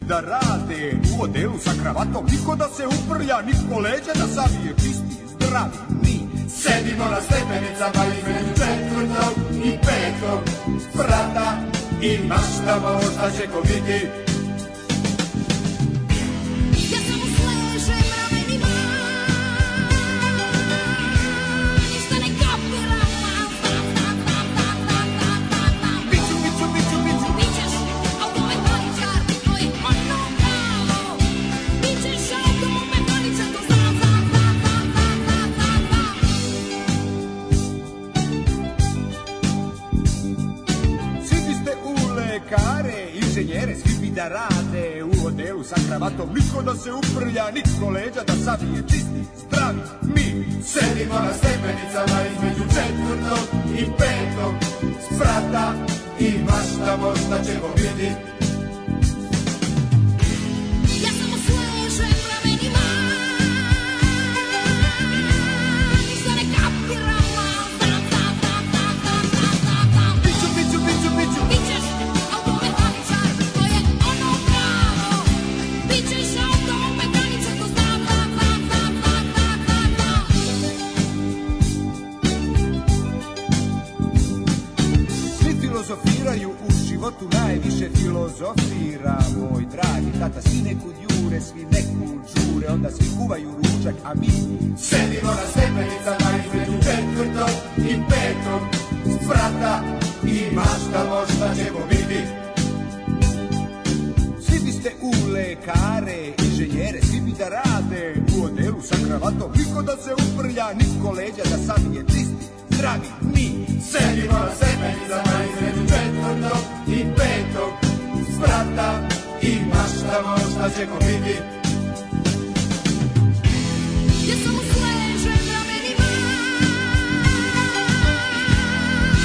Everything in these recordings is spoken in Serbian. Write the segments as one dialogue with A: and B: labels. A: da rade u odelu sa kravatom Niko da se uprlja, niko leđa da savije Čisti, zdravi, mi Sedimo na stepenicama između četvrtog i petog sprata I maštamo šta će ko biti
B: Ja samo sležem ramenima Ništa ne kapiram Tam, tam, tam, tam, tam, tam, tam, tam, tam
A: Biću, biću, biću, biću
B: Bićeš automehaničar, ti koji ono pravo Bićeš automehaničar, to znam, znam, znam, znam, znam, znam, znam, znam
A: Svi biste u lekare, inženjere, svi bi da rade u odelu sa kravatom. Niko da se uprlja, niko leđa da savije čisti, zdravi, mi. Sedimo na stepenicama između četvrtog i petog sprata i maštamo šta ćemo biti.
B: Ja samo sležem ramenima Ništa ne kapiram Tam, tam, tam, tam, tam, tam, tam, tam
A: Biću, biću, biću, biću.
B: Bićeš automehaničar, to je ono pravo Bićeš automehaničar, to ono znam, znam, znam, znam, znam, znam, znam, znam
A: Svi filozofiraju u životu najviše filozofira moj dragi tata svi nekud jure svi nekud žure onda svi kuvaju ručak a mi sedimo na stepenicama između četvrtog i petog sprata i maštamo šta ćemo biti svi biste u lekare, inženjere, svi bi da rade u odelu sa kravatom. Niko da se uprlja, niko leđa da sam je čisti, zdravi, mi. Sedimo na semenicama između četvrtog i petog sprata i maštamo šta ćemo biti.
B: Ja samo sležem ramenima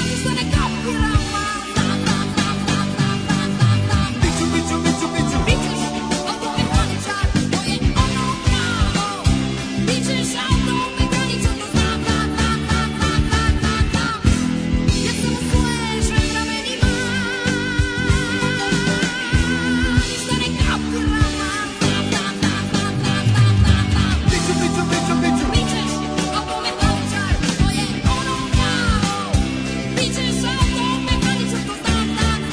B: Ništa ne kapiram Tam, tam, tam, tam, tam, tam, tam, tam
A: Biću, biću, biću, biću.
B: Bićeš automehaničar, to je ono pravo Bićeš automehaničar, to znam, znam, znam, znam, znam, znam, znam, znam Ja samo sležem ramenima Ništa ne kapiram Tam, tam, tam, tam, tam, tam, tam, tam
A: Biću, biću, biću, biću.
B: Bićeš automehaničar, to je ono pravo Bićeš automehaničar, to znam, znam, znam, znam, znam, znam, znam, to znam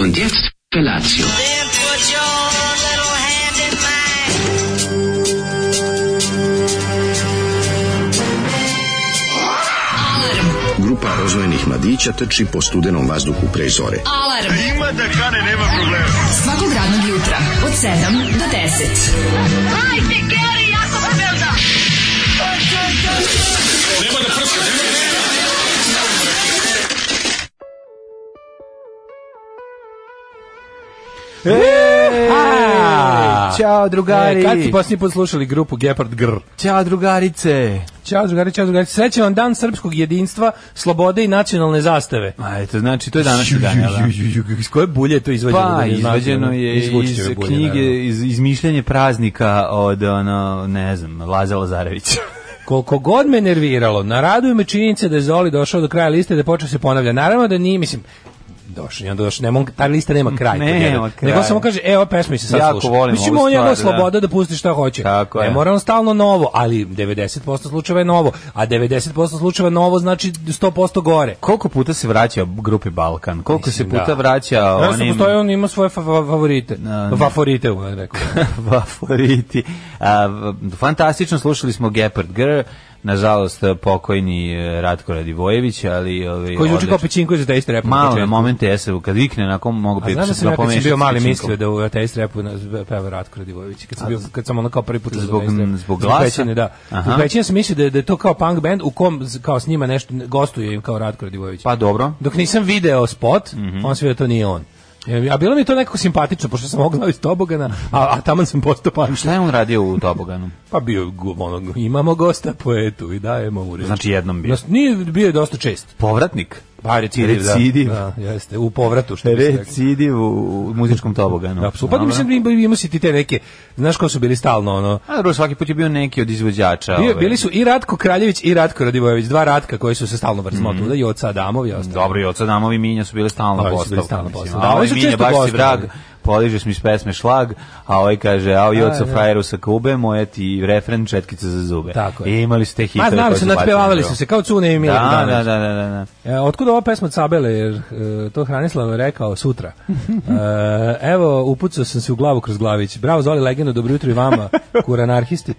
C: Und jetzt Felatio.
D: Then put your little hand in mine.
E: Grupa rozvojenih mladića trči po studenom vazduhu pre zore.
F: Alarm. Ima da kane, nema problema. Svakog radnog jutra, od 7 do 10.
G: A,
H: Ćao drugari.
G: E, kad ste posljednji put slušali grupu Gepard Grr?
H: Ćao drugarice.
G: Ćao drugari, ćao drugari. Srećan vam dan srpskog jedinstva, slobode i nacionalne zastave.
H: Ma eto, znači to je današnji dan. jel da?
G: Iz koje bulje je to izvađeno?
H: Pa,
G: Da ne znate,
H: izvađeno
G: ono,
H: je
G: izvući
H: iz
G: ove bulje, naravno.
H: knjige, iz izmišljanje praznika od, ono, ne znam, Laza Lazarevića.
G: Koliko god me nerviralo, naraduje me činjenica da je Zoli došao do kraja liste i da je počeo se ponavlja. Naravno da nije, mislim, došao, je, onda došao, ne mogu, ta lista nema kraj.
H: Nema kraj.
G: Nego samo kaže, evo pesma mi se sad
H: Jako
G: sluša.
H: volim
G: Mislim,
H: ovu
G: on je
H: stvar,
G: ono sloboda da. pusti šta hoće.
H: Tako
G: ne
H: je.
G: mora on stalno novo, ali 90% slučajeva je novo, a 90% slučajeva novo znači 100% gore.
H: Koliko puta se vraća grupi Balkan? Koliko
G: Mislim,
H: se puta
G: da.
H: vraća
G: Naravno što
H: onim
G: postoje, on ima svoje fa- fa- favorite.
H: Na- na-
G: Favorite, on je rekao.
H: favoriti? A, v- fantastično, slušali smo Gepard Grr, nažalost pokojni eh, Ratko Radivojević, ali... Ovaj,
G: Koji zvuči
H: odličan.
G: kao pećinko iz Ateist Rap.
H: Malo na momente jesu, kad vikne, onako mogu
G: A
H: bi
G: znaš da
H: se
G: sam ja kad sam
H: pomešati
G: bio
H: s
G: mali
H: Činkom.
G: mislio da u Ateist Rapu na- peva Ratko Radivojević. Kad sam, bio, kad sam ono kao prvi put
H: Zbog-
G: uz Atheist Rap.
H: zbog glasa?
G: Pećine, da.
H: Aha.
G: U Pećine sam mislio da, je- da je to kao punk band u kom z- kao s njima nešto gostuje im kao Ratko Radivojević.
H: Pa dobro. Mhm.
G: Dok nisam video spot, on sve da to nije on. E, A bilo mi je to nekako simpatično, pošto sam ognao iz Tobogana, a, a taman sam postao punk.
H: Šta je on radio u Toboganu?
G: Pa bio je gu- ono, imamo gosta poetu i dajemo mu reč.
H: Znači jednom bio.
G: Nas- Nije bio je dosta čest.
H: Povratnik?
G: Pa recidiv,
H: Recidiv.
G: da. da. jeste, u povratu, što bi se reklo.
H: Recidiv u, u muzičkom toboganu.
G: Da, apsolutno. Pa
H: Dobro.
G: mislim, ima- ima si ti te neke, znaš ko su bili stalno, ono,
H: A dobro, svaki put je bio neki od izvođača.
G: Bio,
H: ovaj.
G: bili su i Ratko Kraljević i Ratko Radivojević, dva Ratka koji su se stalno vrzmali mm -hmm. tuda, i oca Adamov i ostalo.
H: Mhm. Dobro, i od Sadamovi Minja su bile stalno
G: Ovi su
H: postavka.
G: bili stalno
H: mislim.
G: postavka. Da,
H: A
G: ovi
H: ovaj
G: su
H: Minja
G: često
H: baš si
G: gostovali.
H: vrag, poližeš mi s pesme šlag, a ovaj kaže, a i oca frajeru sa Kube, moja ti refren četkica za zube.
G: Tako je.
H: I imali su te hitove.
G: Ma znali
H: koje
G: su,
H: bacili
G: nadpevavali
H: na
G: su
H: drvo.
G: se, kao Cune i Mila
H: Da,
G: Bogdanović.
H: da, da, da, da, da.
G: E, otkud ova pesma od Sabele, jer e, to Hranislav rekao sutra. E, evo, upucao sam se u glavu kroz glavić. Bravo, Zoli Legendo, dobro jutro i vama, kuranarhisti.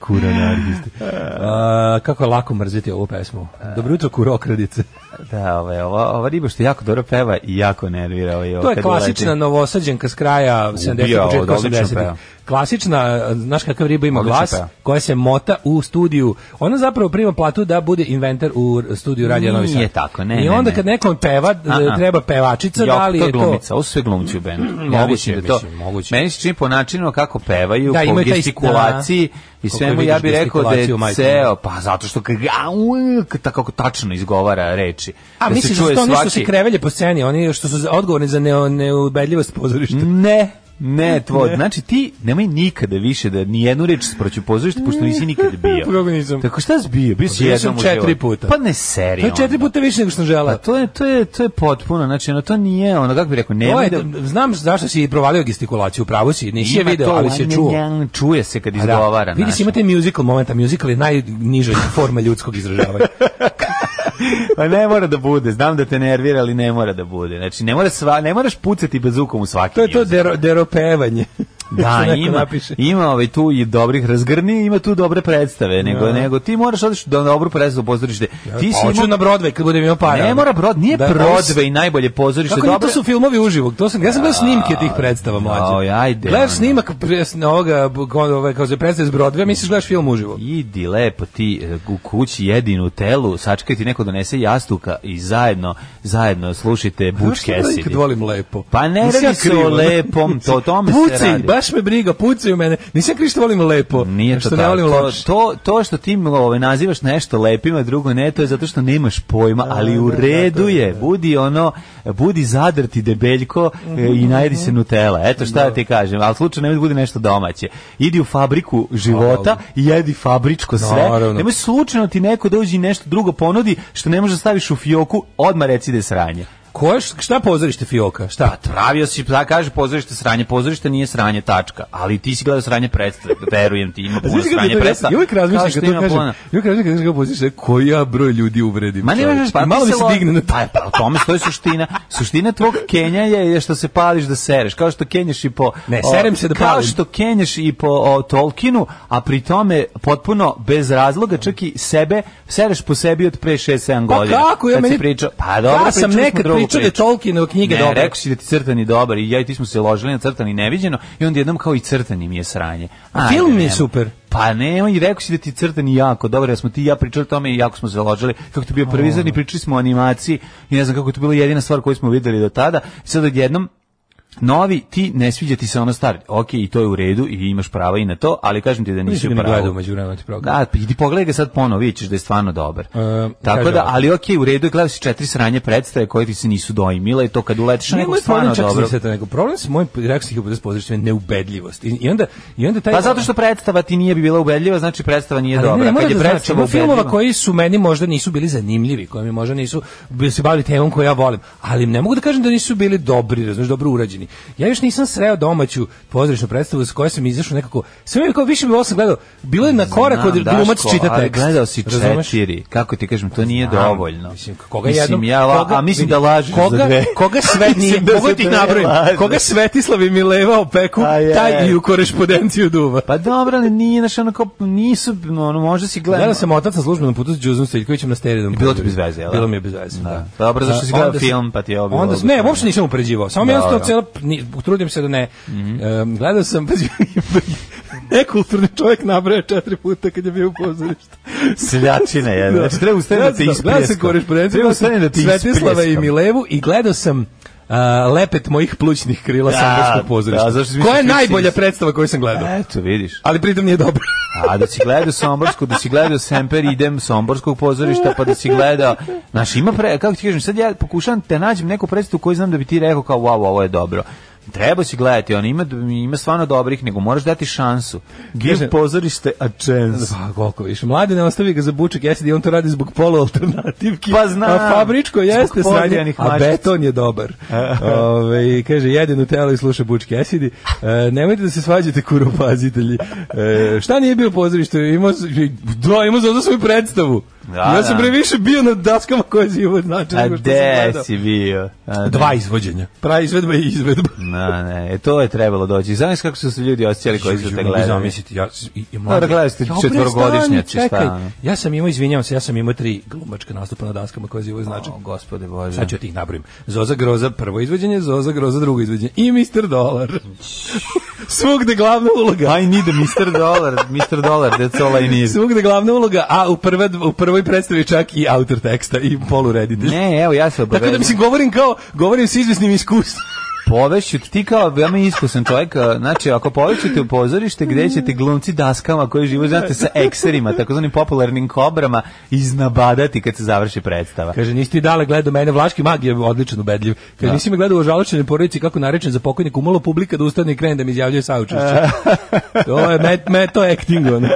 G: Kuranarhisti. E, kako je lako mrziti ovu pesmu. Dobro jutro, kurokradice.
H: Da, ovaj, ova, ova riba što jako dobro peva i jako nervira. Ovaj,
G: To je klasična novosađenka s kraja 70-ih,
H: ovo,
G: početka
H: odlično
G: 80-ih.
H: peva.
G: Klasična, eh, znaš kakav riba ima
H: Odlično
G: glas,
H: peva.
G: koja se mota u studiju. Ona zapravo prima platu da bude inventar u studiju Radija Novi Sad.
H: Nije tako, ne,
G: I
H: ne,
G: onda
H: ne.
G: kad nekom peva,
H: Aha.
G: treba pevačica, da li
H: to
G: je to...
H: glumica, ovo su sve glumci u bendu. Ja
G: Moguće,
H: mislim da to,
G: mislim, moguće.
H: meni se čini po načinu kako pevaju,
G: Da,
H: po
G: imaju taj-
H: gestikulaciji
G: da.
H: i
G: Koliko
H: svemu,
G: vidiš
H: ja bih rekao da je
G: gestikulaciju, majko moja.
H: ceo, pa zato što kad- a, u, k- tako tačno izgovara reči.
G: A
H: da se
G: misliš da su
H: čuje
G: to oni što se
H: svaki-
G: krevelje po sceni, oni što su za- odgovorni za neo, neubedljivost pozorišta.
H: Ne, ne, tvoj. Znači ti nemoj nikada više da ni jednu reč proću pozorište pošto nisi nikad bio.
G: Pa kako nisam?
H: Tako šta si bio? Bio si
G: Bio sam
H: jednom u životu.
G: četiri puta.
H: Pa ne seri.
G: To je četiri puta više nego što sam želeo.
H: Pa to je to je to je potpuno, znači ono, to nije, ono kako bih rekao,
G: To
H: nemoj
G: je,
H: da
G: znam zašto si i provalio gestikulaciju, pravo si, nisi je
H: Ima
G: video,
H: to,
G: ali si je čuo.
H: njen, Čuje se kad
G: A da.
H: izgovara.
G: Vidi
H: znaš.
G: se imate musical momenta, musical je najniža forma ljudskog izražavanja.
H: Pa ne mora da bude, znam da te nervira, ali ne mora da bude. Znači, ne, mora sva, ne moraš pucati bezukom u svaki
G: to je to
H: jezik.
G: dero, deropevanje. Što
H: Da,
G: neko
H: ima,
G: napiše.
H: ima ovaj tu i dobrih razgrni, ima tu dobre predstave, nego,
G: Da.
H: nego ti moraš odeš do dobru predstavu pozorište. Ti
G: Pa
H: si
G: hoću
H: imao-
G: na Broadway kad budem imao para. ono.
H: Ne mora Brod, nije da, Broadway najbolje pozorište.
G: Kako nije, to su filmovi uživog? To sam, ja sam gledao snimke tih predstava mlađe.
H: jao, ajde,
G: Gledaš
H: ono.
G: snimak pre, s- ovoga, b- kao- ovaj, kao se predstav iz Broadway, misliš gledaš film uživo.
H: Idi lepo ti e, u kući jedin u telu, sačekaj ti neko donese jastuka i zajedno, zajedno slušajte Butch
G: Znaš šta da
H: Cassidy.
G: nikad volim lepo.
H: Pa ne
G: Nisam
H: radi
G: ja
H: se
G: kriv,
H: o
G: ono.
H: lepom, to- o tome se
G: Pucaj,
H: radi.
G: baš me briga, pucaj u mene. Nisam ja kriv što volim lepo.
H: Nije to
G: što ne
H: tako.
G: volim
H: To,
G: loše.
H: to, to što ti ovaj, nazivaš nešto lepim, a drugo ne, to je zato što nemaš pojma, ali u
G: da,
H: redu
G: tako je,
H: je. Budi ono, budi zadrti debeljko e,
G: Mhm,
H: i najedi se Nutella. Eto šta ti kažem, ali slučaj nemoj da bude nešto domaće. Idi u fabriku života i jedi fabričko sve.
G: Naravno.
H: Nemoj slučajno ti neko dođi i nešto drugo ponudi što ne možeš da staviš u fioku, odmah reci da je sranje.
G: Ko je, šta pozorište Fioka?
H: Pa
G: Šta?
H: pravio si, da kaže pozorište sranje, pozorište nije sranje, tačka. Ali ti si gledao sranje predstave, verujem ti, ima puno
G: Pa Znaš kako
H: sranje
G: to-
H: predstave.
G: Ja uvijek
H: Kao
G: razmišljam
H: što
G: kad to
H: ima
G: kažem.
H: puno.
G: Ja uvijek razmišljam kad kažem pozicija, koji ja broj ljudi uvredim.
H: Ma ne
G: čoveče.
H: možeš, pa
G: I malo mi se
H: pisalo-
G: digne na
H: Pa, pa, o tome, to je suština. Suština tvog kenja je, je što se pališ da sereš, kao što kenješ i po...
G: Ne,
H: o,
G: serem se da
H: Kao
G: palim.
H: što kenješ i po o, Tolkienu, a pri tome potpuno bez razloga, čak i sebe, sereš po sebi od pre 6-7
G: Pa
H: godina.
G: kako, ja
H: Kad si
G: meni-
H: Pričao, pa dobro,
G: Ja sam
H: pričali smo
G: nekad
H: drugu
G: pričao da je
H: priču.
G: Tolkienova knjiga
H: ne,
G: dobra.
H: rekao si da ti crtani dobar i ja i ti smo se ložili na crtani neviđeno i onda jednom kao i crtani mi je sranje.
G: A film mi je
H: nemoj.
G: super.
H: Pa ne, i rekao si da ti crtani jako dobro, ja smo ti i ja pričali o tome i jako smo se ložili. Kako to bio prvi zadnji, pričali smo o animaciji i ne znam kako je to bila jedina stvar koju smo videli do tada. I sad odjednom Novi, ti ne sviđa ti se ono stari. Ok, i to je u redu i imaš prava i na to, ali kažem ti da nisi
G: Nisi
H: u
G: ga ni
H: pravu.
G: gledao umeđu vremena ti program.
H: Da, pa idi pogledaj ga sad ponovo, vidjet ćeš da je stvarno dobar. Tako
G: E, kaže
H: da,
G: ovako.
H: ali ok, u redu je, gledao si četiri sranje predstave koje ti se nisu dojmile i to kad uletiš na nekog
G: Nemoj problem
H: stvarno
G: čak
H: dobro.
G: sa to, nego problem sa mojim rekao sam hipotezu pozorišta je neubedljivost. I, i onda i onda taj
H: Pa zato što predstava ti nije bi bila ubedljiva, znači predstava nije
G: Ali
H: dobra.
G: ne, mora
H: kad je
G: da znači,
H: predstava
G: ima filmova
H: ubedljiva-
G: koji su meni možda nisu bili zanimljivi, koji mi možda nisu bili se bavili temom koju ja volim, ali ne mogu da kažem da nisu bili dobri, razumeš, dobro urađeni. Ja još nisam sreo domaću pozorišnu predstavu s kojoj sam izašao nekako, sve mi kao više bi ovo sam gledao, bilo je na korak od
H: Znam,
G: glumac
H: Daško,
G: čita
H: ali
G: tekst.
H: Gledao si
G: razumeš?
H: četiri, kako ti kažem, to nije
G: Znam,
H: dovoljno.
G: Mislim, koga
H: mislim,
G: jednom,
H: ja, la-
G: koga-
H: a mislim
G: vidi,
H: da lažeš
G: koga,
H: za dve.
G: Koga sve
H: Mislim
G: nije,
H: da
G: mogu
H: za
G: ti ih
H: dve
G: nabrojim,
H: lažeš.
G: koga Svetislav i Mileva opeku,
H: A je.
G: taj i u korešpondenciju duva.
H: Pa dobro, ali nije, znaš, ono kao, nisu, ono, možda si gledao.
G: Gledao sam otac na službenom putu s Đuzom Stojiljkovićem na steridom.
H: I bilo ti bez veze, jel da?
G: Bilo mi je bez veze, da.
H: Da. Dobro, zašto si
G: A,
H: gledao
G: onda
H: film, pa ti je ovo bilo
G: Onda, ne,
H: obostrano.
G: uopšte nisam upređivao. Samo mi
H: Dobro.
G: jednostavno celo, ni, trudim se da ne.
H: Mhm.
G: Em, gledao sam, pazi, nekulturni čovjek nabraja četiri puta kad je bio u pozorištu.
H: Seljačina je.
G: Da.
H: Znači, treba ustane da te
G: Gledao sam- Gledao sam
H: ispljeska.
G: korespondenciju,
H: Treba
G: gledao sam
H: ustane da te
G: Svetislava i
H: ispljeska.
G: Milevu i gledao sam a, lepet mojih plućnih krila
H: Da,
G: Sandarskog pozorišta.
H: da, zašto si
G: Koja je
H: mislio-
G: najbolja predstava koju sam gledao?
H: Eto, vidiš.
G: Ali pritom nije dobro.
H: A da si gledao Somborsku, da si gledao Semper idem Somborskog pozorišta, pa da si gledao... Znaš, ima pre... Kako ti kažem, sad ja pokušavam te nađem neku predstavu koju znam da bi ti rekao kao, wow, ovo je dobro. Treba si gledati, on ima, ima stvarno dobrih, nego moraš dati šansu. Give
G: Kažem-
H: pozorište a chance.
G: Pa, koliko više. Mladi ne ostavi ga za bučak jesti i on to radi zbog polu alternativki.
H: Pa znam.
G: A fabričko jeste
H: Zbog
G: sranje,
H: podijeljenih
G: a
H: mačica.
G: beton je dobar. Ove, kaže, jede Nutella i sluša bučke esidi. E, nemojte da se svađate, kuropazitelji. E, šta nije bio pozorište? Imao, s- da, imao za ovo svoju predstavu.
H: Da,
G: ja sam
H: da.
G: previše bio na daskama koje zivo znači
H: A
G: nego što sam
H: de
G: gledao.
H: si bio? A de.
G: Dva izvođenja. Prava izvedba i izvedba.
H: Na, ne, e, to je trebalo doći. Znaš kako su se ljudi osjećali koji su te
G: Mogu
H: gledali?
G: zamisliti, ja, i, i
H: Dobro, gledali ste
G: Ja, bre,
H: četvorogodišnjaci,
G: stani, čekaj.
H: šta? ono?
G: Ja sam imao, izvinjavam se, ja sam imao tri glumačka nastupa na daskama koje zivo znači.
H: O, gospode Bože.
G: Sad ću ti ih nabrojim. Zoza Groza prvo izvođenje, Zoza Groza drugo izvođenje i Mr. Dolar. Svugde glavna uloga.
H: I need a Mr. Dollar, Mr. Dollar, that's all I need.
G: Svugde glavna uloga, a u, prve, u prvoj predstavi čak i autor teksta i polureditelj.
H: Ne, evo, ja se
G: Tako da
H: obavezam.
G: mislim, govorim kao, govorim s izvesnim iskustvom.
H: Povešću ti kao veoma iskusan čovjek, a, znači ako povešćete u pozorište gdje ćete glumci daskama koji živo znate sa ekserima, takozvanim popularnim kobrama, iznabadati kad se završi predstava.
G: Kaže, nisi ti dale gledao mene, Vlaški mag je odlično ubedljiv. Kaže, nisi me gledao u žaločenoj porodici kako narečen za pokojnika, umalo publika da ustane i krene da mi izjavljaju saučešće. to je met, meto acting, ono.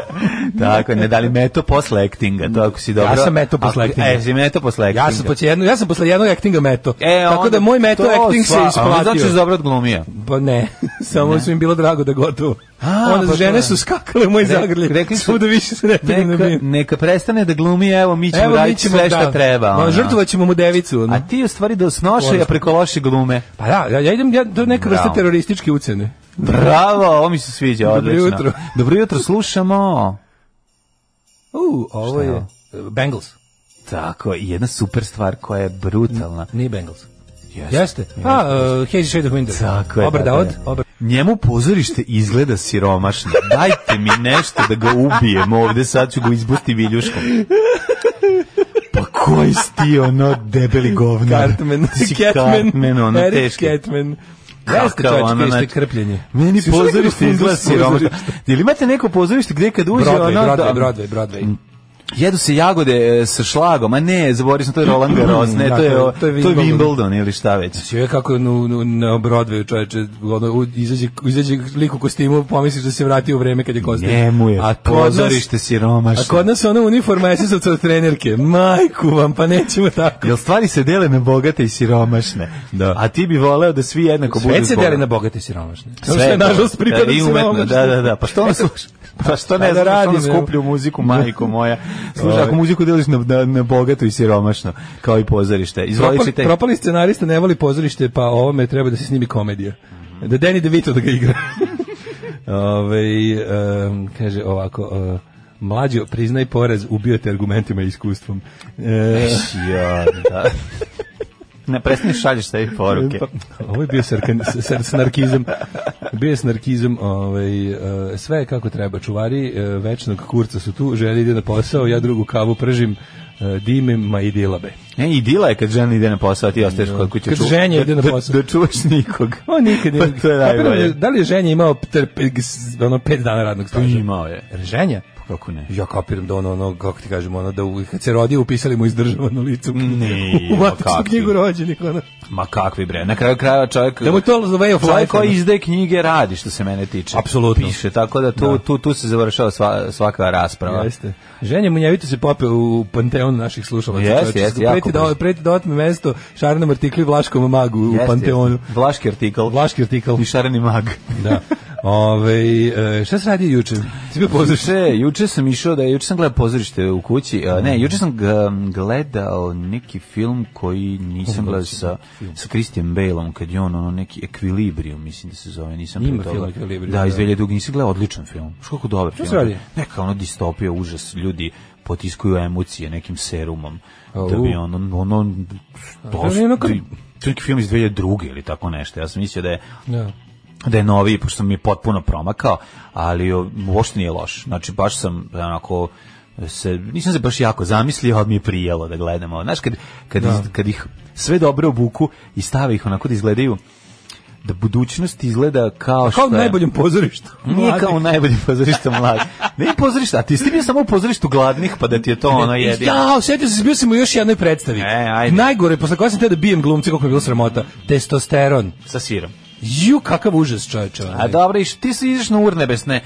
H: Tako, ne da li meto posle actinga, to ako si dobro.
G: Ja sam meto posle
H: Ako-
G: actinga.
H: E, si meto posle actinga.
G: Ja sam, posle jedno, ja sam posle jednog actinga meto.
H: E,
G: Tako da
H: onda
G: moj meto
H: to
G: acting se
H: sva- a
G: isplatio.
H: onda Znači si dobro odglumio.
G: Pa ne, samo su im bilo drago da gotovo.
H: A,
G: Onda
H: pa
G: žene
H: to-
G: su skakale u moj
H: Re-
G: zagrlje.
H: rekli su-
G: Svuda više se ne pridem na
H: Neka,
G: mir.
H: neka prestane da glumi, evo mi ćemo
G: mi
H: raditi sve šta
G: da.
H: treba.
G: Ma,
H: ono.
G: žrtvovat ćemo mu devicu. ono.
H: A ti u stvari da snoše, a preko loše glume.
G: Pa da, ja, ja idem, ja, to je neka vrsta
H: Bravo.
G: terorističke ucene.
H: Bravo, ovo mi se sviđa,
G: Dobro
H: odlično.
G: jutro.
H: Dobro jutro, slušamo.
G: U, ovo
H: Šta je
G: je...
H: ovo?
G: e, Bengals.
H: Tako, i jedna super stvar koja je brutalna.
G: Nije Bengals.
H: Jeste.
G: Jeste. A, uh, Hazy Shade of Winter.
H: Tako je.
G: Obrada
H: tako
G: od,
H: je.
G: obrada.
H: Njemu pozorište izgleda siromašno. Dajte mi nešto da ga ubijem ovde, sad ću ga izbusti viljuškom. Pa koji si ti ono debeli govnar?
G: Cartman,
H: Ti si
G: Catman,
H: Cartman, ono
G: Eric
H: teški.
G: Catman.
H: Kakav
G: Jeste čovječ,
H: ono,
G: krište
H: znači-
G: krpljenje.
H: Meni
G: Si ušao nekako
H: pozorište
G: u
H: izgleda
G: pozorište?
H: siromašno. Jel imate neko pozorište gde kad uđe
G: Broadway,
H: ono
G: Broadway,
H: da...
G: Broadway, Broadway.
H: Jedu se jagode e, sa šlagom, a ne, zaboravio sam, to je Roland Garros, ne, to je,
G: Dakle,
H: o-
G: to
H: to
G: je
H: je
G: Wimbledon.
H: Wimbledon ili šta već.
G: Sve kako nu, nu, na Broadwayu čoveče, ono, u- izađe, izađe lik u kostimu, pomisliš da se vratio u vreme kad je kostim.
H: Njemu je
G: A kod nas-
H: pozorište siromašno.
G: A kod nas ona uniforma SS-ovca od trenerke. Majku vam, pa nećemo tako.
H: Jel stvari se dele na bogate i siromašne? Da. A ti bi voleo da svi jednako budu
G: Sve se deli
H: bogati.
G: na bogate i siromašne.
H: Sve,
G: Sve, nažalost,
H: da,
G: pripada
H: i umetno,
G: siromašne.
H: Da, da, da. Pa što ne sluša? Pa što ne
G: Šta
H: slušaš
G: da
H: ono
G: radim, evo?
H: skuplju muziku, majko moja?
G: Ovaj.
H: Slušaj, ako muziku deliš na, na, na bogato i siromašno, kao i pozorište. Izvoli
G: Propali,
H: čitaj.
G: propali scenarista ne voli pozorište, pa ovome treba da se snimi komedija. Da Danny DeVito da ga igra. Ove, em, kaže ovako, e, mlađo, priznaj porez, ubio te argumentima i iskustvom. E,
H: Ja, da. Ne, prestani šalješ sebi poruke.
G: pa, ovo je bio sarkan, sar- snarkizam. Bio je snarkizam. Ovaj, e, sve je kako treba. Čuvari e, večnog kurca su tu, želi ide na posao, ja drugu kavu pržim, e, dimim, ma i dilabe.
H: Ne, E, i dila je kad žena ide na posao, a ti ostaješ kod kuće.
G: Kad
H: ču-
G: ženja
H: da-
G: ide na
H: da-
G: posao.
H: Da čuvaš nikog.
G: On nikad nije.
H: Pa to je
G: Kapiram
H: najbolje.
G: Da li je ženja imao trp, ono pet dana radnog staža?
H: Pa, Imao je. Pa,
G: Ženja?
H: Kako ne?
G: Ja kapiram da ono, ono, kako ti kažem, ono, da u, kad se rodio, upisali mu izdržavano licu.
H: Nije,
G: u matičnu
H: kakvi.
G: knjigu rođenih, ono.
H: Ma kakvi bre, na kraju krajeva čovjek...
G: Da mu je to the way of life.
H: Čovjek koji
G: ono.
H: izdaje knjige radi što se mene tiče.
G: Apsolutno.
H: Piše, tako da tu,
G: Da.
H: tu, tu se završava sva, svaka rasprava.
G: Jeste. Ženja Munjevito se popeo u panteon naših slušalaca.
H: Jeste,
G: čovječe.
H: jeste,
G: Preti
H: jako
G: da,
H: brzo.
G: preti da otme mesto Šarnom artiklu i Vlaškom magu u
H: Jeste,
G: panteonu.
H: jeste. Vlaški artikl.
G: Vlaški artikl.
H: I šareni mag.
G: da. Ove, šta se radi juče? Si bio pozdrav.
H: Juče, juče sam išao da juče sam gledao pozorište u kući. a, ne, juče sam ga- gledao neki film koji nisam gledao sa sa Christian Baleom kad je on ono neki ekvilibrium mislim da se zove, nisam
G: Ima
H: pre toga-
G: film Equilibrium,
H: Da, iz
G: da.
H: 2002 nisam gledao odličan film. Što kako dobar
G: se
H: film.
G: radi?
H: Neka ono distopija, užas, ljudi potiskuju emocije nekim serumom. Da
G: Au.
H: bi ono ono
G: to je ono kad-
H: to je neki film iz 2002 ili tako nešto. Ja sam mislio da je
G: Da.
H: da je novi, pošto mi je potpuno promakao, ali o, uopšte nije loš. Znači, baš sam onako se, nisam se baš jako zamislio, ali mi je prijelo da gledamo. Znaš, kad, kad, iz- kad ih sve dobro obuku i stave ih onako da izgledaju da budućnost izgleda kao što
G: Kao u
H: je.
G: najboljem pozorištu.
H: Nije kao u najboljem pozorištu mladi. Ne pozorišta, a ti si bio samo u pozorištu gladnih, pa da ti je to ono jedino.
G: Ja, osjetio sam, se, bio sam u još jednoj predstavi.
H: E, ajde.
G: Najgore, posle koja sam teo da bijem glumce, koliko mi je bilo sramota. Testosteron.
H: Sa sirom.
G: Ju, kakav užas, čoveče. onaj.
H: A dobro, iš, ti si izaš na urnebesne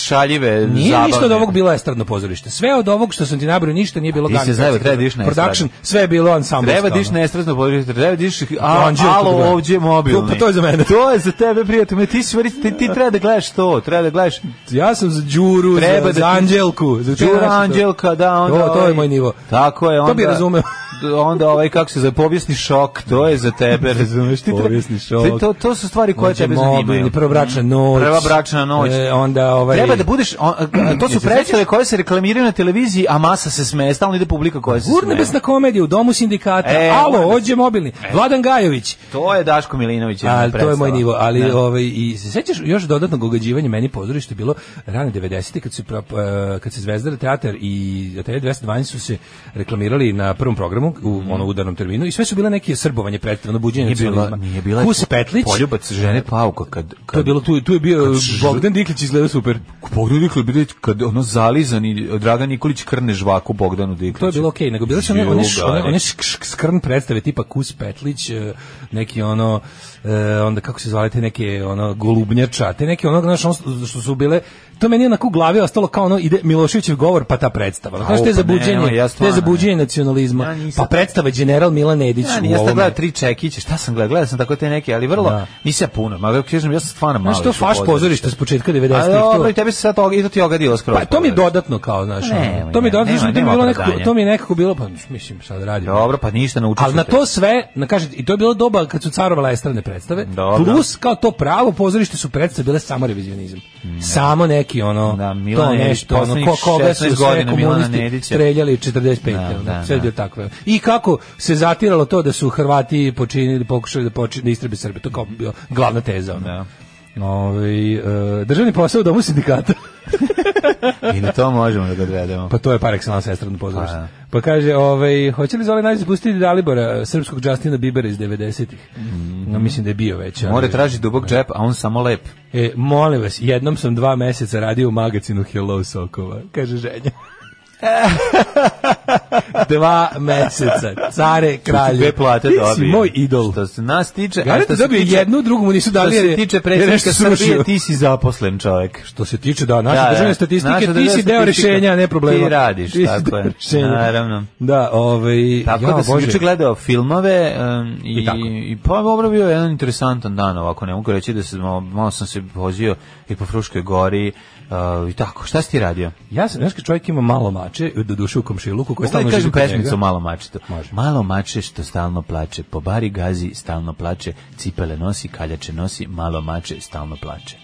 H: šaljive
G: Nije
H: zabavne.
G: ništa od ovog bilo estradno pozorište. Sve od ovog što sam ti nabrao ništa nije bilo
H: Ti si
G: Gani
H: znao,
G: Festival.
H: treba da ideš na
G: Production, sve je bilo ansambl.
H: Treba diš nestresno područje, treba diš a,
G: ono. Anđeo
H: alo
G: kod gleda.
H: ovdje mobilni.
G: To- pa to je za mene.
H: To je za tebe, prijatelj. Ma Ti, si, stvari- ti, ti treba da gledaš to, treba da gledaš
G: Ja sam za Đuru,
H: Treba da
G: za, za
H: ti-
G: Anđelku. Za te
H: Đura
G: naše Znači, to.
H: Anđelka, da, onda...
G: To- to je
H: ovaj-
G: moj nivo.
H: Tako je,
G: To
H: onda...
G: bi razumeo.
H: d- onda ovaj, kako se zove, povijesni šok, to je za tebe, razumeš? Ti treba-
G: Povijesni šok.
H: Ti- To, to su stvari koje
G: Onda
H: tebe
G: Znači, mobilni,
H: zanimaju.
G: prva bračna noć.
H: Prva bračna noć.
G: E, onda ovaj...
H: Treba da budeš, on- a, to su
G: Jesi
H: predstave koje se reklamiraju na televiziji, a masa se smeje, stalno ide publika koja se smeje.
G: Urnebesna komedija u domu sindikata.
H: E,
G: Alo,
H: urnebesna-
G: ođe mobilni. Vladan Gajović.
H: To je Daško Milinović. jedna
G: A, to je
H: predstava.
G: moj nivo, ali
H: Da.
G: ovaj i se sećaš još dodatnog ugađivanja meni pozorište bilo rane 90-te kad su pro- eh, kad se Zvezdara teatar i Atelje 212 su se reklamirali na prvom programu u ono udarnom terminu i sve su bile neke srbovanje pretjerano buđenje
H: Mhm. Nije bila,
G: nacionalizma.
H: nije bila
G: Kus Petlić.
H: poljubac žene Pauka kad kad
G: To je bilo tu tu je bio
H: ž-
G: Bogdan Diklić izgleda super.
H: Bogdan Diklić bilo kad ono zalizani Dragan Nikolić krne žvaku Bogdanu Dikliću.
G: To je ono bilo okej, nego bile su one, one, š-
H: Juga,
G: one,
H: ne.
G: one š- š- skrn predstave tipa Kus Petlić, eh, neki ono, eh, onda kako se zvale te neke ono, golubnjača, te neke ono, znaš, ono što su bile, to meni je onako u glavi ostalo kao ono, ide Miloševićev govor, pa ta predstava. Ono, Znaš,
H: Au,
G: te
H: pa nemoj,
G: zabuđenje,
H: ja
G: te
H: stvarno
G: zabuđenje
H: Ja
G: nacionalizma,
H: nisam-
G: pa predstava General Milan Edić
H: Ja
G: u
H: nisam
G: ovome.
H: gledao tri čekiće, šta sam gledao? Gledao sam tako te neke, ali vrlo,
G: Da.
H: nisam ja puno, ma kažem, ja sam stvarno malo.
G: Znaš, to
H: išao u
G: faš pozorište s početka 90-ih.
H: Ali
G: to-
H: dobro, i tebi se sad toga, i to ti ogadilo skroz.
G: Pa to mi je
H: pozorište.
G: dodatno kao, znaš,
H: Ne,
G: ono,
H: nemoj,
G: to mi je dodatno,
H: nema,
G: znaš, to mi je
H: nema
G: bilo nekako,
H: opravdanja.
G: to mi je nekako bilo, pa mislim, sad radim.
H: Dobro, pa ništa naučiš.
G: Ali na
H: se.
G: to sve, na kažem, i to je bilo doba kad su carovala estrane predstave,
H: Dobro.
G: plus kao to pravo pozorište su predstave bile samo revizionizam. Samo neki ono,
H: Da, Milan
G: to
H: Nedić,
G: nešto, ono,
H: poslednjih
G: ko, koga
H: 16
G: su sve
H: godina Milana
G: komunisti
H: Nedića.
G: streljali 45.
H: Da,
G: ono,
H: da,
G: sve je
H: da.
G: bilo takve. I kako se zatiralo to da su Hrvati počinili, pokušali da, počinili, da istrebe Srbe, to kao bio glavna teza. Ono.
H: Da.
G: Ovaj, e, državni posao u domu sindikata.
H: I na to možemo da ga gledamo.
G: Pa to je par excellence estradno pozorište.
H: Pa, da.
G: Pa kaže, ovaj, hoće li Zoli naći pustiti Dalibora, srpskog Justina Bibera iz 90-ih? No, mislim da je bio već. ali-
H: Mhm. More traži dubog džep, a on samo lep.
G: E, molim vas, jednom sam dva meseca radio u magazinu Hello Sokova, kaže ženja. dva meseca, care, kralje.
H: Dve plate
G: Ti si
H: dobije.
G: moj idol.
H: Što se nas tiče... a
G: Garant
H: što
G: da
H: se
G: dobio
H: tiče-
G: jednu, drugu mu nisu dali.
H: Što
G: jer
H: se
G: je-
H: tiče
G: jer je
H: predsjednika
G: nešto srušio.
H: Srbije, ti si zaposlen čovjek.
G: Što se tiče da naše
H: Da, da.
G: državne statistike,
H: Naša
G: ti
H: državna
G: si deo
H: statistika.
G: rešenja, a ne problema.
H: Ti radiš,
G: si
H: tako
G: deo
H: je.
G: rešenja.
H: Naravno.
G: Da, ovaj
H: Tako
G: ja,
H: da sam
G: Bože.
H: juče gledao filmove um, i,
G: I tako.
H: i, pa dobro bio je jedan interesantan dan ovako, ne mogu reći da sam, malo, malo sam se vozio i po Fruškoj gori uh, i tako, šta si ti radio?
G: Ja sam, znaš kad čovjek ima malo mače, do duše u komšiluku, koji
H: Mogu
G: stalno
H: da kažem
G: živi kod
H: pesmicu
G: njega.
H: o malo mačetu.
G: Može.
H: Malo mače što stalno plače, po bari gazi stalno plače, cipele nosi, kaljače nosi, malo mače stalno plače.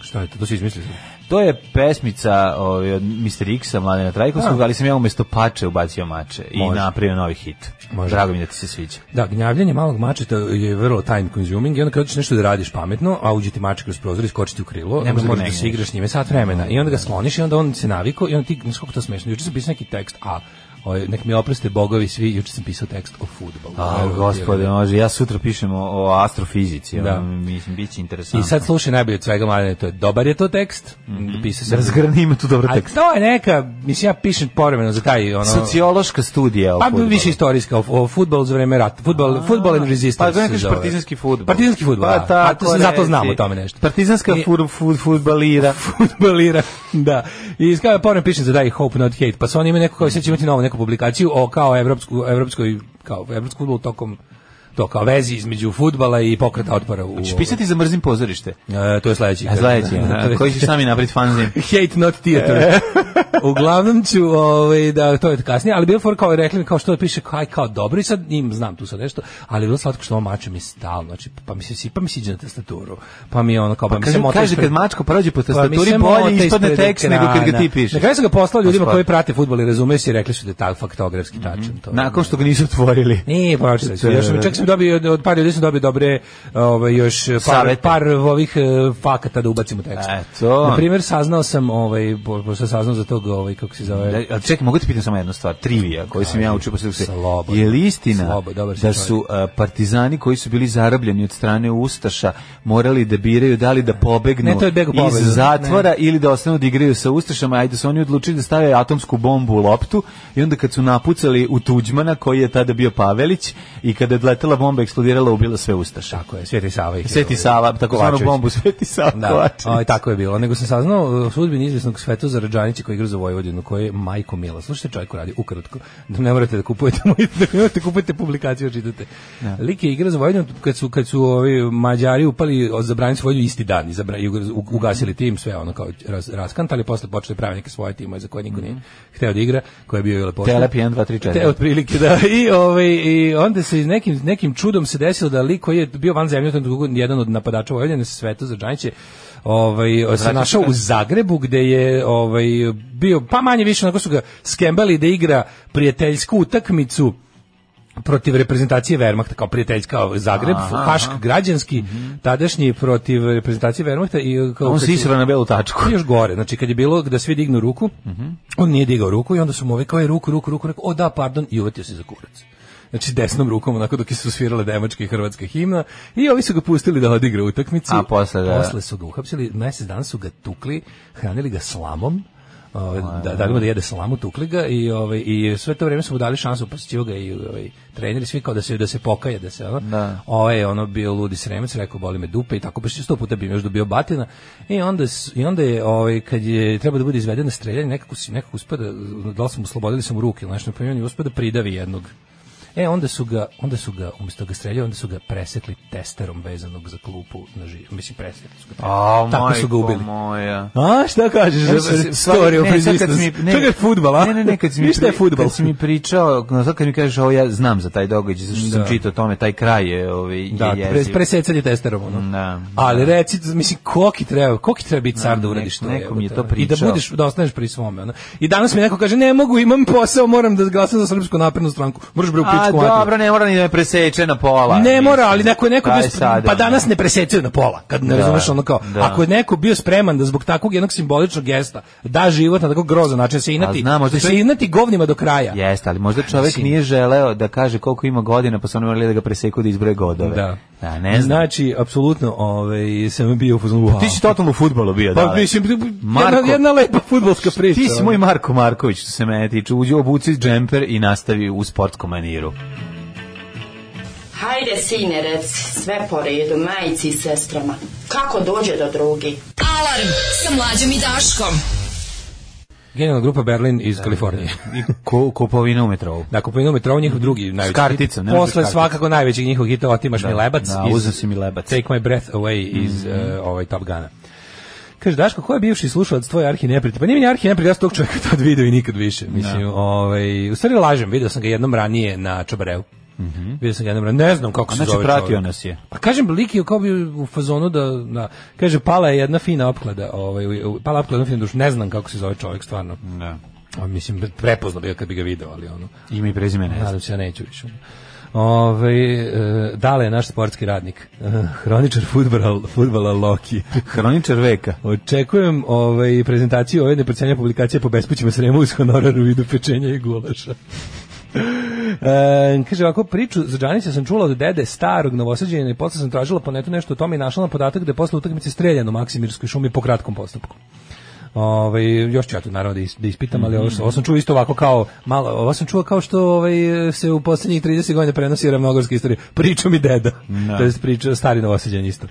G: Šta je to, to si izmislio?
H: To je pesmica ovaj, od Mr. X-a, Mladena Trajkovskog, ali sam ja umjesto pače ubacio mače i
G: Može.
H: napravio novi hit.
G: Može.
H: Drago mi je da ti se sviđa.
G: Da, gnjavljenje malog mačeta je vrlo time consuming i onda kad hoćeš nešto da radiš pametno, a uđe ti mačak kroz prozor i skoči ti u krilo,
H: Ne
G: ne
H: možeš da ga
G: možeš da
H: menjaš.
G: se igraš s njime sat vremena i onda ga skloniš i onda on se naviko i onda ti, znaš kako to smešno, juče sam pisao neki tekst, a oj, nek mi oproste bogovi svi, juče sam pisao tekst o futbolu.
H: A, gospode, može, ja sutra pišem o, o astrofizici,
G: Da.
H: ono, mislim, bit će
G: I
H: interesantno.
G: sad slušaj najbolje od svega, mladene, to je dobar je to tekst, pisao sam...
H: Razgrani ima tu dobro
G: A to je neka, mislim, ja pišem povremeno za taj, ono...
H: Sociološka studija o
G: Pa
H: fudbalu.
G: više istorijska, o, o futbolu za vreme rata. Futbol, futbol and resistance.
H: Pa da ne
G: se
H: kažeš
G: zove.
H: partizanski fudbal.
G: Partizanski fudbal.
H: Pa
G: da. A
H: tako
G: to se- zato
H: reci.
G: znamo o tome nešto.
H: Partizanska
G: I-
H: fur, fud, fudbalira.
G: Futbolira, da. I kao povremeno pišem za daj hope not hate, pa su oni imaju neko kao, sad će imati novu neku publikaciju o kao evropsku, evropskoj, kao evropsku fudbalu tokom to kao vezi između fudbala i pokreta otpora u
H: Češ pisati za mrzim pozorište.
G: E, to je sledeći
H: A sledeći,
G: Da, to
H: a,
G: je-
H: koji ćeš sami napraviti fanzin.
G: Hate not
H: E.
G: theater. Uglavnom ću, ovaj, da, to je kasnije, ali bilo for kao rekli mi kao što da piše, kaj kao dobro i sad im znam tu sad nešto, ali je bilo slatko što ovo mače mi stalno, znači, pa mi se sipa, mi siđe na tastaturu, pa mi je ono kao, pa, mi se
H: Kaže,
G: mota
H: kaže
G: ispred-
H: kad mačko prođe po
G: pa mi
H: tastaturi,
G: se mota
H: bolje ispadne
G: ispred
H: tekst nego kad ga ti
G: ekrana. Na
H: pišeš.
G: kraju sam ga poslao ljudima
H: Pa,
G: koji prate fudbal i razumeju se i rekli su da je tak faktografski tačan. To,
H: Nakon što ga nisu otvorili.
G: Nije pročitao sam. Još sam čak sam dobio od- od par ljudi sam dobio dobre ovaj još par,
H: Savete.
G: par ovih eh, fakata da ubacim u tekst.
H: Eto.
G: Na primjer saznao sam ovaj po- pošto sam saznao za tog ovog, ovaj, kako se zove...
H: Da, ali čekaj, mogu ti pitam samo jednu stvar, trivija koju sam ja učio posle se.
G: Slobodan.
H: Je li istina
G: Slobo- dobar si
H: da su a, partizani koji su bili zarobljeni od strane Ustaša morali da biraju da li da pobegnu
G: Ne, to je beg u pobedu.
H: iz zatvora ili da ostanu da igraju sa Ustašama, ajde su oni odlučili da stave atomsku bombu u loptu i onda kad su napucali u Tuđmana koji je tada bio Pavelić i kada je letela bomba eksplodirala ubila sve Ustaša.
G: Tako je, Sveti Sava ih je-
H: Sveti Sava, tako zvanu
G: Kovačević.
H: bombu Sveti Sava
G: Da,
H: Kovačević.
G: ovaj, tako je bilo. Nego sam saznao sudbin izvesnog Svetozara Đanića koji igra za Vojvodinu, koji je majko mila. Slušajte čovjek radi ukratko, da ne morate da kupujete, mu- da ne morate da kupujete publikaciju, da čitate. Lik je igra za Vojvodinu kad su, kad su ovi Mađari upali, od- zabranili su Vojvodinu isti dan, i zabra- i u- ugasili tim, sve ono kao raz, raskantali, posle počeli praviti neke svoje timove za koje niko nije hteo da igra, koje je bio i lepo.
H: Telep 1, 2, 3, 4.
G: Te otprilike da i ovaj i onda se nekim nekim čudom se desilo da lik koji je bio van zemlje u tom trenutku, jedan od napadača Vojvodine Sveto Đanić je ovaj se našao u Zagrebu gde je ovaj bio pa manje više onako su ga skembali da igra prijateljsku utakmicu protiv reprezentacije Wehrmachta kao prijateljska ovaj, Zagreb, Hašk građanski tadašnji protiv reprezentacije Wehrmachta i kao
H: Mhm. On
G: kad
H: se
G: su-
H: isra na belu tačku.
G: još gore, znači kad je bilo da svi dignu ruku, on nije digao ruku i onda su mu ovi kao je ruku, ruku, ruku, rekao, o da, pardon, i uvatio se za kurac. Znači desnom rukom, onako dok su svirale nemačka i hrvatska himna i ovi su ga pustili da odigra utakmicu.
H: A posle da-
G: Posle su ga uhapsili, mesec dana su ga tukli, hranili ga slamom, ovaj, da, dali mu da jede slamu, tukli ga i, ovaj, i sve to vrijeme su mu dali šansu, posjećivo ga i ovaj, treneri, svi kao da se, da se pokaje, da se ono,
H: Da.
G: ovaj je ono bio ludi sremec, rekao boli me dupe i tako baš je sto puta bi mi još dobio batina. I onda s- i onda je ovaj kad je treba da bude izvedeno streljanje, nekako se nekako uspada, da li smo oslobodili smo ruke, ili nešto pa i on je uspeo da pridavi jednog. E onda su ga onda su ga umesto da ga streljaju, onda su ga presekli testerom vezanog za klupu na živ. Mislim presekli su ga.
H: A,
G: Tako su ga
H: majko
G: ubili.
H: Moja.
G: A šta kažeš
H: Ja
G: za
H: sam se-
G: story of
H: ne, sad kad
G: resistance?
H: si mi- ne,
G: Čekaj, fudbal, a?
H: Ne, ne, ne, kad si mi,
G: Ništa je
H: pri-
G: fudbal.
H: Kad si mi pričao, no, sad kad mi kažeš ovo, ja znam za taj događaj, zašto sam
G: Da.
H: čitao o tome, taj kraj je, ovaj,
G: Da,
H: je
G: pre,
H: jeziv.
G: presecanje testerom, ono.
H: Da.
G: Ali reci, mislim, koki treba, koki treba biti car da uradiš
H: nek-
G: to.
H: neko mi je
G: jebote,
H: to
G: ono. I da
H: pričao.
G: budeš, da ostaneš pri svome. Ono. I danas mi neko kaže, ne mogu, imam posao, moram da glasam za srpsku naprednu stranku. Moraš bre u
H: A,
G: pičku
H: dobro, ne mora ni da me preseče na pola.
G: Ne
H: mislim.
G: mora, ali neko je neko
H: Kaj
G: bio spre-
H: sada,
G: pa
H: ono?
G: danas ne presecaju na pola, kad ne
H: Da,
G: razumeš ono kao,
H: da.
G: ako je neko bio spreman da zbog takvog jednog simboličnog gesta da život na tako grozan način da se inati,
H: znam, možda
G: da se
H: čovjek-
G: inati govnima do kraja.
H: Jeste, ali možda čovjek
G: Mislim.
H: nije želeo da kaže koliko ima godina, pa su oni morali da ga preseku da izbroje godove.
G: Da.
H: Da, ne znam. Pa
G: Znači, apsolutno, ovaj, sam bio u fazonu, wow.
H: Ti si totalno u futbolu bio,
G: Pa
H: da.
G: mislim,
H: Marko-
G: jedna, jedna lepa futbolska priča. ono.
H: Ti si moj Marko Marković, što se mene tiče. Uđi obuci džemper i nastavi u sportskom maniru.
I: Hajde, sine, reci sve po redu, majici i sestrama. Kako dođe do drugi?
F: Alarm sa mlađom i Daškom.
G: Genijalna grupa Berlin iz Kalifornije.
H: I ko, kupovina u metrovu.
G: Da, kupovinu metrova njihov drugi najveći
H: karticom, ne
G: hit.
H: možeš
G: Posle
H: bez kartice.
G: svakako najvećeg njihovog hita Otimaš mi lebac.
H: da,
G: iz-
H: uzeo si mi lebac. Mhm.
G: Take my breath away iz eh, ovaj Top Gana. Kaže, Daško, ko je bivši slušalac tvoj arhi neprijatelj? Pa nije mi ni arhi neprijatelj, ja sam tog čovjeka tad video i nikad više. Mislim, ovaj, u stvari lažem, video sam ga jednom ranije na Čabareu. Vidio sam ga jednom ranije, ne znam kako se
H: Mhm. Znači,
G: zove
H: pratio
G: čovjek.
H: nas je.
G: Pa kažem, lik je kao bio u fazonu da, da, kaže, pala je jedna fina opklada, ovaj, u- pala je opklada jedna fina duša, ne znam kako se zove čovjek stvarno.
H: Da.
G: A, mislim, prepoznao bi ga kad bi ga video, ali ono,
H: Ime i prezime ne znam.
G: nadam se ja neću više. Ove, e, Dale je naš sportski radnik, e, hroničar futbala, futbala Loki.
H: Hroničar veka.
G: Očekujem ovaj, prezentaciju ove neprocenja publikacije po bespućima Sremu uz honorar u vidu pečenja i gulaša. E, kaže ovako, priču za Đanića sam čula od dede starog novosađenja i posle sam tražila po netu nešto o tome i našla na podatak da je posle utakmice streljano u Maksimirskoj šumi po kratkom postupku. Ovaj još ću ja to naravno da, is- da ispitam, ali ovo, sam- ovo sam čuo isto ovako kao malo, ovo sam čuo kao što ovaj se u posljednjih 30 godina prenosi ravnogorska istorija. Priča mi deda. To je priča stari novosađan isto.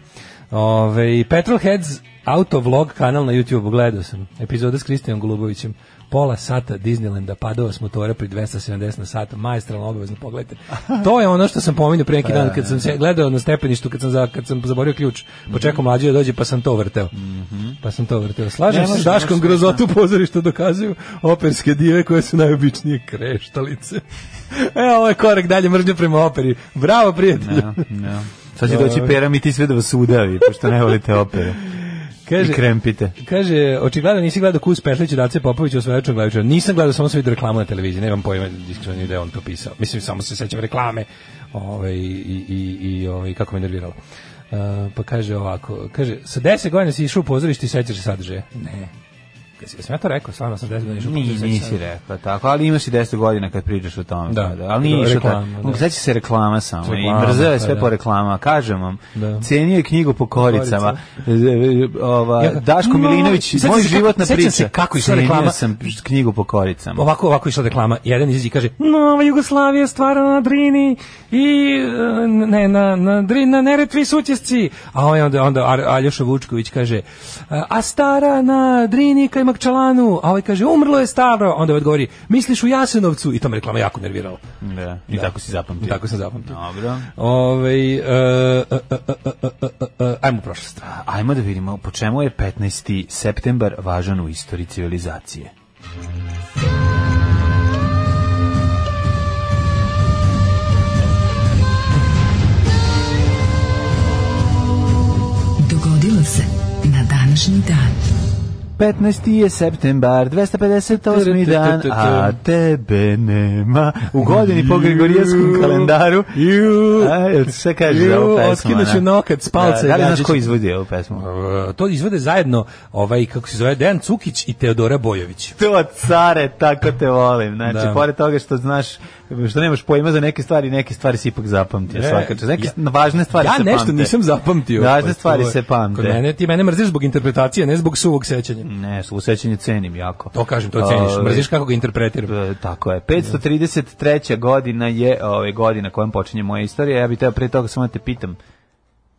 G: Ovaj Petrolheads autovlog kanal na YouTube gledao sam. Epizoda s Kristijanom Golubovićem. Pola sata Disneylanda padao s motora pri 270 na sat. Maestralno obavezno pogledajte. To je ono što sam pominjao pre neki dan kad sam se gledao na stepeništu kad sam za, kad sam zaboravio ključ. Počekao
H: Mhm.
G: mlađi da dođe pa sam to vrteo. Pa sam to vrteo. Slažem
H: Ne
G: se s
H: može,
G: Daškom
H: ne može,
G: grozotu pozorišta dokazuju operske dive koje su najobičnije kreštalice. E, ovo je korak dalje mržnja prema operi. Bravo, prijatelju.
H: Ja, ja. Sad će doći peram i ti sve da vas udavi, pošto ne volite opere. I
G: Kaže,
H: krempite.
G: Kaže, očigledno nisi gledao Kus Pešlić i Dace Popović u osvajačnog glavičara. Nisam gledao, samo sam vidio reklamu na televiziji, nemam pojma iskreno ni da je on to pisao. Mislim, samo se sećam reklame ovaj, i, i, i ovaj, kako me nerviralo. E, pa kaže ovako, kaže, sa 10 godina si išao u pozorište i sećaš se sadržaja? Ne. Jesi- Jesam ja to rekao, stvarno sam 10 godina išao u
H: Ni,
G: policiju,
H: nisi
G: sad-
H: rekao Pa tako, ali imaš i 10 godina kad pričaš o tome.
G: Da.
H: pa Ali nije
G: Da,
H: išao tako.
G: reklama, da.
H: Da. Sad će se reklama samo.
G: Reklama,
H: I mrzeo je
G: pa
H: sve
G: da.
H: po reklama. Kažem vam,
G: Da.
H: cenio je knjigu po koricama. E, e, Ova,
G: Ja ga-
H: Daško
G: Moj,
H: Milinović,
G: sećam
H: moj
G: se kako-
H: životna
G: sećam
H: priča.
G: se kako je išla
H: Cenio
G: reklama.
H: sam knjigu po koricama.
G: Ovako, ovako je išla reklama. Jedan izađe i kaže, Nova Jugoslavija je stvarana na Drini i e, ne, na, na, Drini, na Neretvi su učesci. A on je onda, onda Ar- Aljoša Vučković kaže, "E, a stara na Drini kaj Makčalanu. A ovaj kaže, umrlo je staro. Onda ovaj odgovori, misliš u Jasenovcu? I to me reklama jako nervirala.
H: Da. I tako si zapamtio.
G: Tako sam zapamtio.
H: Dobro.
G: Ove, e, e, e, e, e, e, e, e, ajmo u prošlost.
H: Ajmo da vidimo po čemu je 15. septembar važan u istoriji civilizacije.
F: Dogodilo se na današnji dan.
H: 15. je septembar, 258. dan, a tebe nema. U godini po Gregorijanskom kalendaru.
G: Ju.
H: A, jel ti sve kaže za
G: Ju,
H: ovu pesmu?
G: otkinuću
H: ona?
G: nokat s palca
H: Da,
G: i
H: da li znaš
G: gađiću.
H: ko izvodi ovu pesmu?
G: E, To izvode zajedno ovaj kako se zove Dejan Cukić i Teodora Bojović.
H: To, care, tako te volim. Znači,
G: Da.
H: pored toga što znaš, što nemaš pojma za neke stvari, neke stvari si ipak zapamtio.
G: Ne,
H: svaka čast. Neke
G: ja-
H: važne stvari
G: ja
H: se pamte.
G: nešto nisam zapamtio.
H: Važne
G: Pa,
H: stvari
G: to je-
H: se pamte.
G: Kod mene, ti mene mrziš zbog interpretacije, ne zbog suvog sećanja.
H: Ne, u sećanju cenim jako.
G: To kažem, to ceniš.
H: Ove,
G: Mrziš kako ga interpretiram.
H: E, tako je. 533. godina je ove godina kojom počinje moja istorija. Ja bih teo pre toga samo da te pitam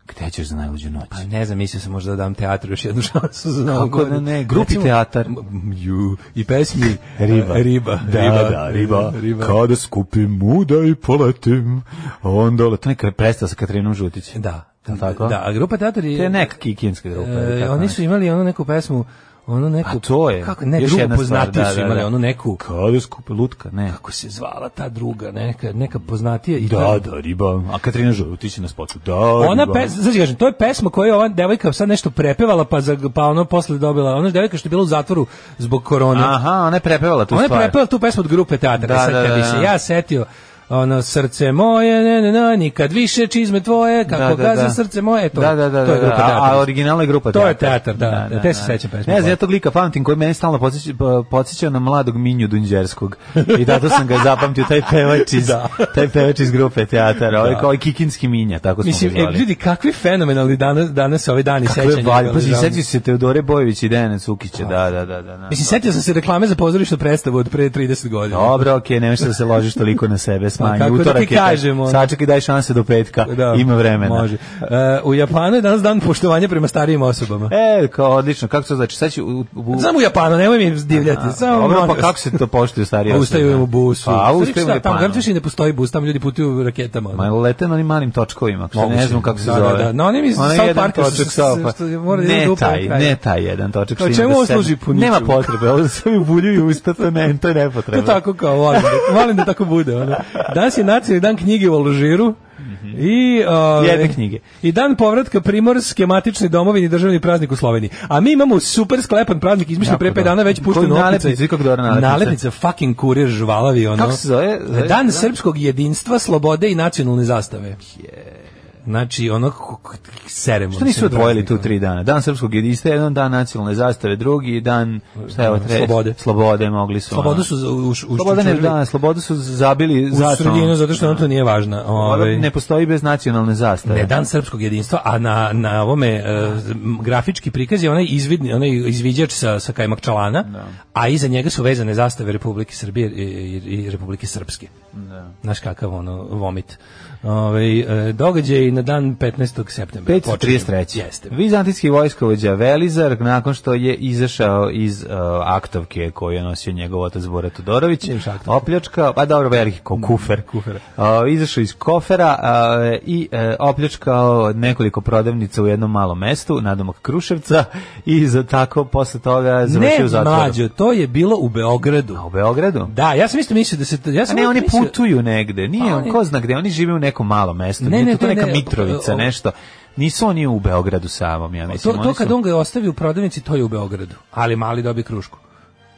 H: gde ćeš za najluđu noć?
G: Pa ne znam, mislio sam možda da dam teatru još jednu šansu za
H: Kako
G: novu
H: da
G: godinu.
H: ne, grupi teatar.
G: m, Ju, i pesmi
H: Riba.
G: e, Riba.
H: Kada skupim muda i poletim, onda letim. To neka predstava sa Katrinom Žutić.
G: Da.
H: Jel tako?
G: Da, a grupa teatar je...
H: To je neka kikinska grupa. ili
G: E,
H: tako
G: oni
H: nešto.
G: su imali onu neku pesmu, onu neku...
H: A Pa to je.
G: Kako, ne,
H: još
G: drugu
H: jedna stvar,
G: poznatiju su imali, onu neku...
H: Kada skupi lutka, ne.
G: Kako se zvala ta druga, neka, neka poznatija. I ta-
H: Da, da, riba. A Katrina Žutić je na spotu. Da,
G: Ona
H: riba.
G: pesma, znači kažem, to je pesma koju je ova devojka sad nešto prepevala pa za, pa ono posle dobila. Ona devojka što je bila u zatvoru zbog korone.
H: Aha, ona je prepevala tu
G: ona je
H: stvar.
G: prepevala tu pesmu od grupe teatra.
H: Da,
G: sad
H: da,
G: kad bi
H: da,
G: se
H: da.
G: ja setio ono srce moje, ne, ne, ne, nikad više čizme tvoje, kako gaza srce moje, e, to,
H: da, da, da,
G: to je
H: da, da,
G: grupa teatra.
H: A, a originalna je grupa
G: To je
H: teatar,
G: teatar, da, da, te se sećam pesme.
H: Ne znam, ja tog lika pamtim koji mene stalno podsjeća, pa, podsjeća na mladog Minju Dunđerskog. I zato sam ga zapamtio, taj pevač iz, taj pevač iz grupe teatara, ovaj kao ovaj kikinski Minja, tako smo
G: Mislim,
H: ga
G: e,
H: zvali.
G: ljudi, kakvi fenomenalni danas, danas ove dani
H: Kakve
G: sećanja.
H: valje, pazi,
G: realizovani.
H: sećaš se Teodore Bojević i Dejana Cukića, da, da, da, da. da.
G: Mislim, setio sam se reklame za pozorišnu predstavu od pre 30 godina.
H: Dobro, okej, nema što da se ložiš toliko na sebe, smanji.
G: Pa kako da ti
H: Utorak je taj-
G: kažem, ono?
H: Sačekaj, daj šanse do petka,
G: Da,
H: ima vremena.
G: Može. E, u Japanu je danas dan poštovanja prema starijim osobama.
H: E, kao odlično, kako to znači? Sad će u, u,
G: Samo u Japanu, nemoj mi divljati. Samo
H: Dobro,
G: ono molim
H: pa
G: vas.
H: kako se to poštuju starije
G: Pa
H: osobe?
G: Ustaju u busu.
H: Pa
G: Stvari,
H: ustaju u
G: šta, Tamo
H: Japanu.
G: garantiš i ne postoji bus, tamo ljudi putuju raketama. ono.
H: Ma lete na onim malim točkovima, ako se
G: Moguće.
H: ne znam kako se
G: Da, da,
H: zove.
G: da. Na onim iz
H: Onaj
G: South
H: jedan
G: Parka što
H: točak
G: se-
H: South Park.
G: što je mora da ide
H: Ne
G: do upravo
H: taj,
G: kraja.
H: ne taj jedan točak.
G: Kao
H: što ima
G: čemu
H: do
G: ovo
H: sedam.
G: služi puniću?
H: Nema potrebe, ovo se mi buljuju usta, to, ne, to je
G: To
H: nepotrebno.
G: je tako kao, volim da, volim da tako bude. Ono. Danas je nacionalni dan knjige u Alžiru. I, ove,
H: Mhm. Jedne knjige.
G: I dan povratka primorske matične domovini i državni praznik u Sloveniji. A mi imamo super sklepan praznik izmišljen
H: Jako
G: pre 5
H: dobro.
G: dana već
H: Koju
G: pušten
H: nalepnicu, vidi kako dobra nalepnica.
G: Nalepnica, fucking kurir žvalavi. Ono.
H: Kako se zove? Zove-
G: Dan
H: da.
G: srpskog jedinstva, slobode i nacionalne zastave. Znači, ono, k- k- seremo.
H: Što nisu odvojili tu tri dana? Dan srpskog jedinstva, jedan dan nacionalne zastave, drugi dan, šta je ovo treći?
G: Slobode.
H: Slobode mogli su.
G: Slobodu
H: ono.
G: su za- u, u, u,
H: Sloboda ne, da, slobodu su zabili
G: u
H: zašto.
G: sredinu, zato što nam to nije važno. Ovaj.
H: Ne postoji bez nacionalne zastave.
G: Ne, dan srpskog jedinstva, a na, na ovome e, m, grafički prikaz je onaj, izvidni, onaj izviđač sa, sa Kajmakčalana, a iza njega su vezane zastave Republike Srbije i, i, i Republike Srpske. Da. Znaš kakav ono vomit. Ove, e, događaj na dan 15. septembra.
H: 533.
G: Jeste.
H: Vizantijski vojskovođa Velizar, nakon što je izašao iz uh, aktovke koju je nosio njegov otac Bora Todorović,
G: Još aktovka.
H: opljačkao, pa dobro, veliki
G: Mm,
H: ko kufer,
G: kufer.
H: Uh, izašao iz kofera uh, i uh, opljačkao nekoliko prodavnica u jednom malom mestu, nadomak Kruševca, i za tako posle toga završio u
G: Ne,
H: zatvoru.
G: mlađo, to je bilo u Beogradu.
H: A u Beogradu?
G: Da, ja sam isto mislio da Pa se... to- Ja
H: A
G: sam
H: ne,
G: uvijek
H: oni
G: mislio-
H: putuju negde, nije,
G: Pa
H: on,
G: oni-
H: ko zna gde, oni žive u nekom malom mestu,
G: Ne,
H: nije
G: ne,
H: to, to
G: ne,
H: neka
G: ne,
H: Mitrovica,
G: o- o-
H: nešto. Nisu oni u Beogradu samom, ja
G: To,
H: mislim.
G: to
H: oni su-
G: kad on ga ostavi u prodavnici, to je u Beogradu. Ali mali dobije krušku.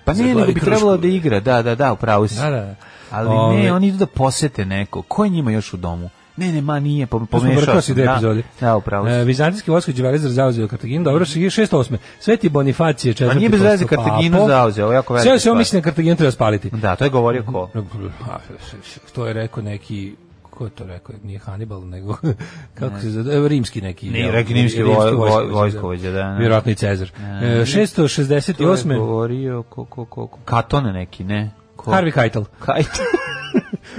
H: Pa ne,
G: Zaglavi
H: nego bi
G: krušku.
H: trebalo da igra, da, da, da, upravo si.
G: Da, da.
H: Ali
G: Ove-
H: ne, oni idu da posete neko. Ko je njima još u domu? Ne, ne, ma nije, po-
G: To smo
H: pomešao
G: brkao si
H: sam.
G: dve
H: da.
G: epizode.
H: Da, upravo si.
G: E, Vizantijski vojsko Đivarizer zauzeo Kartaginu, dobro, 608. Sveti Bonifacije, četvrti.
H: A nije bez veze
G: postupak.
H: Kartaginu
G: Papa.
H: zauzeo, ovo je jako velika
G: Sve se
H: stvar.
G: on misli na Kartaginu treba spaliti.
H: Da, to je govorio ko?
G: A, To je rekao neki ko je to rekao, nije Hannibal, nego kako se zove, evo, rimski neki.
H: Ne,
G: jel?
H: neki rimski voj- voj- vojskovođa, da, da.
G: Vjerojatno i Cezar. E,
H: To je
G: 668.
H: govorio ko, ko, ko, ko? Katon neki, ne? Ko?
G: Harvey Keitel.
H: Kajte.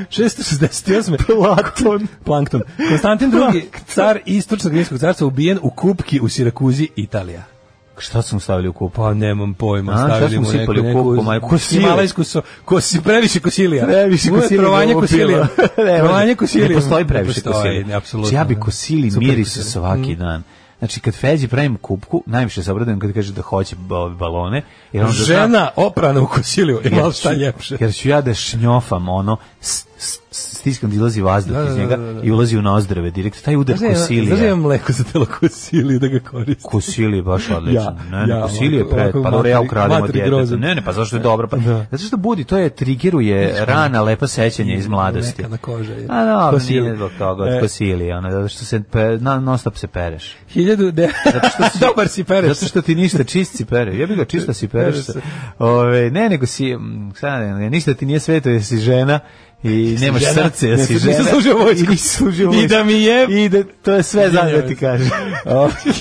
G: 668. Platon. Plankton. Konstantin II. car Istočnog rimskog carstva ubijen u kupki u Sirakuzi, Italija.
H: Šta su mu stavili u kupu?
G: Pa nemam pojma,
H: A, šta
G: stavili
H: su
G: mu
H: mu
G: neku,
H: sipali u
G: neku
H: kupu, majko? Kosile.
G: himalajsku so, kosi, previše kosilija.
H: Previše
G: Uvek
H: kosilija
G: Trovanje
H: ga je
G: kosilija.
H: ubilo. Ne, može.
G: trovanje kosilija.
H: Ne postoji previše
G: Ne postoji, ne,
H: kosilija.
G: apsolutno.
H: Znači, ja bi
G: ne.
H: kosili
G: Super Mhm.
H: miris
G: kosilija.
H: svaki dan. Znači, kad Feđi pravim kupku, najviše se obradujem kad kaže da hoće ba- balone. Jer onda zna-
G: Žena oprana u kosiliju,
H: Jer
G: ima
H: ću-
G: šta ljepše.
H: Jer ću ja da šnjofam ono, s- s- stiskam da izlazi vazduh
G: Da, da,
H: iz njega
G: da, da, da.
H: i ulazi u nozdrave direkt. Taj udar kosilija.
G: Znaš da imam mleko za telo kosiliju da ga koristim.
H: Kosili je baš odlično.
G: Ja,
H: ne, ne,
G: ja,
H: Kosili je
G: ovako-
H: pre,
G: ovako
H: pa dobro, ja
G: materi-
H: ukradem od
G: materi
H: djeteta.
G: grozan.
H: Ne, ne, pa zašto je dobro? Pa,
G: Da.
H: Zato što budi, to je trigeruje rana, lepa sećanja iz mladosti.
G: Neka na kože je.
H: A no,
G: Kosilija.
H: nije zbog toga, od
G: E.
H: Kosili, ono, zato što se pe, na, non stop se pereš.
G: Hiljadu de... Dobar si pereš.
H: Zato što ti ništa čist si pere. Ja bih ga čista si pereš.
G: Pereš
H: se.
G: se.
H: Ove, ne, nego si, mm, sad, ne, ništa ti nije sveto, jer si žena i nemaš
G: žena,
H: srce, jer
G: ne,
H: si
G: nisi
H: žena.
G: služio vojsku.
H: I nisi služio
G: I da
H: vojsku.
G: mi je...
H: I da, to je sve znam da ti kažem.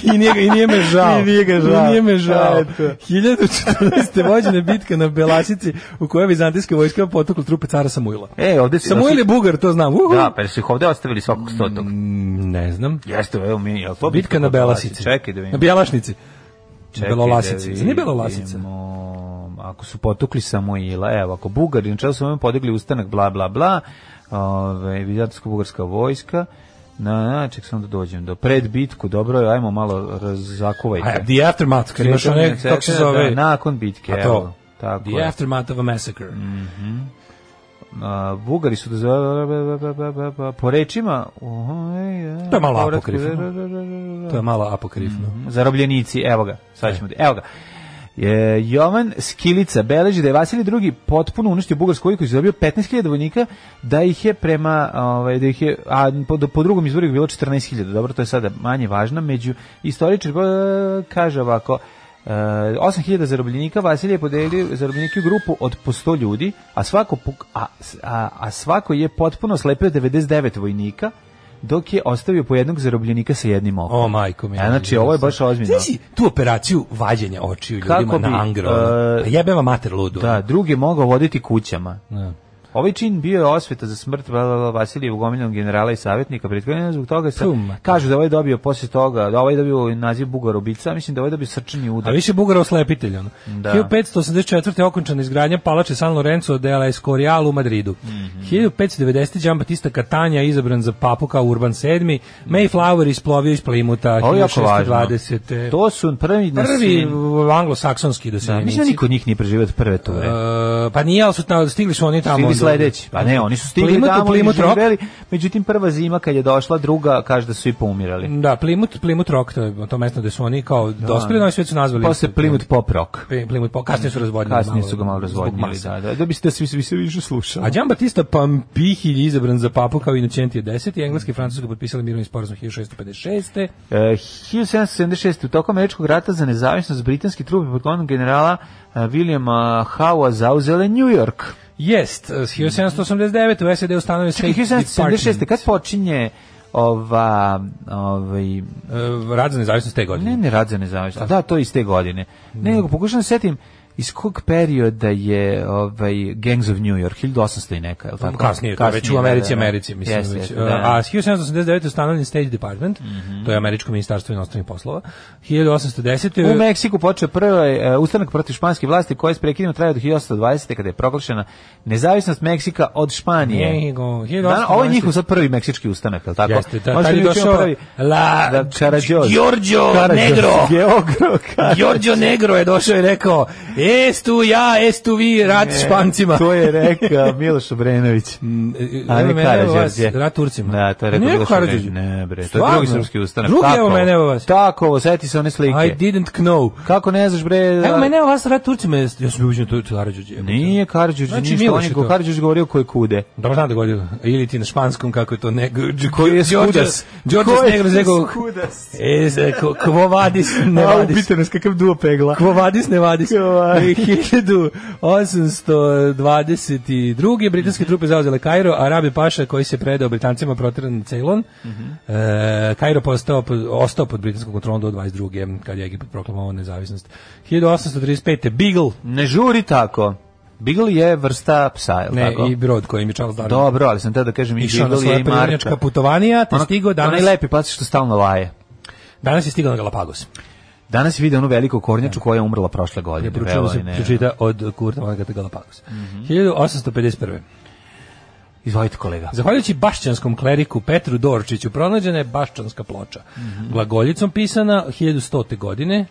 G: I nije, ga- I nije me žao.
H: I nije ga žao.
G: I nije me žao.
H: Eto.
G: 1014. vođena bitka na Belasici u kojoj je vizantijska vojska potukla trupe cara Samuila.
H: E, ovde si...
G: Samuil je bugar, to znam. Uhu. Mm,
H: Da, pa su ih ovde ostavili svakog stotog.
G: Ne znam.
H: Mm, Jeste, evo mi, jel to
G: Bitka na Belasici.
H: Čekaj da
G: Na
H: vidim.
G: Bjelasici.
H: Čekaj
G: Belolasici.
H: da
G: Nije Belolasica.
H: vidimo. Ako su potukli Samoila, evo, ako Bugari, na čelu su ovim podigli ustanak, bla, bla, bla, ove, vizantijsko-bugarska vojska, na, na, ček sam da dođem do pred bitku, dobro, je, ajmo malo razakuvajte.
G: A, The aftermath, kad imaš
H: Kretanje
G: one,
H: na
G: kako se
H: cestama,
G: zove?
H: da, nakon bitke,
G: A to.
H: evo. Tako
G: The
H: je.
G: aftermath of a massacre.
H: Mm. A, Bugari su da po rečima
G: To je malo apokrifno. To je malo apokrifno.
H: Mm. Mhm. zarobljenici, evo ga, sad ćemo, evo ga. E, Jovan Skilica beleži da je Vasilij II potpuno uništio bugarsku vojsku i zarobio 15.000 vojnika, da ih je prema ovaj da ih je a po, do- po drugom izvoru ih je bilo 14.000. Dobro, to je sada manje važno, među istoričar e, kaže ovako e, 8.000 zarobljenika Vasilije je podelio zarobljenike u grupu od po 100 ljudi, a svako puk- a, a, a svako je potpuno slepio 99 vojnika, dok je ostavio po jednog zarobljenika sa jednim okom.
G: O, majko mi.
H: A, znači, ovo je baš ozbiljno.
G: Znači, tu operaciju vađenja očiju ljudima
H: Kako bi,
G: na Angro.
H: e,
G: ono. Pa jebe vam mater ludu.
H: Da, drugi je mogao voditi kućama.
G: Da.
H: Ovaj čin bio je osveta za smrt bla, bla, bla, Vasilijevog omiljenog generala i savjetnika prethodnjena, zbog toga se
G: Pum.
H: kažu da ovaj dobio posle toga, da ovaj dobio naziv Bugarobica, a mislim da ovaj dobio srčani
G: A
H: udar.
G: više Bugara oslepitelj. Ono.
H: Da.
G: 1584. je okončana izgradnja palače San Lorenzo de la Escorial u Madridu.
H: Mhm.
G: 1590. Gian Batista Catania je izabran za papu kao Urban VII. Mayflower isplovio iz Plimuta.
H: Ovo je jako važno.
G: 1620.
H: To su prvi, na
G: Prvi anglosaksonski
H: Da,
G: doseljenici.
H: mislim da niko od njih nije preživio od prve ture.
G: E, pa nije, ali su tamo, stigli su oni tamo.
H: Stigli
G: onda.
H: sledeći. Pa ne, oni su stigli
G: Plymouth,
H: tamo i
G: Plymouth Rock.
H: živeli. Međutim, prva zima kad je došla, druga kaže da su i poumirali.
G: Da, Plymouth, Plymouth Rock, to je to mesto gde su oni kao dospeli, novi svet su nazvali.
H: Posle Plymouth Pop Rock.
G: Pe- Plymouth, pa kasnije su razvodnili.
H: Kasnije su ga malo
G: zbog
H: razvodnili.
G: masa.
H: Da, da, da biste da se vi se više slušali.
G: A Gian Battista Pampihilj je izabran za papu kao Inocentije 10. i engleski i francuski potpisali mirovni sporazum 1656.
H: E, 1776. u toku američkog rata za nezavisnost britanski trupi pod komandom generala e, Williama Howa zauzele New York.
G: Jest, eh, 1789. u SED ustanovio State
H: Čekaj, 1776.
G: Department.
H: kad počinje ova, ovaj,
G: Eh, Rad za nezavisnost te godine.
H: ne, ne rad za nezavisnost, da, to je iz te godine.
G: Mm.
H: Ne, nego pokušam da se setim iz kog perioda je ovaj, Gangs of New York, 1800 i neka, je li tako?
G: Pa kasnije, to je već u Americi, Americi, mislim.
H: Jeste,
G: već.
H: jeste,
G: Uh,
H: da. Mhm.
G: A 1789. je ustanovljen State Department, to je američko ministarstvo inostranih poslova. 1810.
H: U
G: je-
H: Meksiku počeo prvi e, ustanak protiv španske vlasti koja je prekinuo trajao do 1820. kada je proglašena nezavisnost Meksika od Španije.
G: Nego,
H: Da, ovo je
G: 1820.
H: njihov sad prvi meksički ustanak, je li tako?
G: Jeste, da,
H: Možda
G: tad je
H: mi učimo
G: došao La-
H: da, Karadžoz.
G: Giorgio
H: Karadžoz,
G: Negro.
H: Geogro, Karadžoz.
G: Giorgio Negro je došao i rekao, e, Estu ja, estu vi, rat s špancima. Mm, e,
H: To je rekao Miloš Obrenović. A ne
G: Evo mene, evo vas,
H: Karađorđe.
G: rat Turcima. Pa
H: Da, to je rekao
G: Nije
H: Miloš Obrenović.
G: Karađorđe.
H: Ne, bre, to je
G: Stvarno?
H: drugi srpski ustanak.
G: Drugi,
H: Tako
G: evo
H: ovo.
G: mene, evo vas.
H: Tako, ovo, seti se one
G: I
H: slike.
G: didn't know.
H: Kako ne znaš, bre? da-
G: Evo mene, evo vas, rat Turcima. jest- Ja sam bio uđen to Karađorđe. jebote.
H: Nije Karađorđe
G: Znači,
H: ništa,
G: Miloš
H: on je
G: je to.
H: Karađorđe govorio koje kude.
G: Dobro znam da godilo. Ili ti na španskom, kako je to nego...
H: Koji je
G: Đorđas
H: skudas?
G: Đorđas
H: Koji je
G: negro zego...
H: skudas?
G: E, za- ko- Kvo vadis, ne
H: A,
G: vadis.
H: ubite nas, kakav duo pegla.
G: Kvo vadis, ne vadis.
H: Kvo vadis.
G: 1822. britanske trupe zauzele Kairo, a Rabi Paša koji se predao Britancima protiran na Ceylon.
H: Mhm.
G: E, Kairo postao, pod- ostao pod britanskom kontrolom do 22. kad je Egipat proklamovao nezavisnost. 1835. Beagle,
H: Ne žuri tako. Beagle je vrsta psa, je li
G: ne,
H: tako?
G: i brod kojim je Charles Darwin.
H: Dobro, ali sam te da kažem i
G: Ono- Išao na
H: Beagle je
G: svoje
H: i Marta.
G: prirodnjačka putovanija, te
H: Ono-
G: stigao danas...
H: Onaj lepi pas što stalno laje.
G: Danas je stigao na Galapagos.
H: Danas je vidio onu veliku kornjaču koja je umrla prošle godine.
G: Preporučujemo
H: Velo je,
G: se
H: ne. Mhm.
G: pročita od Kurta Vangata Galapagos. 1851.
H: Izvolite kolega.
G: Zahvaljujući bašćanskom kleriku Petru Dorčiću pronađena je bašćanska ploča. Glagoljicom pisana 1100. godine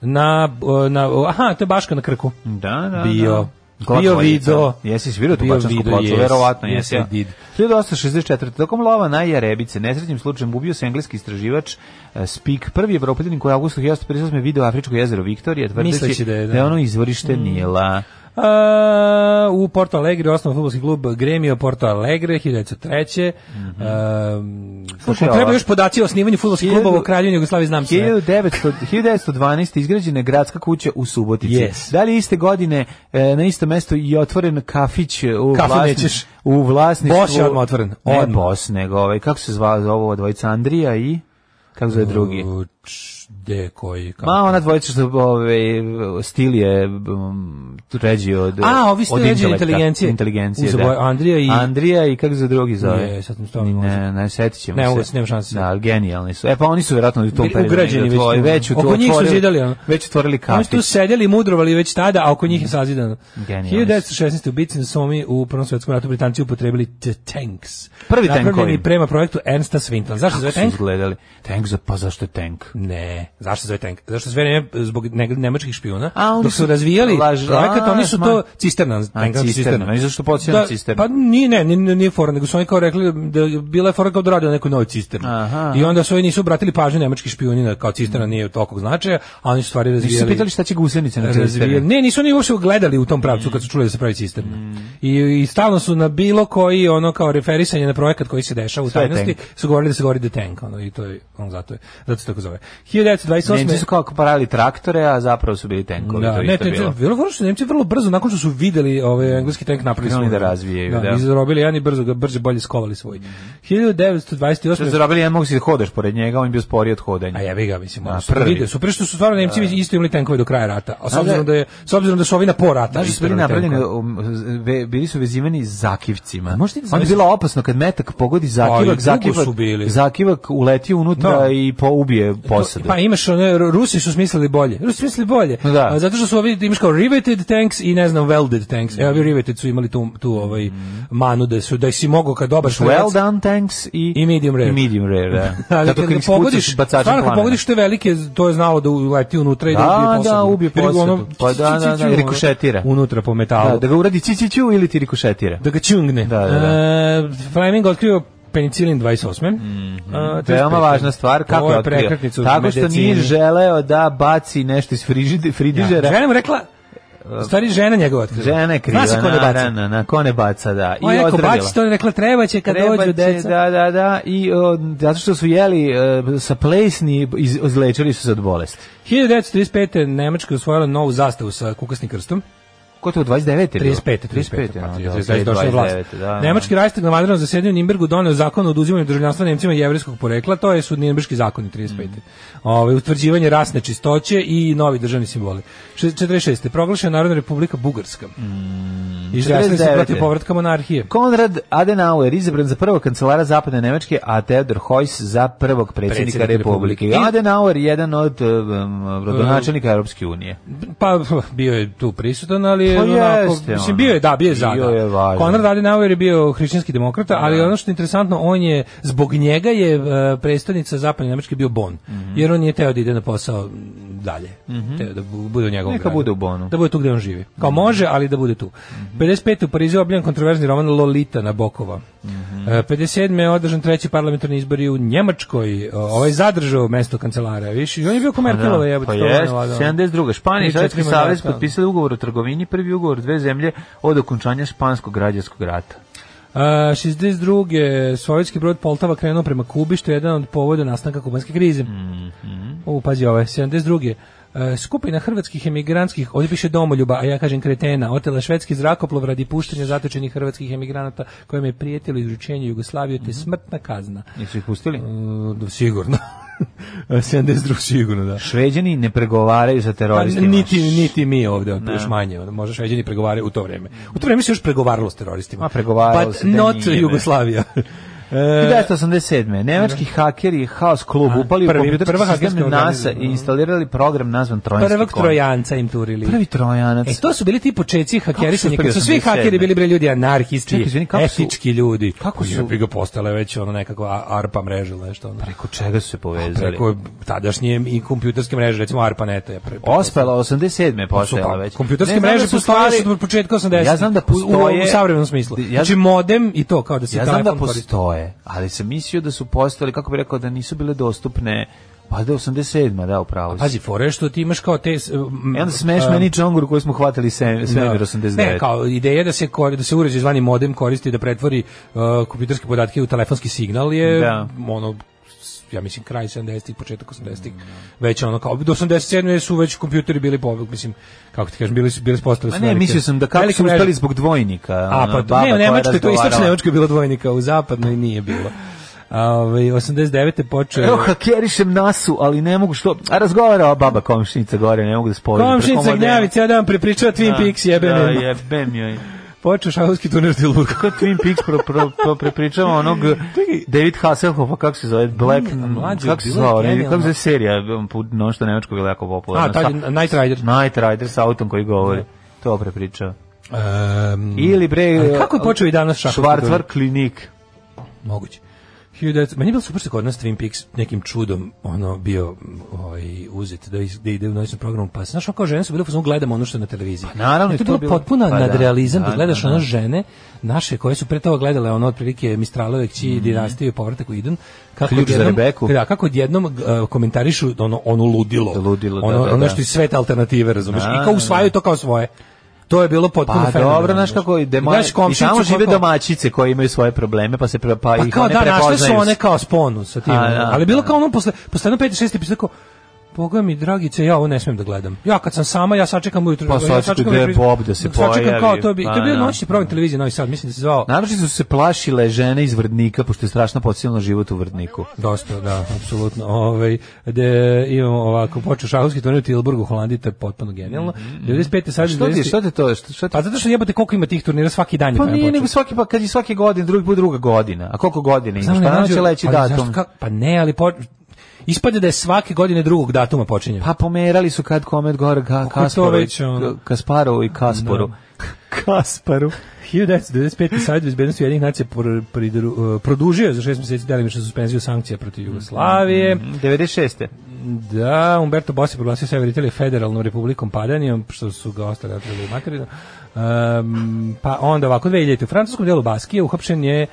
G: na, na aha, to je Baška na Krku.
H: Da, da,
G: Bio.
H: Da.
G: Bio
H: Glatvojica.
G: video.
H: Jesi svirao tu
G: Bio
H: bačansku
G: video,
H: ploču,
G: jes.
H: verovatno
G: Yes,
H: jesi.
G: I
H: ja.
G: did.
H: 1864. Tokom lova na Jarebice, nesretnim slučajem ubio se engleski istraživač eh, Spik, prvi evropljanin koji je avgustu 1958. video Afričko jezero Viktorija, tvrdeći
G: Misleći
H: da
G: da Mm.
H: je,
G: je, da.
H: ono izvorište Nila.
G: A, u Porto Alegre osnovan fudbalski klub Gremio Porto Alegre 1903. Um,
H: Mhm. Slušaj,
G: treba
H: ova-
G: još podaci o osnivanju fudbalskih klubova u
H: Hiljadu-
G: Kraljevini Jugoslaviji znam sve.
H: 1900 1912. izgrađena je gradska kuća u Subotici.
G: Yes.
H: Da li iste godine e, na isto mesto i otvoren kafić e, u
G: Kafu
H: vlasni-
G: nećeš.
H: u vlasništvu
G: Bos je odmah otvoren.
H: Ne
G: Odmah.
H: Bos, nego ovaj kako se zvao ovo dvojica Andrija i kako se zove drugi?
G: Č- Gde koji kako?
H: Ma ona dvojica što ovaj stil je um, ređi od
G: A, ovi stil
H: od
G: ređi od
H: intelekta.
G: inteligencije.
H: Inteligencije,
G: Uzeo
H: da.
G: Andrija i-
H: Andrija i kako se drugi zove?
G: Je, sad mi stvarno ne
H: Ne, ne setit ćemo
G: Ne
H: se.
G: mogu se, nema šanse.
H: Da, ali genijalni su. E pa oni su vjerojatno u tom
G: Bili
H: periodu
G: ugrađeni
H: negde
G: već
H: otvori-
G: tu.
H: već u tu
G: Oko njih su
H: otvorili-
G: zidali, ono.
H: Već otvorili
G: Oni su tu
H: kafić.
G: sedjeli i mudrovali već tada, a oko njih je sazidano.
H: Mm. Genijalni
G: 1916. u bici na Somi u Prvom svjetskom ratu Britanci upotrebili The Tanks.
H: Prvi
G: Napravljeni
H: tenkovi.
G: prema projektu Ernsta Swinton. Zašto se zove
H: Kako su
G: tank?
H: izgledali? Tank za, pa zašto je tank?
G: Ne, zašto se zove tank? Zašto se sve vreme zbog ne, nemačkih špijuna?
H: A, oni
G: dok su,
H: su
G: razvijali
H: laž-
G: projekat,
H: a,
G: oni su
H: sma-
G: to cisterna, tank
H: cisterna,
G: cisterna.
H: meni zašto podsjeća na cisternu?
G: Pa nije, ne, nije, nije fora, nego su oni kao rekli da je bila je fora kao da radi na nekoj novoj cisterni.
H: Aha. Mm.
G: I onda su oni nisu obratili pažnju nemačkih špijuni na kao cisterna nije od tolikog značaja, a oni su stvari
H: Nisu se
G: razvijali.
H: pitali šta će gusenice na
G: razvijali.
H: cisterni.
G: Ne, nisu oni uopšte gledali u tom pravcu kad su čuli da se pravi cisterna.
H: Mm.
G: I, I stalno su na bilo koji ono kao referisanje na projekat koji se dešava u
H: Sve je
G: tajnosti
H: tank.
G: su govorili da se govori The Tank, ono, i to je, on zato je, zato se tako zove. 1928.
H: Nemci su kao pravili traktore, a zapravo su bili tenkovi.
G: Da,
H: to je
G: ne,
H: isto
G: to je
H: bilo. Mm.
G: bilo vrlo što Nemci vrlo brzo nakon što su videli ovaj engleski tank napravili
H: Krenuli
G: svoj.
H: da razvijaju, da. Mhm.
G: I zarobili jedan i brzo ga brže bolje skovali svoj. 1928.
H: Što su zarobili, ne mogu si da hodaš pored njega, on je bio sporiji od hodanja.
G: A ja ga mislim,
H: A,
G: ono su
H: prvi.
G: vide, su prišto su stvarno Nemci isto imali tenkove do kraja rata. A
H: Znaš
G: s
H: da-
G: obzirom da je s obzirom da su ovi na po rata.
H: Znaš da su bili
G: isterali
H: napravljeni,
G: tenkove.
H: um, ve- bili su vezivani zakivcima.
G: možete
H: Onda je bilo opasno kad metak pogodi
G: Pa, i
H: zakivak,
G: dugo
H: zakivak,
G: su bili.
H: zakivak uleti unutra
G: Da.
H: i po, ubije posadu.
G: Pa imaš one, Ru- Rusi su smislili bolje. Rusi su smislili bolje.
H: No da.
G: A, Zato što su ovi imaš kao riveted tanks i ne znam welded tanks. Evo ovi riveted su imali tu tu ovaj manu da su da si mogao kad dobar
H: well
G: šverc-
H: done tanks i,
G: I medium rare.
H: I medium rare, da.
G: Ali
H: Zato
G: kad
H: kad
G: ne
H: im spucaš
G: pogodiš,
H: bacačem
G: stvarno kad
H: plamena.
G: pogodiš te velike, to je znalo da uleti unutra i da,
H: Da,
G: ubije posadu.
H: da, ubije
G: Jer
H: posadu.
G: ono,
H: Pa da, da, da,
G: ono,
H: rikošetira.
G: Unutra po metalu.
H: Da,
G: Da,
H: da ga uradi ciciću ili ti rikošetira.
G: ga čungne.
H: Da, da,
G: E, Fleming otkrio penicilin 28. Mm -hmm.
H: Mhm. Veoma važna stvar, kako
G: je
H: je otkrio?
G: prekretnica u
H: Tako što
G: medicini.
H: nije želeo da baci nešto iz frižide- fridižera.
G: Žena mu rekla, u stvari žena njegova otkrila.
H: Žena je kriva,
G: Zna se ko ne baca.
H: naravno, na, ko ne baca, da.
G: Ona je rekao,
H: ozdravila.
G: baci to, ona je rekla, treba će kad
H: Treba
G: dođu
H: će,
G: deca.
H: Da, da, da. I o, zato što su jeli e, sa plesni, iz, izlečili su se od bolesti.
G: 1935. Nemačka je osvojila novu zastavu sa kukasnim krstom.
H: Ko je to, 29?
G: 35.
H: 35.
G: 35.
H: no,
G: 35.
H: ono, da,
G: 35. došla pa je vlast.
H: 29, da, ono. da.
G: Nemački Reichstag na vanrednom zasedanju u Nimbergu doneo zakon o oduzimanju državljanstva Nemcima jevrejskog porekla, to je su Nimberški zakoni 35.
H: Mm.
G: Ovaj utvrđivanje rasne čistoće i novi državni simboli. Še- 46. proglašena Narodna republika Bugarska.
H: Mm.
G: Izjasnili se
H: 49.
G: protiv povratka monarhije.
H: Konrad Adenauer izabran za prvog kancelara zapadne Nemačke, a Theodor Heuss za prvog predsjednika
G: Predsjednik
H: Republike.
G: Republike. Mm.
H: Adenauer je jedan od um, rodonačelnika Europske unije.
G: Pa bio je tu prisutan, ali je je
H: Pa
G: onako,
H: jeste,
G: mislim bio je da, bio je
H: ono,
G: zada.
H: bio je valjda.
G: Konrad Adenauer je bio hrišćanski demokrata, ali ono što je interesantno, on je zbog njega je uh, predstavnica zapadne Nemačke bio Bon,
H: Mhm.
G: jer on je teo da ide na posao dalje. Teo da bu- bude u njegovom
H: Neka
G: gradu.
H: bude u Mhm. Bonu.
G: Da bude tu gde on živi. Kao može, ali da bude tu. 55. u Parizu je obljen kontroverzni roman Lolita Nabokova.
H: Mhm.
G: E, 57. je održan treći parlamentarni izbor i u Njemačkoj. O, Ovaj je zadržao mesto kancelara. Viš, I on je bio ko Merkelova
H: Da,
G: jebote.
H: pa
G: što ona
H: jest,
G: vladala.
H: 72. Španija i
G: Tri,
H: Sovjetski
G: četiri mandata.
H: savez potpisali ugovor o trgovini, prvi ugovor dve zemlje od okončanja španskog građanskog rata.
G: Uh, 62. sovjetski brod Poltava krenuo prema Kubi, što je jedan od povoda nastanka kubanske krize. Mm pazi ovo, 72. Uh, skupina hrvatskih emigrantskih, ovdje piše domoljuba, a ja kažem kretena, otela švedski zrakoplov radi puštenja zatočenih hrvatskih emigranata kojim je prijetilo izručenje Jugoslavije, te smrtna kazna.
H: Nisu ih pustili?
G: Uh, sigurno. 72 sigurno, da.
H: Šveđani ne pregovaraju sa
G: Pa,
H: teroristima.
G: niti, niti mi ovde, još manje. ono, Možda šveđani pregovaraju u to vrijeme. U to vrijeme se još pregovaralo s teroristima.
H: Ma, pregovaralo
G: But
H: se, da
G: not
H: nije, ne. E,
G: Jugoslavija. e,
H: 1987. Nemački hakeri i Haos klub upali
G: prvi-
H: u kompjuterski
G: prva hakerska
H: sistem NASA i
G: organizacija.
H: instalirali program nazvan Trojanski
G: Prvog
H: konj.
G: trojanca im turili.
H: Prvi trojanac.
G: E, to su bili ti početci hakerisanja,
H: uspeli
G: kad su svi
H: 87?
G: hakeri bili bre ljudi anarhisti,
H: Čekaj, izvini, kako su-
G: etički ljudi.
H: kako su-
G: Ja bi ga postale već ono nekakva ARPA mreža ili nešto ono.
H: Preko čega su se povezali?
G: Preko tadašnje i kompjuterske mreže, recimo ARPANET je. Pre,
H: Ospela 87. je
G: su
H: postojala
G: pa-
H: već.
G: Kompjuterske
H: Ne, znam
G: mreže
H: da su
G: postojale
H: stvari-
G: su od početka 80.
H: Ja znam da
G: U- u,
H: postoje-
G: u savremenom smislu.
H: Ja-
G: znači modem i to kao da se
H: Ja znam
G: telefon
H: da
G: koristi.
H: postoje, ali sam mislio da su postojali, kako bih rekao, da nisu bile dostupne, pa da je 87. da, upravo.
G: Pazi, fore je što ti imaš kao te... um,
H: I onda smeš meni čonguru koju smo hvatali sve, svemir 89.
G: Ne, kao ideja da se kor- da se uređaj zvani modem koristi da pretvori uh, kompjuterske podatke u telefonski signal je
H: Da.
G: ono s- ja mislim kraj 70-ih, početak 80-ih. Već ono kao do 87 su već kompjuteri bili pobeg, mislim kako ti kažem, bili su bili su postali
H: Ma
G: su
H: ne,
G: velike-
H: mislio sam da kako
G: velike
H: su uspeli
G: mreže.
H: zbog dvojnika.
G: A,
H: ona baba
G: pa ne, u
H: koja je
G: Nemačkoj, to je istočna
H: razgovarala.
G: Nemačka je bilo dvojnika, u zapadnoj nije bilo. Ove, 89. počeo...
H: Evo hakerišem nasu, ali ne mogu što... A razgovara ova baba komšinica gore, ne mogu da spojim.
G: Komšinica
H: Preko
G: Gnjavi, cijel dan prepričava
H: modela.
G: Twin Peaks, jebem.
H: Da,
G: Da,
H: jebem joj.
G: Počeo šahovski turnir Tilburg.
H: Kako Twin Peaks pro, pro, pro, prepričava onog David Hasselhoffa, kako se zove, Black,
G: mlađe,
H: kako se
G: bilo Mm, je
H: zove, onaj-
G: genijalno.
H: kako se zove serija, ono što je Nemačko bilo jako popularno.
G: A, tad je Night Rider.
H: Night Rider sa autom koji govori. To prepričava.
G: Um,
H: Ili bre...
G: Ali kako je počeo i danas šahovski
H: Švarcvar
G: turnir?
H: klinik.
G: Moguće. 1900 Meni je bilo super što je kod nas Twin Peaks nekim čudom ono bio m, ovaj, uzet da, is- da ide u noćnom programu. Pa znaš, ono kao žene su bile, ono gledamo ono što je na televiziji.
H: Pa naravno
G: I
H: je
G: to je
H: to
G: bilo
H: bilo-
G: potpuno
H: pa da,
G: nadrealizam da,
H: da,
G: gledaš
H: da,
G: ono
H: da.
G: žene naše koje su pre toga gledale ono otprilike Mistralove kći, mm Dinastiju i povratak u Iden. Kako
H: Mhm. Ključ za
G: odjednom-
H: Rebeku.
G: Da, kako odjednom uh, komentarišu ono, ono ludilo.
H: Ludilo, da,
G: ono,
H: da, da.
G: Ono što iz sveta alternative, razumiješ?
H: Da,
G: I
H: da,
G: kao
H: da.
G: usvajaju to kao svoje. To je bilo potpuno
H: Pa
G: fenomenalno,
H: dobro, znaš kako je dema...
G: Gledaš
H: I tamo
G: komšinicu
H: žive
G: kako-
H: domaćice koje imaju svoje probleme, pa se pre, pa,
G: Pa
H: ih
G: kao
H: one
G: da, našle su
H: prepoznaju.
G: one kao sponu sa tim.
H: A,
G: ono.
H: da,
G: ali bilo
H: da.
G: kao ono posle, posle jedno 5. 6. epizoda kao, Boga mi, dragice, ja ovo ne smijem da gledam. Ja kad sam sama, ja sačekam ujutro.
H: Pa
G: ja
H: sačekaj
G: sačekam
H: gde je
G: repri-
H: Bob da se
G: Sačekam kao
H: pojavi,
G: to bi,
H: pa
G: to je bio
H: da.
G: noćni program televizije Novi Sad, mislim da se zvao.
H: Naročito su se plašile žene iz Vrdnika, pošto je strašna podsjeljena život u Vrdniku.
G: Dosta, da, apsolutno. Ovaj de imamo ovako počeo šahovski turnir u Tilburgu, u Holandiji, to je potpuno genijalno. 95. sad je
H: Mm-hmm. Što ti, što te
G: 90.
H: to, što, što te...
G: Pa zato što jebote koliko ima tih turnira svaki dan je
H: Pa
G: taj
H: nije,
G: počeo.
H: nego svaki, pa kad je svaki godin, drugi put druga godina. A koliko godina imaš?
G: Znam, ne
H: Pa naravno
G: nađu-
H: će leći
G: ali
H: datum.
G: zašto kako- pa ne, ali po, ispade da je svake godine drugog datuma počinje.
H: Pa pomerali su kad komet gore ka,
G: Kako je to
H: Kasparu, i-
G: već, ono?
H: Kasparovu i Kasparu. Kasparu.
G: 1995. Savjet bezbednosti Ujedinjenih nacija pr- pridru- uh, produžio je za šest mjeseci delimičnu suspenziju sankcija protiv Jugoslavije.
H: 96.
G: Da, Umberto Bossi proglasio Sever Italije federalnom republikom padanijom, što su ga ostali otrili u materinu. Um, pa onda ovako, 2000. U francuskom delu Baskije uhapšen je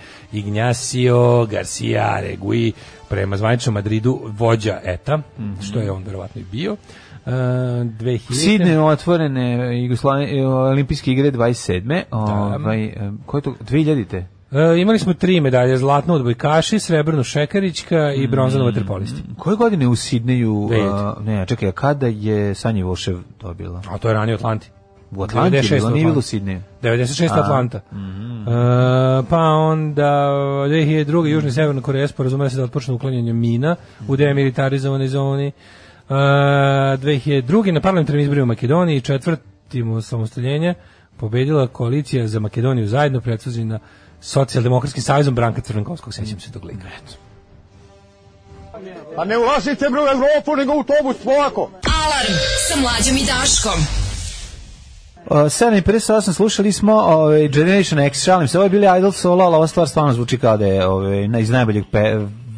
G: Ignacio Garcia Regui, prema zvaničnom Madridu vođa ETA, što je on verovatno i bio. Uh, 2000.
H: Sidne otvorene Jugoslavije e, olimpijske igre 27. Ovaj e, ko je to 2000-te?
G: E, imali smo tri medalje, zlatnu odbojkaši, srebrnu šekarička i bronzanu vaterpolisti.
H: Koje godine u Sidneju?
G: 2000-te.
H: a, ne, čekaj, a kada je Sanja Vošev dobila?
G: A to je ranije Atlanti.
H: U Atlanti, je
G: 96
H: bilo, nije
G: Atlanti.
H: bilo u Sidneju.
G: 96
H: A.
G: Atlanta. E, pa onda 2002. Južna i Severna Koreja sporazumela se da otpočne uklanjanje mina u demilitarizovanoj zoni. E, 2002. na parlamentarnim izborima u Makedoniji četvrtim samostaljenje pobedila koalicija za Makedoniju zajedno predsuđena socijaldemokratskim savezom Branka Crvenkovskog, sećam se tog lika.
A: A ne ulazite bre u Evropu, nego u autobus, polako.
F: Alarm sa mlađom i Daškom.
H: Uh, 7.58 slušali smo ovaj, Generation X, šalim se, ovo je bili Idol Solo, ali ova stvar stvarno zvuči kao da je ovaj, na- iz najboljeg pe,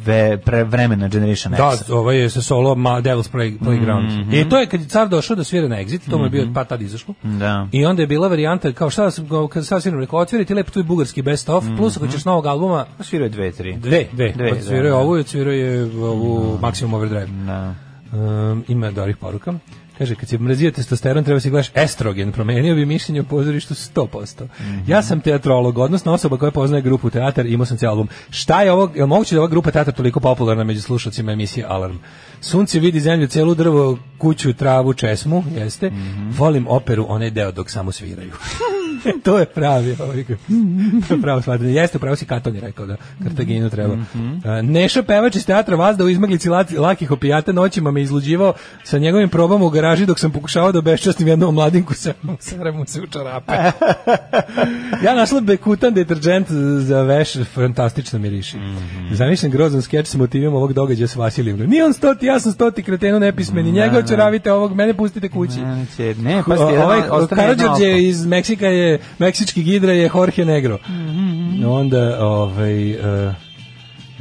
H: ve, pre, vremena Generation X.
G: Da, ovo je sa solo Ma, Devil's Play, Playground. I to je kad je car došao da svira na Exit, to mu je bio pa tad izašlo.
H: Da.
G: I onda je bila varijanta, kao šta da sam, kao kad sad sviram, rekao, otviri ti lepo tu bugarski best of, plus ako ćeš novog albuma,
H: Svirao je Pa dve, tri.
G: dve, dve,
H: Dve,
G: dve svirao
H: da,
G: je
H: da.
G: ovu, i svirao je ovu Maximum Overdrive.
H: Da.
G: Um, ima dobrih poruka. Kaže, kad se mrazio testosteron, treba se gledaš estrogen. Promenio bi mišljenje o pozorištu 100%.
H: Mhm.
G: Ja sam teatrolog, odnosno osoba koja poznaje grupu teatar, imao sam cijel album. Šta je ovo, je li moguće da je ova grupa teatar toliko popularna među slušalcima emisije Alarm? Sunce vidi zemlju, celu drvo, kuću, travu, česmu, jeste.
H: Mhm.
G: Volim operu, onaj deo dok samo sviraju. to je pravi, ovaj, to je pravo shvatanje. Jeste, pravo si Katon je rekao da Kartaginu treba. A, Neša pevač iz teatra Vazda u izmaglici lati- lakih opijata noćima me izluđivao sa njegovim probama u garaži dok sam pokušavao da obeščastim jednom mladinku sa sremu se u čarape. ja našla bekutan deterđent za veš, fantastično miriši. Zamišljam grozan skeč s motivima ovog događaja s Vasilijevnom. Nije on stoti, ja sam stoti kretenu nepismeni, njega očaravite ovog, mene pustite kući.
H: Neće, ne, pa ste
G: O-
H: jedan,
G: ovaj
H: ostane jedno oko.
G: Karadžorđe iz Meksika je meksički gidra je Jorge Negro. Onda ovaj eh,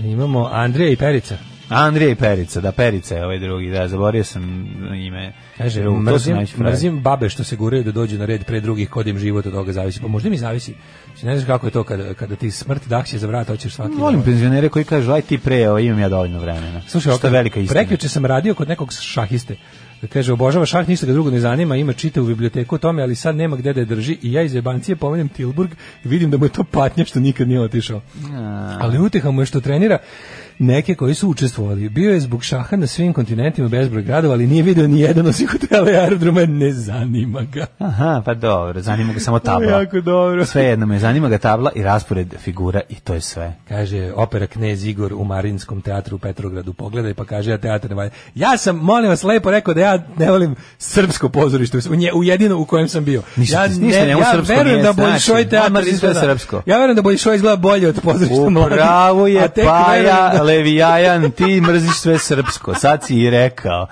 G: imamo Andrija i Perica.
H: Andrija i Perica, da, Perica je ovaj drugi, da, zaborio sam ime.
G: Kaže,
H: To su
G: mrzim,
H: najfraje.
G: mrzim babe što se guraju da dođu na red pre drugih kod im život od toga zavisi. Pa možda mi zavisi. Znači, Ne znaš kako je to kada, kada ti smrt dahće za vrat, hoćeš svaki.
H: Volim
G: dan.
H: penzionere koji kažu, aj ti pre, ovaj, imam ja dovoljno vremena.
G: Slušaj,
H: što je
G: ovako,
H: velika istina.
G: Prekjuče sam radio kod nekog šahiste. Kaže, obožava šah, ništa ga drugo ne zanima, ima čita u biblioteku o tome, ali sad nema gde da je drži i ja iz jebancije pomenem Tilburg i vidim da mu je to patnja što nikad nije otišao. Ali uteha mu je što trenira neke koji su učestvovali. Bio je zbog šaha na svim kontinentima bezbroj gradova, ali nije video ni jedan osim hotela i aerodroma, ne zanima ga.
H: Aha, pa dobro, zanima ga samo tabla.
G: jako dobro.
H: Sve jedno me zanima ga tabla i raspored figura i to je sve.
G: Kaže, opera Knez Igor u Marinskom teatru u Petrogradu. Pogledaj pa kaže, ja teatr ne valja. Ja sam, molim vas, lepo rekao da ja ne volim srpsko pozorište, u, nje, u jedino u kojem sam bio.
H: Ništa
G: ja
H: ti- ništa njemu
G: ja
H: srpsko
G: verujem
H: nije
G: da
H: znači.
G: Bolšoj
H: On
G: teatr
H: mrzi sve
G: izgleda,
H: srpsko.
G: Ja verujem da Bolšoj izgleda bolje od pozorišta mladih.
H: Upravo
G: a
H: je pa
G: tek
H: Paja
G: verujem da-
H: Levijajan, ti mrziš sve srpsko. Sad si i rekao.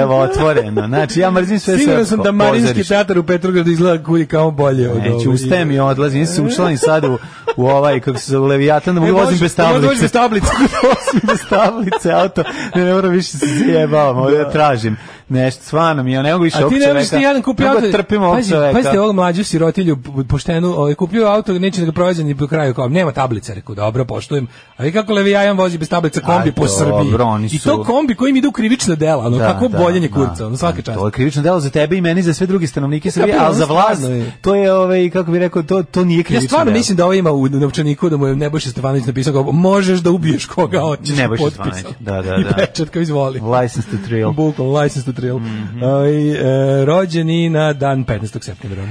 H: Evo, otvoreno. Znači, ja mrzim sve srpsko.
G: Siguran sam da Marinski
H: Pozorište.
G: teatar u Petrogradu izgleda kudi kao bolje od
H: Neću,
G: ovog.
H: ustaje mi odlazi, nisam se učlani sad u, u ovaj, kako se zove, Leviatan, da
G: E,
H: mogu vozim bez
G: možeš- možeš
H: tablice.
G: doći bez tablice.
H: Osim bez tablice, auto, ne, ne moram više se zajebavam, ovdje ja tražim nešto, stvarno mi, ja ne mogu više
G: A
H: ovog
G: ti
H: čoveka.
G: ne možeš ti jedan kupio
H: Mogu
G: auto.
H: da trpim ovog
G: Pazi,
H: čoveka.
G: Pazite ovog mlađu sirotilju p- poštenu, ovaj kupio auto, neće da ga prođe ni do kraja, kao nema tablice, rekao dobro, poštujem. A vi kako Levijajan vozi bez tablica kombi
H: A,
G: po
H: dobro,
G: Srbiji.
H: oni
G: I
H: su-
G: to kombi kojim ide u krivično delo, ono
H: Da,
G: kako
H: da,
G: boljenje
H: da.
G: kurca, ono svaka čast.
H: To je krivično delo za tebe i meni i za sve druge stanovnike Srbije,
G: Kapirano,
H: ali za vlast
G: stvarno je.
H: to je ovaj kako bih rekao to to nije krivično.
G: Ja stvarno
H: delo.
G: mislim da ovo ima u novčaniku da mu je Nebojša Stefanović napisao kao možeš da ubiješ koga hoćeš
H: Nebojša
G: potpisom.
H: Stefanović, da, da,
G: I
H: da.
G: pečat kao izvoli.
H: License to thrill.
G: Bukvalno, license to thrill.
H: Mhm.
G: Ovaj, e, rođeni na dan 15. septembra.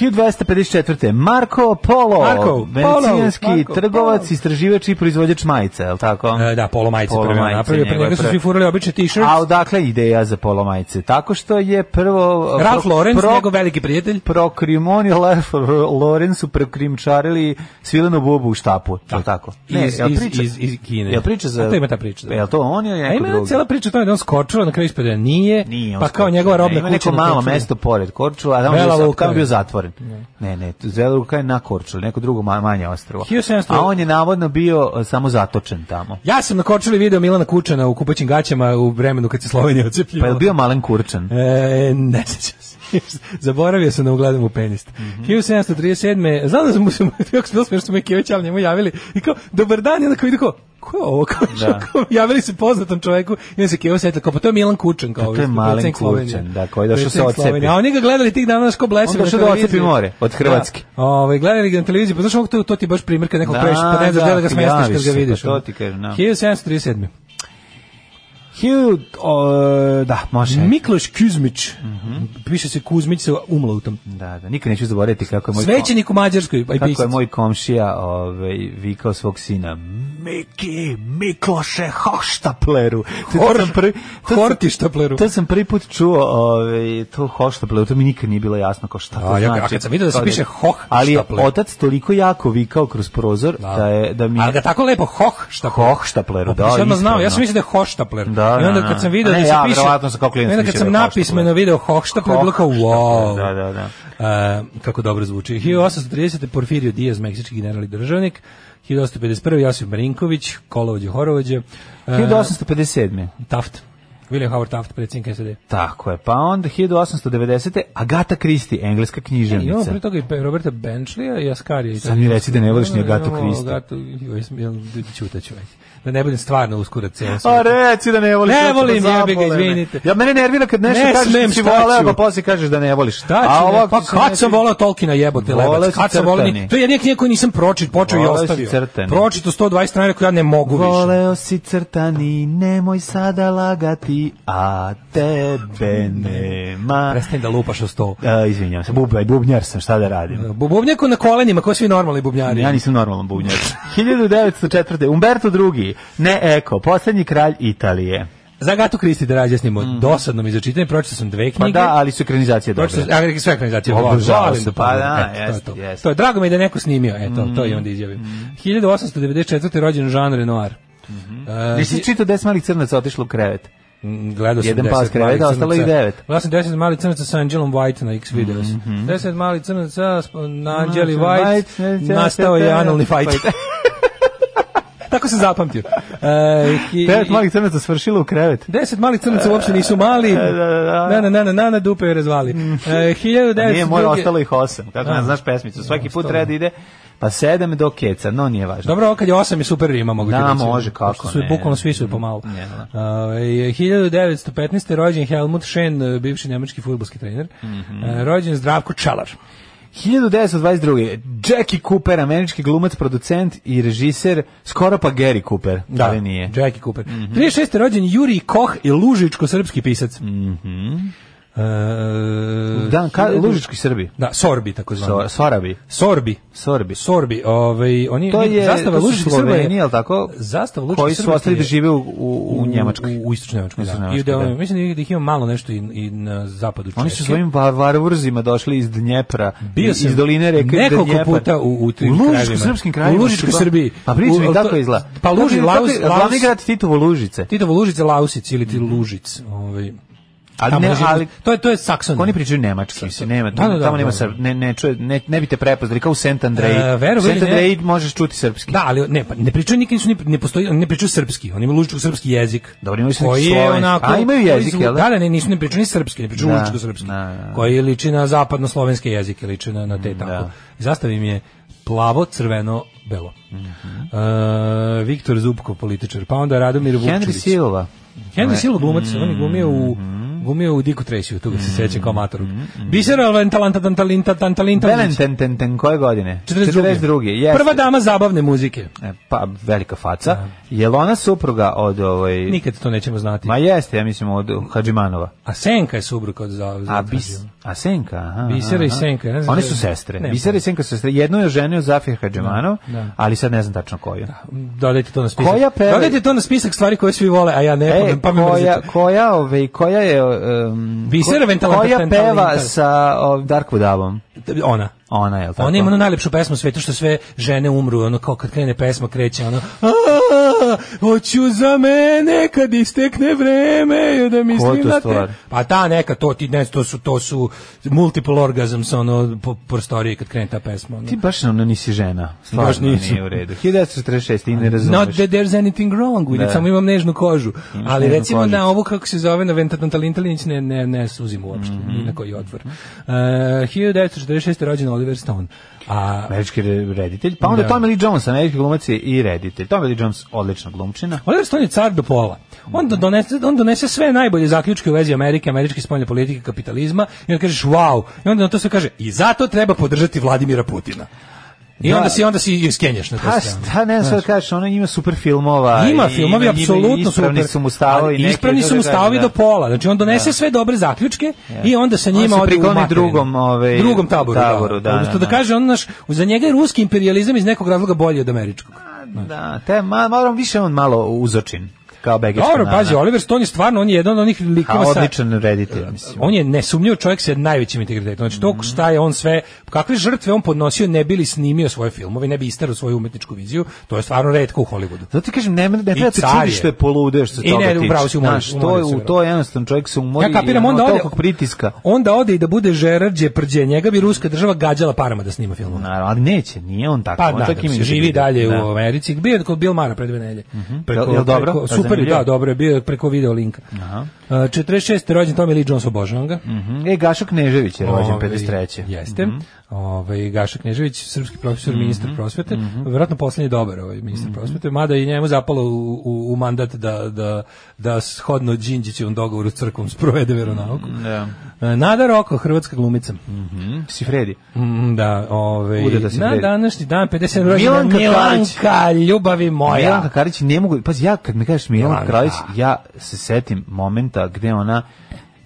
H: 1254. Marko Polo,
G: Marko,
H: venecijanski
G: Polo, Marko,
H: trgovac,
G: Polo.
H: istraživač i proizvođač majica, je li tako?
G: E, da, polo majice
H: Polo
G: prvo
H: majice
G: napravio, pre
H: njegove
G: njega su
H: prve.
G: svi furali obične t-shirts.
H: A odakle ideja za polo majice? Tako što je prvo...
G: Ralph
H: pro-
G: Lauren,
H: pro-
G: njegov veliki prijatelj.
H: Prokrimon i Ralph Lauren su prokrimčarili svilenu bubu u štapu, je li tako?
G: iz,
H: je li
G: iz,
H: priča-
G: iz, iz Kine.
H: Je li priča za...
G: A to ima ta priča. Da.
H: Je li to on ili
G: A
H: neko
G: ima
H: drugi?
G: cijela priča o tome da je on skočio, na kraju ispada da nije,
H: Nije on
G: pa kao
H: skočio,
G: njegova
H: ne,
G: robna
H: Ima neko
G: kuća. na
H: malo
G: Korčuli.
H: mesto pored Korčula, a tamo je
G: Vela
H: bio, za-
G: Luka
H: tamo je
G: je.
H: bio zatvoren. Ne, ne, tu- Vela Luka je na Korčuli, neko drugo ma- manje ostrovo.
G: 1700
H: A on je navodno bio e, samo zatočen tamo.
G: Ja sam na Korčuli video Milana Kučana u kupaćim gaćama u vremenu kad se Slovenija ocepljiva.
H: Pa je li bio malen kurčan?
G: E, ne sjećam se. Zaboravio sam da ugledam u penist.
H: Mhm.
G: 1737. Znam da smo se, jako smo smiješno me Kijević, ali njemu javili. I kao, dobar dan, i onda kao vidi kao, ko je ovo? Kao,
H: Da.
G: kao, javili se poznatom čoveku i onda se Kijević sjetila, kao, pa to je Milan Kučan. Kao,
H: Pa to je
G: ovaj,
H: Malen
G: predsjednik Slovenije.
H: Kučan, da, koji je došao
G: Predsjednik
H: sa odcepi.
G: Slovenije. A oni ga gledali tih dana, znaš, ko blesavi
H: On došao
G: na
H: da
G: televiziji.
H: odcepi more od Hrvatske.
G: Da. Ovaj, gledali ga na televiziji, pa znaš, ovog to, to ti baš primjer kad nekog previše, pa ne znaš,
H: da,
G: gde da ga smestiš
H: javiš
G: kad ga
H: se, pa
G: vidiš.
H: to
G: ono.
H: ti kažem, da.
G: 1737.
H: Hugh, o, da, može. Mhm.
G: Mikloš Kuzmić, piše se Kuzmić sa umlautom.
H: Da, da, nikad neću zaboraviti kako je moj
G: Svećenik u Mađarskoj, aj
H: Kako je
G: pisac.
H: moj komšija ovaj, vikao svog sina Miki, Mikloše, Hoštapleru. To- to sam prvi- to sam-
G: Hortištapleru.
H: To sam prvi put čuo ovaj, to Hoštapleru, to mi nikad nije bilo jasno kao šta to
G: A, ja- a
H: znači.
G: kad sam vidio da se
H: Kao
G: piše Hochstapler.
H: Ali je otac toliko jako vikao kroz prozor da, je, da mi
G: Ali
H: je
G: ga tako lepo hoh šta
H: Hochstapleru, da,
G: Ja sam Pa znao,
H: ispravno.
G: ja sam mislio da je hoštapler.
H: Da, da,
G: I onda
H: da,
G: kad sam
H: da.
G: video
H: Ne,
G: da se
H: ja,
G: piše...
H: verovatno sam kao klijent
G: i onda
H: sam
G: kad
H: više
G: sam
H: rekao
G: napismeno
H: Hochstabler.
G: video Hochstabler, je kao wow.
H: Da, da, da.
G: E, kako dobro zvuči. 1830. Porfirio Diaz, meksički general i državnik. 1851. Josip Marinković, Kolovođe, Horovođe. E,
H: 1857.
G: Taft. William Howard Taft, predsjednik E, SED.
H: Tako je. Pa onda 1890. Agata Christie, engleska književnica.
G: Imamo pre toga i Pe- Roberta Benchleya i Ascarija. i
H: Sad
G: tako.
H: mi reci da ne voliš ni Agatu
G: Imamo
H: Christie.
G: Agatu- joj, sam- jel, ćutaću već. Da ne budem stvarno uskurac cijelo
H: A Pa reci da ne voliš.
G: Ne
H: ja ću
G: volim,
H: da
G: jebi ga,
H: zabole me.
G: izvinite.
H: Ja mene nervira kad nešto
G: Ne
H: kažeš
G: smem,
H: da si
G: šta
H: voleo,
G: ću?
H: pa posle kažeš da ne voliš.
G: Da,
H: A ovako
G: pa
H: ti se
G: kad
H: ne
G: sam
H: sviđa.
G: volao Tolkiena jebote
H: Voleo
G: lebac,
H: si
G: kad sam volao, ni-
H: crtani.
G: to je jedina knjiga koju nisam pročit, počeo i
H: Voleo si
G: ostavio.
H: crtani.
G: Pročito 120 strana, rekao ja ne mogu više.
H: Voleo si crtani, nemoj sada lagati, a tebe nema.
G: Prestani da lupaš o sto.
H: A, izvinjam se, bubaj, bubnjar sam, šta da radim?
G: Bubnjako na kolenima, kao svi normalni bubnjari.
H: Ja nisam normalan bubnjar. 1904. Umberto II, ne Eko, posljednji kralj Italije.
G: Za Gatu Kristi da razjasnimo, dosadno mi začitanje, pročito sam dve knjige.
H: Mm. Pa da, ali su ekranizacije
G: Pročito
H: dobre.
G: sam, ja rekao sve ekranizacije,
H: Obožavao
G: volim, volim
H: sam,
G: da
H: pa
G: pogledam.
H: da,
G: Eto, to je
H: jeste,
G: to.
H: jeste. Mm.
G: To je, drago mi je da je neko snimio, eto, to je onda izjavim. 1894. rođen Jean Renoir. E,
H: Nisi Mhm. čitao 10 malih crnaca otišlo u krevet.
G: Mm, Gledao sam
H: Jedan
G: 10
H: pas kreveta,
G: malih
H: ostalo ih
G: crnaca.
H: devet. Mhm.
G: Gledao sam 10 malih crnaca sa Angelom White na X videos. 10 malih crnaca sp- na Angeli
H: Angela
G: White,
H: White,
G: nastao je analni fight.
H: fight.
G: Tako se zapamtio. E, i-
H: 9
G: i-
H: malih crnaca svršilo u krevet.
G: Deset malih crnaca uopšte nisu mali.
H: da, da.
G: Na, na, na, na, na, na, dupe je razvali. E, 1902.
H: Pa Nije moj, ostalo ih osam. Kako
G: A.
H: ne znaš pesmicu, svaki put
G: Ostalo.
H: red ide, pa sedam do keca, no nije važno.
G: Dobro, ovo kad je 8 je super rima, mogu ti
H: Da,
G: reći.
H: može, kako
G: Pošto su,
H: ne.
G: Bukvalno svi su pomalo.
H: Ne, da.
G: Ovaj, 1915. rođen Helmut Schön, bivši nemački futbolski trener.
H: Mhm.
G: E, Rođen Zdravko Čalar.
H: 1922. Jackie Cooper, američki glumac, producent i režiser, skoro pa Gary Cooper, ali nije. Mhm.
G: Jackie Cooper. 36. rođen Jurij Koh i Lužičko-srpski pisac. Mm
H: Dan, Mhm. ka, Lužički Srbi.
G: Da, Sorbi, tako
H: So,
G: zvani.
H: Sorabi.
G: Sorbi.
H: Sorbi.
G: Sorbi, ovaj, oni,
H: To je
G: zastava
H: to su
G: Lužički Srba
H: Sloveni,
G: je-
H: jel tako?
G: Zastava Lužički
H: Koji su
G: Srba
H: ostali
G: je-
H: da žive u, u, u Njemačkoj.
G: U, u istočnoj Nemačkoj, da.
H: Istočnoj
G: I da,
H: Nemačkoj, da.
G: Mislim da ih ima malo nešto i, i na zapadu Češke.
H: Oni su svojim var- varvurzima došli iz Dnjepra,
G: Bio
H: iz,
G: sam
H: iz doline reke
G: nekoliko
H: Dnjepar.
G: puta u- u tim krajevima.
H: Lužičko-srpskim
G: U
H: krajevima.
G: Lužičkoj Srbiji.
H: Pa priča
G: U-
H: mi,
G: to-
H: tako izgleda.
G: pa Luži-
H: Kako je-
G: Laus-
H: kako je- Glavni
G: Laus-
H: grad Titovo Lužice.
G: Titovo Lužice, Lausic ili ti Lužic. Ovaj,
H: Mhm. Ali,
G: tamo
H: ne,
G: na živu-
H: ali
G: to je, to je Saksonija.
H: Oni pričaju nemački, mislim, nema,
G: Da, da, da,
H: tamo
G: da,
H: nema
G: da.
H: srp, ne, ne, čuje, ne, ne bi te prepoznali, kao u Saint Andrej.
G: E, verovali
H: u Saint
G: ili ne-
H: Andrej možeš čuti srpski.
G: Da, ali ne, pa ne pričaju nikad nisu, ni- ne postoji, oni ne pričaju srpski, oni imaju lužičko srpski jezik.
H: Dobro, imaju su neki
G: koji je
H: slovenski.
G: onako,
H: A, imaju jezik,
G: koji zvu-
H: jel da?
G: Da, ne, ne, nisu ne pričaju ni srpski, ne pričaju
H: Da,
G: lužičko srpski.
H: da, da. Mm,
G: Koji liči na zapadno-slovenske jezike, liči na, na te tako.
H: da.
G: I Zastava im je plavo, crveno, belo.
H: Mhm.
G: E, Viktor Zubko, političar, pa onda Radomir Vukčević.
H: Henry Silva.
G: Henry Silva glumac,
H: Mm-hmm.
G: on je glumio u glumio u Diku Tresiju, tu ga se seća kao matorog.
H: Mm-hmm.
G: Bisera Valentalinta, Tantalinta, Tantalinta.
H: Belen ten, ten, ten, koje godine? 42. jeste.
G: Prva dama zabavne muzike.
H: E, Pa, velika faca. Jel ona supruga od ovaj...
G: Nikad to nećemo znati.
H: Ma jeste, ja mislim od Hadžimanova.
G: A Senka je subruk od za, za
H: A, bis, a Senka, aha.
G: Bisera i Senka, ne znam
H: One
G: da-
H: su sestre.
G: Ne.
H: Bisera i Senka su sestre. Jednu je ženio Zafir Hadžimanov,
G: Da, da.
H: ali sad ne znam tačno koju.
G: Dodajte to na spisak.
H: Koja peva-
G: Dodajte to na spisak stvari koje svi vole, a ja ne, pa
H: E,
G: me, pa me
H: koja,
G: mrzite.
H: koja, ove, koja je... Um,
G: Bisera Ventalanta
H: koja
G: Ventalanta.
H: peva sa o, Darkwood Abom?
G: Ona.
H: Ona, je li tako?
G: Ona ima onu najlepšu pesmu u svetu što sve žene umru, ono kao kad krene pesma kreće, ono "A, hoću za mene kad istekne vreme da
H: Koja je
G: mislim
H: to
G: na
H: stvar?
G: te. Pa ta neka, to, ti, ne, to su, to su multiple orgasms, ono, po prostoriji kad krene ta pesma. Ono.
H: Ti baš ono nisi žena. Stvarno
G: Baš nisam.
H: nije u redu. 1946, ti ne razumeš.
G: Not that there's anything wrong with
H: Da.
G: it, samo imam nežnu kožu. Ali
H: nežnu
G: recimo
H: kožicu.
G: na ovu, kako se zove, na Ventatantalintalić ne, ne, ne suzim uopšte, ni
H: Mhm.
G: na koji otvor. Uh, 1946. rođen Oliver Stone. A
H: Američki re- reditelj. Pa onda
G: Da.
H: Tommy Lee Jones, američki glumac je i reditelj. Tommy Lee Jones, odlična glumčina.
G: Oliver Stone je car do pola. On do- donese, on donese sve najbolje zaključke u vezi Amerike, američke spoljne politike, kapitalizma i onda kažeš wow. I onda na to sve kaže i zato treba podržati Vladimira Putina. I
H: Da.
G: onda si onda si iskenješ na to
H: Pa
G: stranu.
H: šta, ne znam šta da kažeš, ona ima super filmova.
G: Ima
H: i-
G: filmovi
H: ima- ima-
G: apsolutno
H: Ispravni
G: super.
H: su mu stavovi.
G: Ali
H: neki
G: Ispravni
H: drugi
G: su mu
H: kažu,
G: stavovi
H: da.
G: do pola. Znači on donese sve dobre zaključke i onda sa
H: On se
G: njima ode u
H: prikloni
G: materinu.
H: drugom, ovaj,
G: drugom taboru,
H: taboru, da,
G: Odnosno
H: da, da.
G: kaže on naš za njega je ruski imperijalizam iz nekog razloga bolji od američkog.
H: Da, te, ma, moram više on malo uzočin. kao begeška
G: Dobro,
H: nana.
G: pazi, Oliver Stone je stvarno, on je jedan od onih
H: A
G: likova sa...
H: odličan reditelj, mislim.
G: On je nesumnjivo čovjek sa najvećim integritetom. Znači,
H: Mhm.
G: to šta je on sve, kakve žrtve on podnosio, ne bi li snimio svoje filmove, ne bi isterao svoju umetničku viziju, to je stvarno redko u Hollywoodu.
H: Zato ti kažem, ne, ne
G: I
H: treba te
G: car
H: čudi što
G: je.
H: je poludeo što se
G: I
H: toga
G: ne,
H: tiče.
G: upravo si, umori-
H: Znaš, to,
G: umori
H: je,
G: se,
H: u to
G: verovatno.
H: je jednostavno čovjek se umori
G: Ja kapiram,
H: i ono,
G: onda
H: od
G: ode,
H: tolikog pritiska.
G: onda ode i da bude Gerard Depardieu, njega bi ruska država gađala parama da snima filmove.
H: Naravno, ali neće, nije on tako.
G: Pa
H: on
G: da,
H: čak
G: da,
H: ima
G: se živi
H: integritet,
G: dalje
H: da. Mhm.
G: u Americi. Bio je kod Bill Mara pre dve nelje.
H: Jel- jel dobro?
G: Preko,
H: Jel
G: super, je,
H: zanimljivo?
G: da, dobro je, bio je preko video linka. Aha. Uh, 46. rođen Tommy Lee Jones obožavam ga.
H: Mhm. E, Gašo Knežević je rođen Mhm.
G: Ovaj,
H: 53.
G: Jeste. Ovaj Gaša Knežević, srpski profesor,
H: Mhm.
G: ministar prosvete, verovatno poslednji dobar ovaj ministar prosvete, mada i njemu zapalo u, u, u mandat da da da shodno Đinđićevom dogovoru s crkvom sprovede veronauku.
H: Mhm, Da.
G: E, Nada Roko, hrvatska glumica.
H: Mhm. Si Fredi.
G: Mm, da, ovaj
H: Bude da se
G: na
H: vredi.
G: današnji dan 50 rođena
H: Milanka Karić.
G: Milanka, ljubavi moja.
H: Milanka Karić ne mogu, pazi ja kad mi kažeš Milanka
G: Milanka.
H: Kraljić, ja se setim momenta gde ona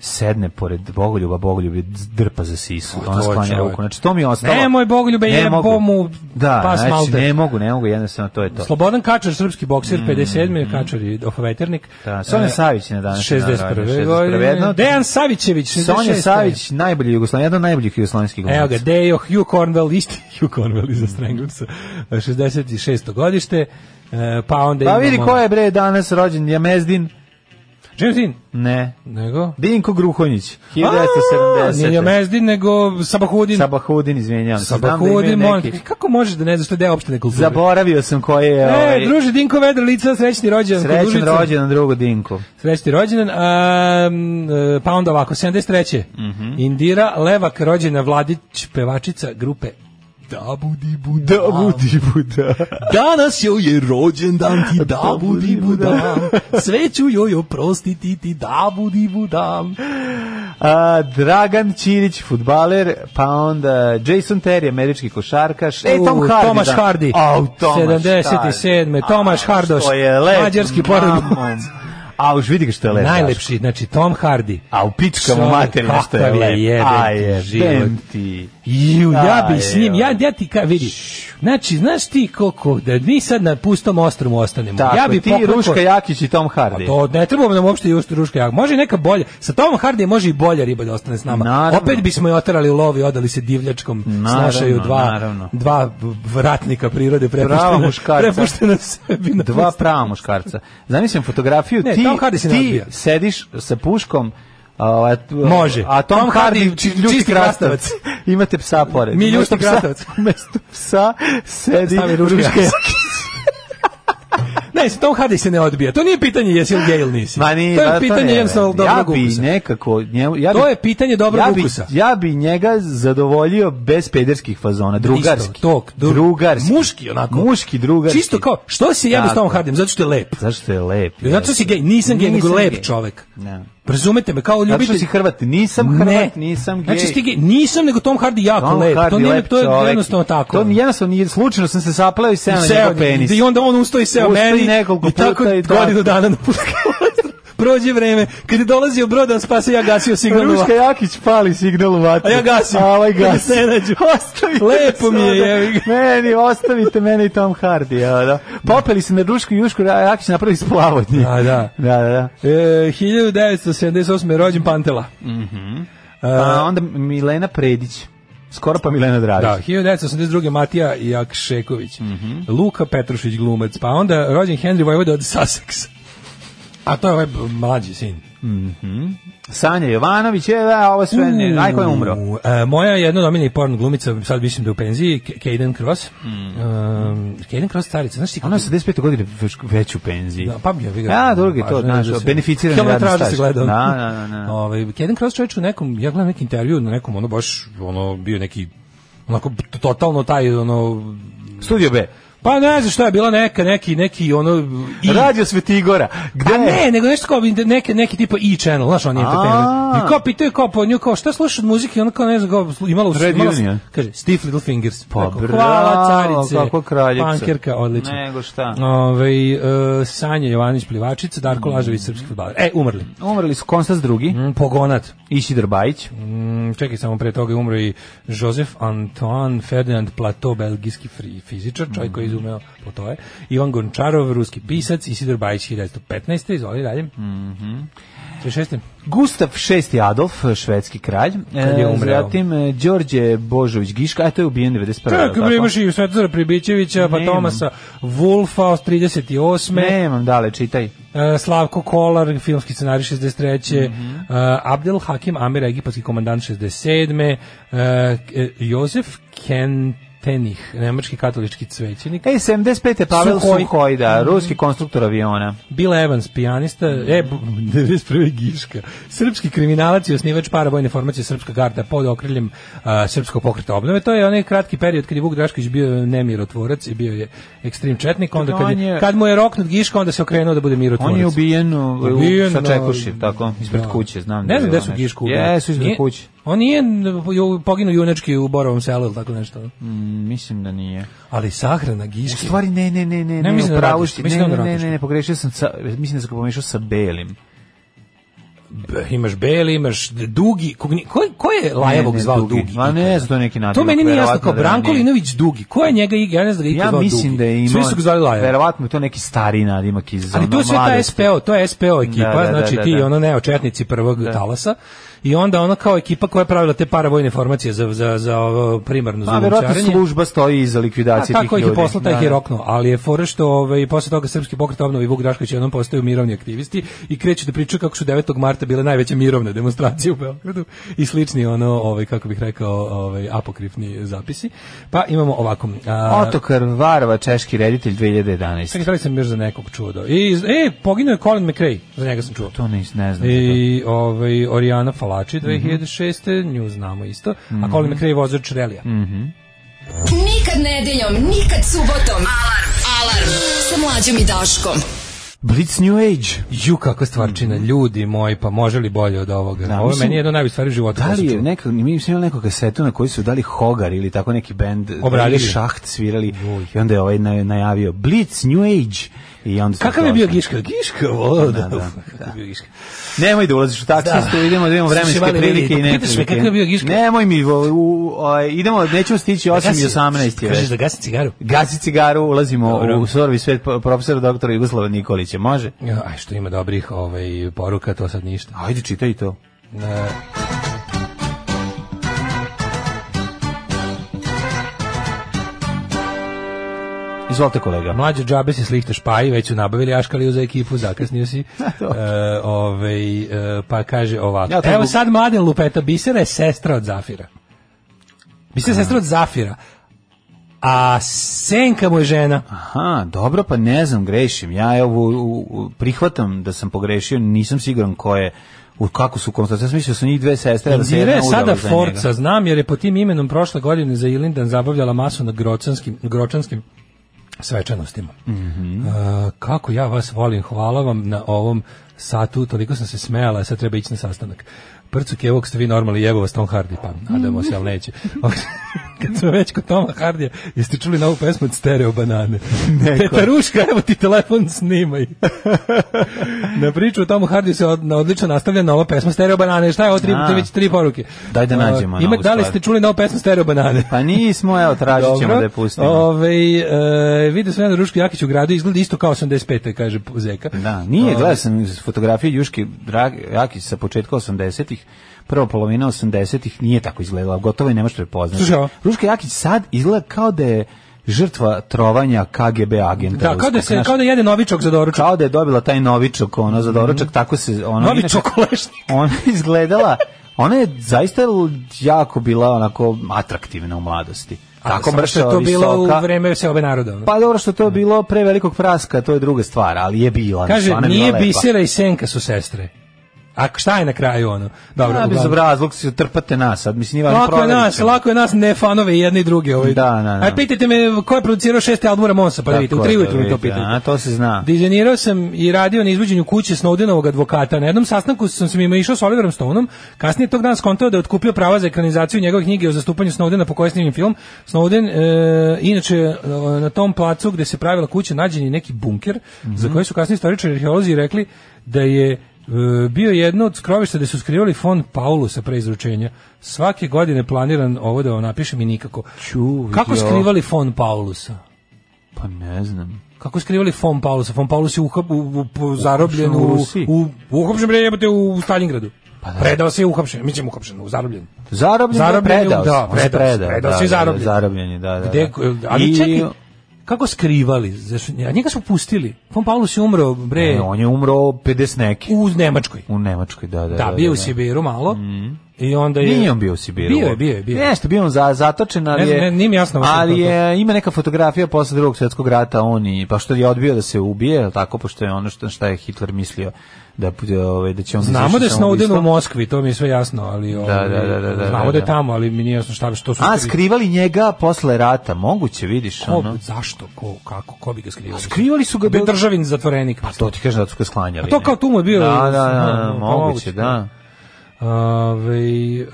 H: sedne pored Bogoljuba, Bogoljub je drpa za sisu,
G: O,
H: ona
G: to je
H: sklanja
G: čovjek.
H: ruku, znači to mi je ostalo.
G: Nemoj, Bogoljube,
H: Ne
G: jebo
H: mogu.
G: mu
H: da,
G: pas
H: znači,
G: malte.
H: ne mogu, ne mogu, jednostavno to je to. Mm,
G: Slobodan Kačar, srpski bokser, 57. Kačar je veternik.
H: Da, Sonja Savić je na današnji dan
G: 61.
H: rođena,
G: godine.
H: 61.
G: Dejan Savićević, 66.
H: Sonja Savić, najbolji Jugoslavijski, jedan od najboljih jugoslavijskih
G: Evo ga,
H: glumaca.
G: Dejo, Hugh Cornwell, isti Hugh Cornwell iza Stranglersa, 66. godište, E, pa onda
H: Pa
G: imamo...
H: vidi ko je bre danas rođen, Jamezdin?
G: James Dean,
H: Ne.
G: nego...
H: Dinko Gruhonjić,
G: A, Nije
H: 1970.
G: James Dean, nego Sabahudin.
H: Sabahudin, izvinjavam se. znam da ima
G: Sabahudin, molim
H: neki-
G: te, kako možeš da ne znaš što je deo opštine kulture?
H: Zaboravio sam ko je...
G: E,
H: ovaj,
G: druže, Dinko Vedar, lica, srećni rođendan. kod
H: Srećan
G: družice.
H: rođendan drugu Dinku.
G: Srećni rođendan. Um, pa onda ovako, 73. Indira Levak, rođena Vladić, pevačica grupe Dabudi Buda.
H: buda.
G: Danas joj je rođendan ti Dabudi Buda. Sveću joj oprostiti ti Dabudi Buda.
H: A, Dragan Ćirić, futbaler, pa onda Jason Terry, američki košarkaš. E, Tom
G: U,
H: Hardy.
G: Tomaš
H: da.
G: Hardy.
H: Au, Tomaš
G: 77..
H: Hardy.
G: Tomaš
H: A,
G: Hardoš,
H: što je lep,
G: mađarski porodic.
H: mamom. A, už vidi ga što je lep. Daško.
G: Najlepši, znači Tom Hardy.
H: A u pička mu materinu što je
G: Kakav je
H: lep.
G: jebem
H: A,
G: ti
H: je,
G: život.
H: bem ti.
G: Ju, ja bi s njim,
H: Aj,
G: ja, ja ti ka, vidi, znači, znaš ti koliko, da mi sad na pustom ostromu ostanemo,
H: Tako,
G: ja bi
H: ti,
G: pokliko-
H: Ruška Jakić i Tom Hardy.
G: Pa to ne trebamo nam uopšte još ruška jaga. Može i neka bolja. Sa Tomom Hardy može i bolja riba da ostane s nama.
H: Naravno.
G: Opet bismo je oterali u lov i odali se divljačkom
H: Naravno,
G: snašaju dva,
H: naravno.
G: dva vratnika prirode
H: Prava
G: prepuštena,
H: muškarca.
G: prepuštena sebi. Na
H: Dva
G: pustu.
H: prava muškarca. Zamislim fotografiju,
G: Ne,
H: ti,
G: Tom Hardy se ne
H: ti
G: odbija.
H: sediš sa puškom, a, a-
G: Može.
H: A Tom,
G: Tom
H: Hardy,
G: Hardy
H: či,
G: čisti
H: ljuti krastavac.
G: krastavac.
H: Imate psa pored.
G: Mi ljuti
H: Umesto psa-
G: krastavac.
H: Umesto psa sedi
G: Stavi ruška jaga. Ne, sa Tom Hardy se ne odbija. To nije pitanje jesi li gej ili nisi.
H: Ma nije,
G: to
H: ma
G: je pitanje
H: ne,
G: jednostavno
H: ja
G: dobrog
H: bi
G: ukusa.
H: nekako njemu- ja bi,
G: To je pitanje dobrog
H: ja bi,
G: ukusa.
H: Ja bi njega zadovoljio bez pederskih fazona, drugarski.
G: Isto, tog, dru-
H: drugarski.
G: Muški onako.
H: Muški drugarski.
G: Čisto kao, što se jebe s Tom
H: Tako.
G: Hardyem? Zato što je lep.
H: Zašto je lep?
G: Zato što si gej, nisam gej, nego
H: Nisam
G: lep
H: gej.
G: čovek.
H: Ne.
G: Razumete me, kao
H: Zato
G: ljubitelj.
H: što si Hrvat, nisam Hrvat,
G: ne.
H: nisam gej.
G: Znači, stige, nisam, nego Tom Hardy jako
H: Tom
G: lep. to,
H: Hardy
G: nije,
H: Pa lep
G: to je
H: čovek.
G: jednostavno tako.
H: To mi jednostavno nije, slučajno sam se sapleo i seo na
G: Seo
H: njegov penis.
G: I onda on ustoji seo
H: Ustoji
G: meni
H: nekoliko
G: i tako
H: puta i tako.
G: godinu dana napustio. Prođe vreme, kad je dolazio brod da spase, ja gasio signal. na
H: Ruška Jakić pali signal u vatru.
G: A ja gasim.
H: A ovaj
G: Da ga
H: gasi.
G: ne nađu.
H: Ostavite
G: Lepo mi je,
H: sada.
G: jevi ga.
H: Meni, ostavite mene i Tom Hardy. Ja, da. Popeli se na Rušku i Jušku, a Jakić napravi splavodnji.
G: A, da.
H: Da, da, da.
G: E, 1978. je rođen Pantela. E,
H: Pa onda Milena Predić. Skoro pa Milena
G: Da,
H: Dragić.
G: 1982. Matija Jakšeković.
H: Mhm.
G: Luka Petrušić glumac. Pa onda rođen Henry Vojvoda od Sussex. A to je ovaj b- mlađi sin.
H: Sanja Jovanović, je, da, ovo sve, ne, aj ko je umro.
G: U, e, moja jedna domiljena porn glumica, sad mislim da je u penziji, K- Caden Cross. Um, Caden Cross carica, znaš ti kako-
H: Mm. Ona je sa 25 godina već, već u penziji.
G: Da, pa ja vidim.
H: A, drugi to, znaš, beneficirani radni staž.
G: se gleda.
H: Da, da, da, da.
G: Ovaj Keden Cross čovjek u nekom, ja gledam neki intervju na nekom, ono baš ono bio neki onako t- totalno taj ono
H: Studio B.
G: pa ne znam šta je bila neka neki neki ono i,
H: Radio Svetigora. Gde?
G: Pa ne, nego nešto kao neke, neki tipa E channel, znaš, on je entertainment. I kao pitaju kao po nju, kao šta slušaš od muzike, ona kao ne znam, kao, imala u
H: Red
G: imala-
H: Union.
G: Kaže, Stiff Little Fingers.
H: Pa
G: Rekao,
H: bravo,
G: Hvala carice.
H: kako kraljica."
G: Pankerka, odlično.
H: Nego šta. Mm.
G: Ove, e, Sanja Jovanić, plivačica, Darko Lažević, srpski futbaler. E, umrli.
H: Umrli su Konstas drugi.
G: Mm, Pogonat.
H: Isidar Bajić.
G: Mm, čekaj, samo pre toga je umro i Joseph Antoine Ferdinand Plato, belgijski fri- fizičar, čovjek
H: Mhm.
G: koji je izumeo Platoje, Ivan Gončarov, ruski pisac, Isidor Bajić, 1915. Izvoli dalje. Mm
H: Mhm. Gustav VI Adolf, švedski kralj.
G: Kad je
H: E,
G: umreo?
H: Zatim e, Đorđe Božović Giška, a to je ubijen 91.
G: Kako
H: jel
G: bre
H: tako?
G: imaš i Svetozara Pribićevića, pa
H: Nemam.
G: Tomasa Wolfa od 38.
H: Nemam dale, čitaj.
G: E, Slavko Kolar, filmski scenarij 63.
H: Mhm.
G: E, Abdel Hakim Amir, egipatski komandant 67. E, e, Jozef Kentenih, nemački katolički cvećenik.
H: Ej, 75. je E, Pavel
G: Suhoj. Mhm.
H: Suhoj. da, ruski konstruktor aviona.
G: Bill Evans, pijanista, e, bu-
H: Mm.
G: 91. Giška, srpski kriminalac i osnivač paravojne formacije Srpska garda pod okriljem a, Srpskog pokreta obnove. To je onaj kratki period kad je Vuk Drašković bio nemirotvorac i bio je ekstrem četnik, onda kad,
H: On
G: je,
H: je-
G: kad mu je roknut Giška, onda se okrenuo da bude mirotvorac.
H: On je ubijen, u- u-
G: Ubijen,
H: sa
G: da.
H: Čekuši, tako, ispred kuće, znam. da
G: Ne
H: je
G: znam
H: bilo
G: gde su
H: nešto.
G: Gišku.
H: Jesu ispred
G: Nije-
H: kuće.
G: On nije n- ju- poginuo junački u Borovom selu ili tako nešto.
H: Mm, mislim da nije.
G: Ali sahrana
H: U
G: Giške.
H: stvari ne, ne, ne, ne,
G: Ne,
H: ne,
G: mislim da
H: u pravu
G: radiš,
H: si. ne,
G: mislim da
H: ne,
G: onda
H: ne,
G: radiš.
H: ne, pogrešio sam, sa, mislim da sam ga pomešao sa Belim.
G: B- Imaš Beli, imaš D- Dugi. Ko, ko, ko je
H: Ne,
G: Lajevog
H: ne,
G: zvao
H: Dugi.
G: Dugi?
H: Ma ne znam, to je neki
G: To
H: nadimak,
G: meni nije jasno,
H: verovatno
G: kao
H: da
G: Branko
H: nije.
G: Linović Dugi. Ko je njega igra? Ja ne znam da ga iko
H: Ja
G: zvao
H: mislim
G: Dugi.
H: da je imao...
G: Svi su ga zvali Lajev.
H: Verovatno je to neki stari nadimak iz
G: Ali to
H: ono
G: je sve ta
H: mladosti.
G: SPO, to je SPO ekipa,
H: Da, da, da,
G: znači
H: da,
G: ti
H: da.
G: ono neočetnici prvog talasa i onda ona kao ekipa koja je pravila te paravojne formacije za, za, za ovo primarno
H: Pa, verovatno
G: zulumčarenje.
H: služba stoji iza
G: A
H: likvidacije tih
G: kako
H: ljudi.
G: ih je poslao taj
H: Da,
G: ih je
H: da.
G: roknuo, ali je fora što ovaj posle toga srpski pokret obnove i Vuk Drašković jednom postaju mirovni aktivisti i kreću da pričaju kako su 9. marta bile najveće mirovne demonstracije u Beogradu i slični ono ovaj kako bih rekao ovaj apokrifni zapisi. Pa imamo ovako. a,
H: Otokar Varva, češki reditelj 2011.
G: Čekaj, da li sam još za nekog čuo. da- I, e, poginuo je Colin McRae, za njega sam čuo.
H: To Mhm. ne, ne znam.
G: I ovaj Orijana Falači 2006. Nju znamo isto.
H: Mhm.
G: A Colin McRae je vozač relija.
F: Nikad nedeljom, nikad subotom. Alarm. Alarm. Sa mlađom i Daškom.
H: Blitz New Age.
G: Ju, kakva stvarčina, ljudi moji, pa može li bolje od ovoga?
H: Da,
G: Ovo je
H: mislim-
G: meni je jedna od najboljih stvari u životu.
H: Da
G: koju sam
H: li je
G: čuo.
H: neka, mi smo imali neku kasetu na kojoj su dali Hogar ili tako neki bend,
G: Obradili.
H: ili šaht svirali i onda je ovaj na- najavio Blitz New Age. I onda su
G: Kakav je bio
H: došli.
G: Giška? Giška, voda.
H: Da, da,
G: Kakav je bio Giška?
H: Nemoj da ulaziš u taksistu, idemo da imamo vremenske
G: Slušaj, Vale,
H: prilike i
G: vidi,
H: neprilike.
G: pitaš me kakav je bio Giška?
H: Nemoj mi, vo- u, o, idemo, nećemo stići 8 i
G: Gasi-
H: 18 je
G: Kažeš
H: već.
G: da gasi cigaru?
H: Gasi cigaru, ulazimo
G: Dobro.
H: u sorvi svet po- profesora doktora Jugoslava Nikolića, može?
G: Ja, Aj, što ima dobrih ovaj, poruka, to sad ništa.
H: Ajde, čitaj to. Izvolite kolega.
G: Mlađe džabe si slihte špaji, već su nabavili aškaliju za ekipu, zakasnio si. e, ovaj, e, pa kaže ovako.
H: Ja to
G: Evo
H: mogu-
G: sad mladen lupeta, Bisera je sestra od Zafira. Bisera je sestra od Zafira. A Senka mu je žena.
H: Aha, dobro, pa ne znam, grešim. Ja evo u- u- prihvatam da sam pogrešio, nisam siguran ko je u kako su konstatacije. Ja sam mislio da su njih dve sestre, da se
G: Indira
H: jedna
G: je sada
H: udala za
G: Forca,
H: njega.
G: znam, jer je pod tim imenom prošle godine za Ilindan zabavljala masu na gročanskim, gročanskim svečanostima. E, kako ja vas volim, hvala vam na ovom satu, toliko sam se smejala, sad treba ići na sastanak. Prcuk je ovog ste vi normalni jebova s Tom Hardy, pa nadamo se, ali neće. Kad smo već kod Toma Hardija, jeste čuli novu pesmu od Stereo Banane? Tetaruška, evo ti telefon, snimaj. na priču o Tomu Hardiju se od, na odlično nastavlja nova pesma Stereo Banane. Šta je ovo tri,
H: A.
G: to je već tri poruke?
H: Daj da
G: Uh,
H: nađemo
G: Ima,
H: novu
G: da li
H: stvar.
G: ste čuli novu pesmu Stereo Banane?
H: Pa nismo, evo, tražit ćemo da je pustimo.
G: Ove, e, vidio sam jedan Rušku Jakić u gradu, izgleda isto kao 85. kaže Zeka.
H: Da, nije, gledao sam fotografije Juške Drag- Rakić sa početka 80-ih, prva polovina 80-ih nije tako izgledala, gotovo i ne možeš prepoznati.
G: Slušaj, ovo.
H: Ruška Rakić sad izgleda kao da je žrtva trovanja KGB agenta.
G: Da, kao da,
H: ruskog,
G: se,
H: znaš,
G: kao da jede novičok za doručak.
H: kao da je dobila taj novičok, ono,
G: Mhm.
H: za doručak, tako se... Ono,
G: Novi
H: inače-
G: čokolešnik.
H: ona je izgledala ona je zaista jako bila onako atraktivna u mladosti. Tako
G: Samo što je
H: mršava,
G: to bilo
H: visoka.
G: u vreme seobe naroda. ono.
H: Pa dobro što je to bilo pre velikog praska, to je druga stvar, ali je bila.
G: Kaže,
H: ona je bila
G: nije
H: lepa.
G: Bisera i Senka su sestre. A šta je na kraju ono? Dobro,
H: Ja, bez
G: uglavnom.
H: obrazlog se trpate nas, sad mislim nije važno
G: Lako je
H: proverit
G: nas,
H: ćemo.
G: lako je nas ne fanove i jedni i drugi ovaj.
H: Da, da, da.
G: Aj pitajte me ko je producirao šesti album Ramonsa, pa da vidite, u
H: Tako
G: tri
H: je,
G: ujutru mi to
H: vidite,
G: pitajte.
H: a, to se zna.
G: Dizajnirao sam i radio na izvođenju kuće Snowdenovog advokata. Na jednom sastanku sam se mimo išao s Oliverom Stoneom. Kasnije tog dana skontao da je otkupio prava za ekranizaciju njegove knjige o zastupanju Snowdena po kojoj snimim film. Snowden, e, inače, e, na tom placu gde se pravila kuća nađen je neki bunker za koji su kasnije istoričari i arheolozi rekli da je E, bio je jedno od skrovišta gde su skrivali fon Paulusa pre izručenja. Svake godine planiran ovo da vam napišem i nikako.
H: Čuj,
G: Kako
H: jo.
G: skrivali fon Paulusa?
H: Pa ne znam.
G: Kako skrivali fon Paulusa? Fon Paulus je uhap, u, u, u- zarobljen
H: u
G: u,
H: Rusiji.
G: u, uhapšen bre jebote u Stalingradu.
H: Pa da.
G: Predao se i uhapšen, mislim uhapšen, u zarobljen.
H: Zarobljen,
G: Zarobljen je,
H: je predao. se.
G: da,
H: On se
G: predao se, predao
H: da,
G: se i
H: da,
G: zarobljen.
H: Zarobljen je, da, da.
G: Gde,
H: da.
G: ali
H: I-
G: čekaj, kako skrivali? Zašto- A njega su pustili. Fon Paulus je umro, bre,
H: E, on je umro 50 neki.
G: u Nemačkoj.
H: U Nemačkoj, da, da.
G: Da, bio u Sibiru malo. I onda je...
H: Nije on bio u Sibiru.
G: Bio je, bio je, bio je.
H: Jeste, bio on za, zatočen, ali
G: Ne znam,
H: je...
G: ne- nije mi jasno baš
H: Ali
G: kako je
H: je, ima neka fotografija posle drugog svjetskog rata, on i, pa što je odbio da se ubije, jel tako, pošto je ono što, šta je Hitler mislio da, ovaj, da će on...
G: Znamo
H: izvršiti
G: da je Snowden u
H: samoubojstvo.
G: Moskvi, to mi je sve jasno, ali ovaj,
H: da, da, da, da,
G: znamo
H: da,
G: da je
H: da.
G: tamo, ali mi nije jasno šta što su
H: A,
G: skrivali.
H: skrivali njega posle rata, moguće, vidiš,
G: Ko,
H: ono.
G: zašto, ko, kako, ko bi ga skrivao?
H: Skrivali su ga...
G: Bio
H: do-
G: državin zatvorenik.
H: Pa to ti kažem da su ga sklanjali.
G: A to
H: ne?
G: kao tu mu je bio-
H: Da, da,
G: Da,
H: da,
G: pa moguće,
H: moguće, da.
G: Ovaj, e,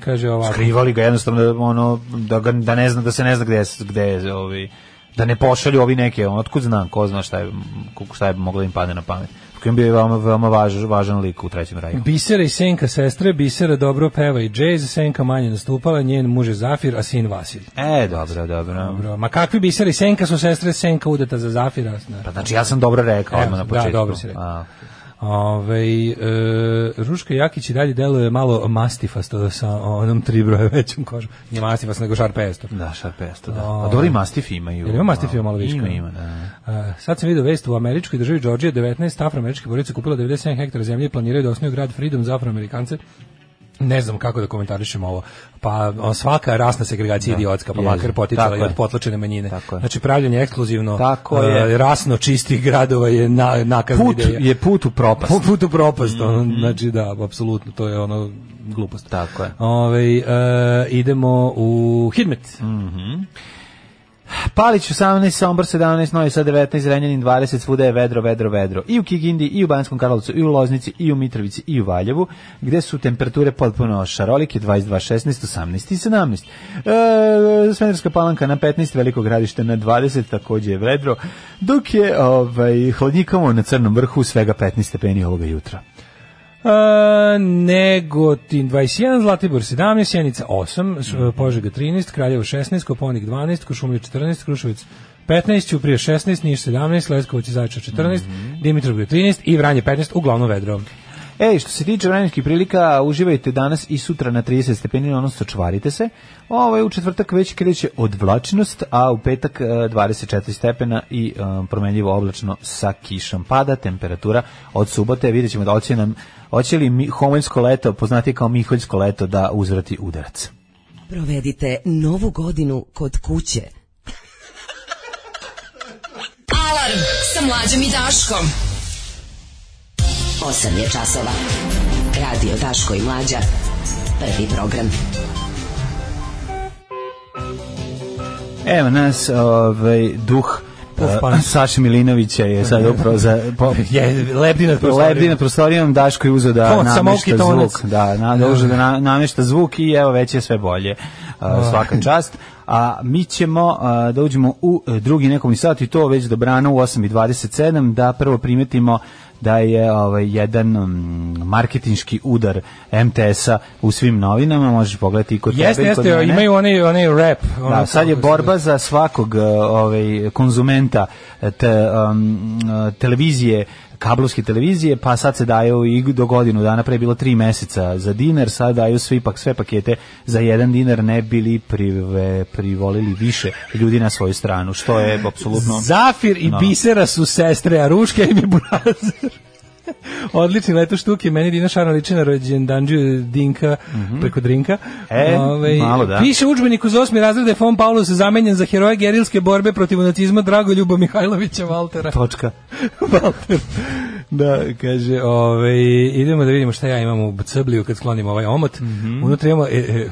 G: kaže ovako.
H: Skrivali ga jednostavno da, ono, da, ga, da, ne zna, da se ne zna gde, je- gde je ovi, da ne pošalju ovi neke, on, otkud znam, ko zna šta je, koliko šta je moglo da im pade na pamet. Kako im bio je veoma, veoma važ, važan lik u trećem raju.
G: Bisera i Senka sestre, Bisera dobro peva i džez, Senka manje nastupala, njen muž je Zafir, a sin Vasilj.
H: E, dobro, dobro.
G: Dobro, ma kakvi Bisera i Senka su sestre, Senka udata za Zafira. Znači.
H: Pa znači ja sam dobro rekao
G: Evo,
H: odmah na
G: da,
H: početku.
G: dobro si rekao.
H: A,
G: Ove, e, Ruška Jakić i dalje deluje malo mastifasto sa onom tri broje većom kožom. Nije mastifast, nego šarpesto.
H: da, šarpesto, da. A dobro i mastif imaju.
G: Jel ima mastif ima malo viška?
H: Ima, ima, da.
G: E, sad sam vidio vest u američkoj državi Georgija 19 afroameričkih borica kupila 97 hektara zemlje i planiraju da osnuju grad Freedom za afroamerikance. Ne znam kako da komentarišem ovo. Pa o, svaka rasna segregacija je idiotska, pa
H: jezivo.
G: makar poticala
H: Tako
G: i od
H: je.
G: potlačene manjine.
H: Tako je.
G: Znači pravljanje ekskluzivno
H: Tako
G: e,
H: je.
G: rasno čistih gradova je na, nakazna
H: Put
G: ideja.
H: je put u propast. Mhm.
G: Po putu propast, ono, znači da, apsolutno, to je ono glupost.
H: Tako je.
G: Ove, idemo u Hidmet.
H: Mhm. Palić 18, Sombor 17, Novi Sad 19, Renjanin 20, svuda je vedro, vedro, vedro. I u Kikindi, i u Banskom Karlovcu, i u Loznici, i u Mitrovici, i u Valjevu, gde su temperature potpuno šarolike, 22, 16, 18 i 17. E, Smederska palanka na 15, Veliko gradište na 20, takođe je vedro, dok je ovaj, hladnjikamo na crnom vrhu svega 15 stepeni ovoga jutra.
G: E, Negotin 21, Zlatibor 17, Sjenica 8, Š-
H: Mhm.
G: Požega 13, Kraljevo 16, Koponik 12, Košumlje 14, Kruševac 15, Ćuprije 16, Niš 17, Leskovac i Zaječar 14,
H: Mhm.
G: Dimitrovgrad 13 i Vranje 15, uglavnom vedro.
H: Ej, E, što se tiče vremenskih prilika, uživajte danas i sutra na 30 stepeni, odnosno čvarite se. Ovo je u četvrtak već kreće odvlačnost, a u petak e, 24 stepena i e, promenljivo oblačno sa kišom. Pada temperatura od subote, vidjet ćemo da hoće nam hoće li mi- homoljsko leto, poznati kao miholjsko leto, da uzvrati udarac.
J: Provedite novu godinu kod kuće.
F: Alarm sa mlađom i Daškom.
J: 8 je časova. Radio Daško i Mlađa. Prvi program.
H: Evo nas, ovaj, duh
G: Puff
H: e,
G: Punch.
H: Saše Milinovića je sad upravo za... po-
G: Je, lebdi nad prostorijom.
H: Lebdi na prostorijom, Daško je uzeo da
G: To, samo
H: namešta
G: okitonac.
H: zvuk. Da, na, da uzeo da na, namešta zvuk i evo već je sve bolje. A, svaka čast. A mi ćemo a, da uđemo u e, drugi nekom sat i to već dobrano u 8.27 da prvo primetimo da je ovaj jedan mm, marketinški udar MTS-a u svim novinama, možeš pogledati i kod
G: Jeste,
H: tebe i kod
G: jeste,
H: mene.
G: imaju onaj, onaj rap. ono
H: Da, sad je
G: kako se
H: borba za svakog e, ovaj konzumenta e, te, um, e, televizije kablovske televizije, pa sad se daju i do godinu dana, pre je bilo tri meseca za dinar, sad daju svi pak sve pakete za jedan dinar, ne bili prive, privolili više ljudi na svoju stranu, što je apsolutno...
G: Zafir i
H: No.
G: Bisera su sestre, a Ruška im je burazer. Odlični leto štuke, meni Dina Šarno liči na rođendanđu Dinka preko drinka.
H: Mhm. E,
G: Ovaj,
H: malo da.
G: Piše u udžbeniku za osmi razred da je Fon Paulus zamenjen za heroja gerilske borbe protiv nacizma Dragoljuba Mihajlovića Valtera.
H: Točka.
G: Valter. Da, kaže, ovaj, idemo da vidimo šta ja imam u crbliju kad sklonim ovaj omot. Unutra imamo, e, e,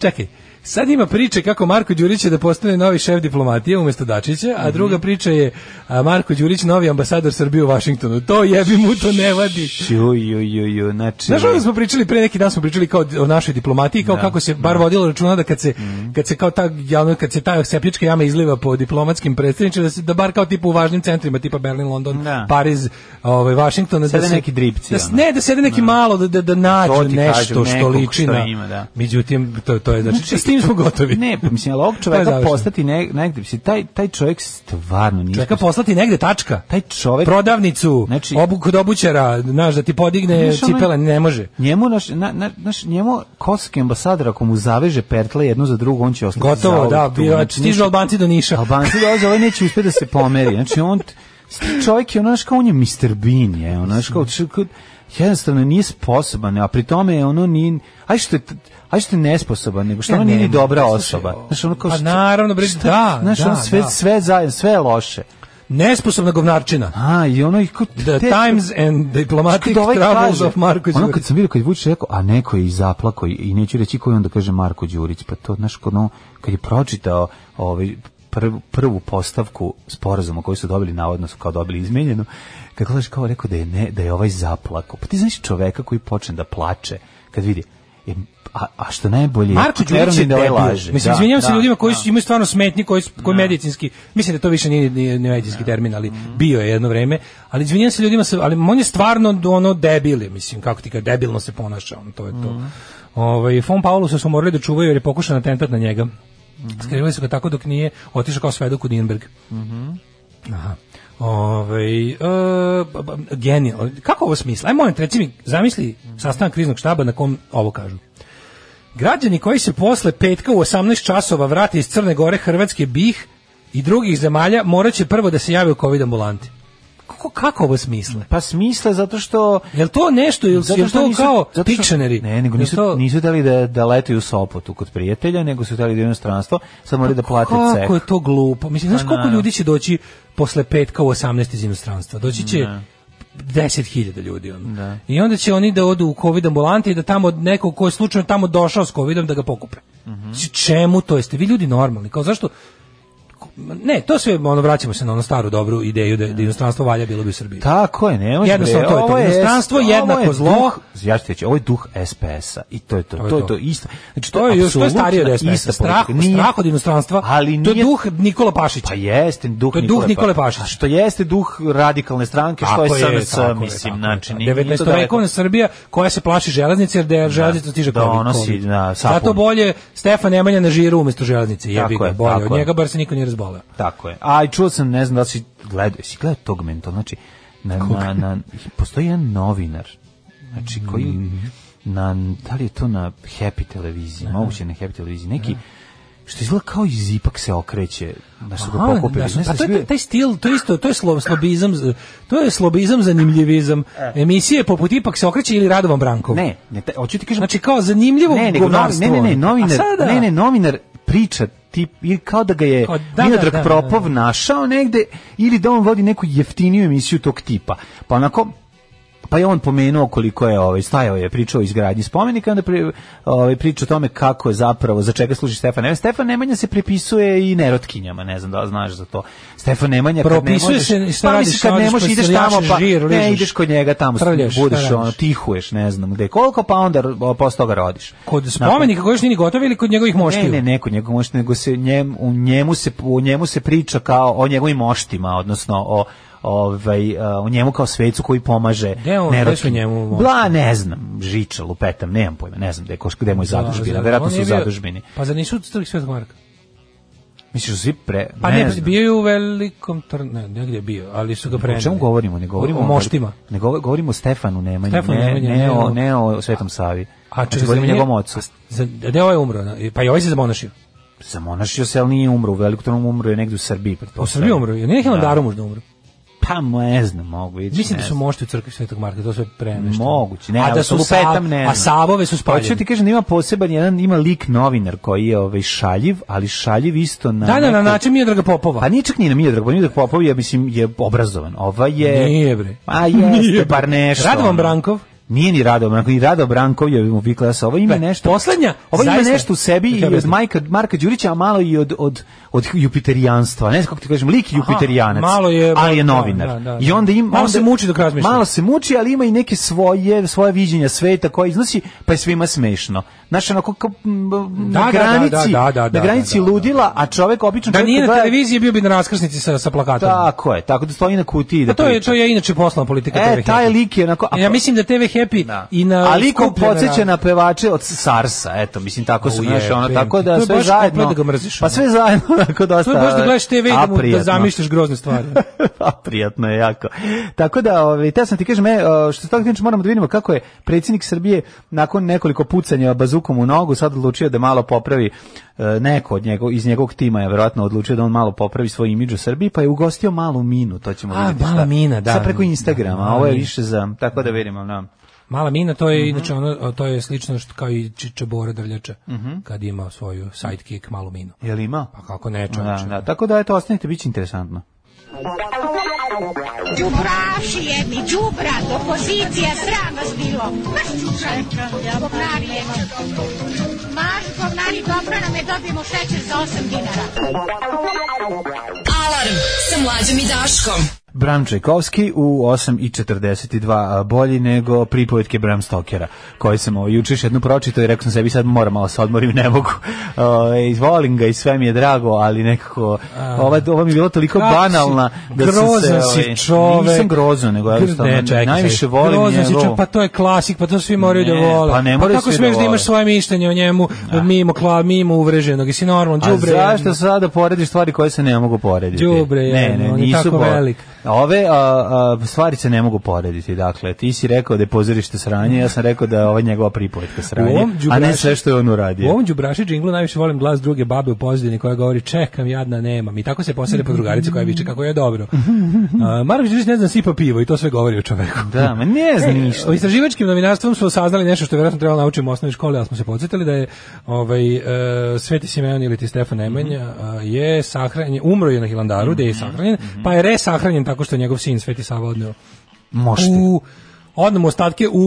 G: čekaj, Sad ima priče kako Marko Đurić je da postane novi šef diplomatije umjesto Dačića, a druga priča je a, Marko Đurić novi ambasador Srbije u Vašingtonu. To jebi mu to ne vadi.
H: Ju, ju, ju, ju, znači...
G: Znaš ono da smo pričali pre neki dan smo pričali kao o našoj diplomatiji kao
H: Da, Mhm.
G: kako se bar vodilo računa da kad se kad se kao ta javno kad se ta septička jama izliva po diplomatskim predstavništvima da se da bar kao tipa u važnim centrima tipa Berlin, London,
H: Da.
G: Pariz, ovaj Vašington da
H: Sede
G: se
H: neki dripci,
G: da s-
H: ono.
G: ne da sede neki malo da da, da nađu
H: To ti
G: nešto
H: kažem,
G: što
H: nekog
G: liči
H: što
G: na
H: ima, da.
G: Međutim to to je znači s tim smo gotovi.
H: Ne, pa mislim, ali ovog
G: To je
H: čoveka
G: završeno.
H: postati ne, negdje, mislim, taj, taj čovjek stvarno nije...
G: Čeka poslati negde tačka.
H: Taj čovjek...
G: Prodavnicu,
H: Ovaj- Znači-
G: obu, kod obućara, znaš, da ti podigne
H: Znaš, ono-
G: cipele, ne može.
H: Njemu, naš, na, na, naš, njemu kosovski ambasador, ako mu zaveže pertle jednu za drugu, on će ostati
G: Gotovo,
H: zauvek
G: da,
H: tu.
G: bio,
H: Znači,
G: stižu
H: neće-
G: Albanci do Niša.
H: Albanci dolaze, ovaj neće uspjeti da se pomeri. Znači, on, čovjek je ono, znaš, kao on je Mr. Bean, je, ono, znaš, kao, č- kao, jednostavno nije sposoban, a pri tome je ono, nije, aj što je, t- aj što je nesposoban, nego što
G: Ne,
H: ono nije
G: ne,
H: ni
G: ne,
H: dobra
G: slušaj,
H: osoba. Znaš, ono kao,
G: pa
H: što-
G: naravno, bre,
H: šta-
G: da,
H: znaš,
G: da,
H: ono, sve,
G: da.
H: sve zajedno, sve je loše.
G: Nesposobna govnarčina.
H: A, i ono, i kao,
G: The
H: te-
G: Times and Diplomatic
H: Kad ovaj
G: Travels
H: kaže,
G: of Marko
H: Ono kad
G: Đurić.
H: sam vidio kad je Vučić rekao, a neko je i zaplako i, i neću reći koji onda kaže Marko Đurić, pa to znaš kod ono, kad je pročitao ovaj prvu, prvu postavku sporazuma koji su dobili navodno su kao dobili izmenjeno, kad gledaš kao rekao da je ne, da je ovaj zaplako. Pa ti znaš čoveka koji počne da plače kad vidi E, a, a što najbolje
G: Marko Đurić je
H: verujem da ovaj
G: debil.
H: laže.
G: Mislim,
H: Da,
G: izvinjavam se
H: da,
G: ljudima koji
H: da.
G: su, imaju stvarno smetnji, koji, su- koji medicinski, mislim da to više nije, nije, nije medicinski termin, ali bio je jedno vreme, ali izvinjavam se ljudima, se, ali on je stvarno ono debil, je, mislim, kako ti kaže, debilno se ponaša, on, to je to. Ovaj, Fon Paulusa su morali da čuvaju jer je pokušan atentat na njega. Skrivali su ga tako dok nije otišao kao svedok u Nürnberg. Aha. Ovaj, e, ba- ba- genijalno. Kako ovo smisla? Ajmo, molim, te, reci mi, zamisli sastanak kriznog štaba na kom ovo kažu. Građani koji se posle petka u 18 časova vrate iz Crne Gore, Hrvatske, BiH i drugih zemalja morat će prvo da se jave u COVID ambulanti. Kako, kako ovo smisle?
H: Pa smisla zato što
G: Jel to nešto, jel, jel to
H: nisu-
G: kao
H: zato što-
G: Pictionary?
H: Ne, nego
G: Jel
H: nisu,
G: to-
H: nisu dali da, da letuju u Sopotu kod prijatelja, nego su dali da idu u inostranstvo, sad moraju da plate
G: Pa Kako
H: ceh. Pa
G: je to glupo? Mislim, znaš koliko
H: naravno.
G: ljudi će doći posle petka u 18 iz inostranstva? Doći će 10.000 ljudi. Ono. I onda će oni da odu u COVID ambulante i da tamo neko ko je slučajno tamo došao s COVIDom da ga pokupe.
H: Mhm.
G: Mislim, Čemu to jeste? Vi ljudi normalni. Kao zašto? Ne, to sve ono vraćamo se na onu staru dobru ideju da, da inostranstvo valja bilo bi u Srbiji.
H: Tako je, ne može.
G: Jednostavno, to je to. Inostranstvo jednako zlo.
H: Ja ću ti reći, ovo je duh SPS-a i to je to. To je to, isto. Znači,
G: To je još to je starije od
H: apsolutna
G: SPS.
H: ista
G: Strah,
H: politika. Nije-
G: strah od inostranstva.
H: Ali
G: to je
H: nije-
G: duh Nikola Pašića.
H: Pa jeste duh
G: To je duh
H: Nikole,
G: Nikole
H: Pa-
G: Pašića.
H: A što jeste duh radikalne stranke, što
G: Tako
H: je SNS,
G: tako
H: mislim,
G: tako
H: znači,
G: je.
H: nije- nije to
G: 19.
H: daleko.
G: vekovna Srbija koja se plaši železnice jer da je železnica stiže
H: Da
G: COVID.
H: donosi,
G: COVID.
H: da, sapun.
G: Zato bolje Stefan Nemanja na žiru umesto železnice. Jebi
H: Tako
G: ga,
H: je,
G: bolje.
H: tako
G: Od
H: je.
G: njega bar se niko nije razboleo.
H: Tako je. A i čuo sam, ne znam da li si gledao, si gledao tog mental, znači, na, na, na, postoji jedan novinar, znači, koji,
G: Mhm.
H: na, da li je to na Happy televiziji, moguće na Happy televiziji, neki, što izgleda kao iz ipak se okreće, da su ga
G: Aha,
H: pokupili.
G: da su-
H: Ne znam,
G: pa to
H: jesi
G: je
H: vidio?
G: taj stil, to je isto, to je slo- slobizam, z- to je slobizam zanimljivizam. Emisije poput ipak se okreće ili Radovan Brankov.
H: E. Ne, ne, taj, hoću ti kažem,
G: Znači kao zanimljivo
H: ne, nego novi-
G: govnarstvo.
H: ne, ne, ne,
G: ono.
H: novinar,
G: A sada-
H: ne, ne, novinar priča tip ili kao da ga je
G: Kao, da,
H: Miodrag
G: da, da,
H: Propov
G: da,
H: našao negde ili da on vodi neku jeftiniju emisiju tog tipa. Pa onako pa je on pomenuo koliko je ovaj stajao je pričao o izgradnji spomenika onda pri, ovaj priča o tome kako je zapravo za čega služi Stefan Nemanja Stefan Nemanja se prepisuje i nerotkinjama ne znam da li znaš za to Stefan Nemanja kad ne
G: Propisuje
H: možeš
G: se i šta
H: pa
G: radiš,
H: mislim kad
G: odeš
H: ne
G: kod
H: možeš ideš
G: seljača,
H: tamo pa
G: žir,
H: ne
G: ližeš,
H: ideš kod njega tamo
G: trljaš, šta
H: budeš ono
G: radiš?
H: tihuješ ne znam gde koliko pa onda o, posle toga rodiš
G: Kod
H: Nakon-
G: spomenika koji još nije ni gotov ili kod njegovih moštiju?
H: ne, ne, neko njegov mošti, nego se njem, u njemu se u njemu se priča kao o njegovim moštima, odnosno o ovaj a, o njemu kao svecu koji pomaže
G: Gde on-
H: nerotkinji.
G: gde su njemu mošti?
H: Bla, ne znam, žiča, lupetam, nemam pojma, ne znam gde je koš gde je moj zadužbina,
G: Da,
H: verovatno
G: on
H: su
G: je
H: u
G: bio-
H: zadužbini.
G: Pa za nisu Trg Svetog Marka?
H: Misliš da su svi pre,
G: Pa
H: ne,
G: ne,
H: znam.
G: bio je u velikom trn... ne, negdje je bio, ali su ga preneli.
H: O čemu govorimo? Ne govorimo
G: o moštima.
H: Ne govo- govorimo o Stefanu Nemanji,
G: Stefanu
H: ne,
G: Nemanji,
H: ne,
G: ne
H: o,
G: o-
H: ne o Svetom Savi.
G: A
H: znači,
G: čekaj,
H: govorimo o
G: za-
H: njegovom ocu.
G: Za- Gde ovaj umro? na- Pa i ovaj se zamonašio.
H: Zamonašio se, ali nije umro, u Velikotonu umro je negdje u Srbiji.
G: Pa U Srbiji
H: pretpostavljam.
G: umro, je neki mandaru možda umro.
H: Pa ne znam, mogu vidjeti.
G: Mislim
H: ne
G: da su
H: znam.
G: mošti u crkvi Svetog Marka, to sve premešteno.
H: Moguće, ne,
G: a
H: ali
G: da su
H: to lupetam,
G: sa-
H: ne
G: a
H: znam. Pa
G: savove su
H: Hoću
G: spaljeni.
H: ti kažem da ima poseban jedan, ima lik novinar koji je ovaj, šaljiv, ali šaljiv isto na...
G: Da, da, na
H: neku-
G: način Miodraga Popova.
H: Pa nije čak ni na Miodrag, pa Miodrag Popov je, mislim, je obrazovan. Ova je...
G: Nije, bre.
H: A jeste,
G: Nije, bre.
H: bar nešto.
G: Radovan
H: ono.
G: Brankov.
H: Nije ni Rado Branko, ni Rado Brankov je mu vikla sa ovo ima nešto.
G: poslednja,
H: ovo ima
G: zaista,
H: nešto u sebi
G: da ti
H: i od
G: objasnim.
H: Majka Marka Đurića, a malo i od od od jupiterijanstva. Ne znam kako ti kažem, lik je jupiterianac.
G: malo je-
H: ali je
G: da,
H: novinar.
G: da, da, da.
H: I onda ima
G: Malo se muči dok razmišlja.
H: Malo se muči, ali ima i neke svoje svoje viđenja sveta koje iznosi, pa je svima smešno. Znaš, onako kao, m, na
G: da, da,
H: granici,
G: da, da, da, da,
H: na granici
G: da, da, da.
H: ludila, a čovek običan
G: Da
H: čovjek
G: nije
H: ko
G: na
H: gleda-
G: televiziji bio bi na raskrsnici sa, sa plakatom.
H: Tako je, tako da stoji na kutiji i da
G: A Pa to je,
H: priča.
G: to je inače poslovna politika TV
H: E,
G: Happy.
H: taj lik je onako... a
G: ja
H: pa-
G: mislim da TV Happy
H: Da.
G: i na...
H: Ali ko
G: skupljene
H: podsjeća
G: rade.
H: na pevače od Sarsa, eto, mislim, tako su,
G: Au,
H: znaš, ono,
G: jebem
H: tako
G: ti.
H: da
G: To je
H: sve
G: baš
H: zajedno...
G: komplet da ga mrziš,
H: Pa
G: ono.
H: sve zajedno, onako, dosta...
G: To je baš da gledaš TV i da, mu, da
H: aprijetno.
G: zamišljaš grozne stvari.
H: A, prijatno je jako. Tako da, ovaj, te sam ti kažem, e, o, što se toga tiče, moramo da vidimo kako je predsjednik Srbije nakon nekoliko pucanja bazukom u nogu sad odlučio da malo popravi e, neko od njegov, iz njegovog tima je verovatno odlučio da on malo popravi svoj imidž u Srbiji, pa je ugostio malu minu, to ćemo
G: A,
H: vidjeti.
G: Mala
H: šta-
G: Mina, da.
H: Sad preko Instagrama,
G: Da,
H: a
G: Mala
H: ovo je
G: Mina.
H: više za, tako da vidimo, na.
G: Mala Mina, to je
H: Mhm.
G: inače ono, to je slično što kao i Čiča Bora Drljača,
H: Mhm.
G: kad je imao svoju sidekick Malu Minu.
H: Jel ima?
G: Pa kako ne,
H: Da,
G: čovječe.
H: da, tako da eto ostanite biće interesantno.
B: Đubraši jedni, đubra, opozicija, sram vas bilo. Maš čučaj, govnari jedni. Maš govnari, dobro nam je, dobijemo šećer za 8 dinara.
F: Alarm sa mlađom i Daškom.
H: Bram Čajkovski u 8.42, a bolji nego pripovetke Bram Stokera, koje sam ovo juče još jednu pročitao i rekao sam sebi sad moram malo se odmorim, ne mogu. Ove, volim ga i sve mi je drago, ali nekako ova, ova mi je bila toliko
G: Kako si-
H: banalna da
G: grozan
H: sam se...
G: si
H: ovaj,
G: čovek.
H: Nisam grozan, nego
G: Gr-
H: jednostavno
G: ne, čekaj,
H: najviše
G: čekaj.
H: volim
G: Grozan si
H: njegovo-
G: čovek, pa to je klasik, pa to svi moraju da
H: Ne,
G: vole.
H: pa ne moraju
G: kako
H: svi da
G: smeš da
H: vole.
G: imaš svoje mišljenje o njemu, mimo, kla, mimo uvreženog, i si normalan,
H: A
G: đubre.
H: Pa zašto sada porediš stvari koje se ne mogu porediti?
G: Đubre jedno, on je tako
H: po-
G: velik.
H: Ove a, a, stvari se ne mogu porediti, dakle. Ti si rekao da je pozorište sranje, ja sam rekao da je ova njegova pripovetka
G: U
H: sranje,
G: ovom
H: a ne
G: đubraši-
H: sve što je on
G: U
H: uradio.
G: ovom đubraši džinglu najviše volim glas druge babe u pozadini koja govori čekam jadna nemam i tako se posere po drugarici koja viče kako je dobro. A, Marko Đurić ne zna sipa pivo i to sve govori o čoveku.
H: Da, ma ne znam ništa.
G: E, O istraživačkim novinarstvom smo saznali nešto što je vjerojatno trebalo naučiti u osnovnoj školi, ali smo se podsjetili da je ovaj, e, Sveti Simeon ili ti Stefan Nemanja
H: Mhm.
G: a, je sahranjen, umro je na Hilandaru, gde je sahranjen,
H: Mhm.
G: pa je resahranjen tako što je njegov sin Sveti Sava odneo
H: Možete.
G: u odnemo ostatke u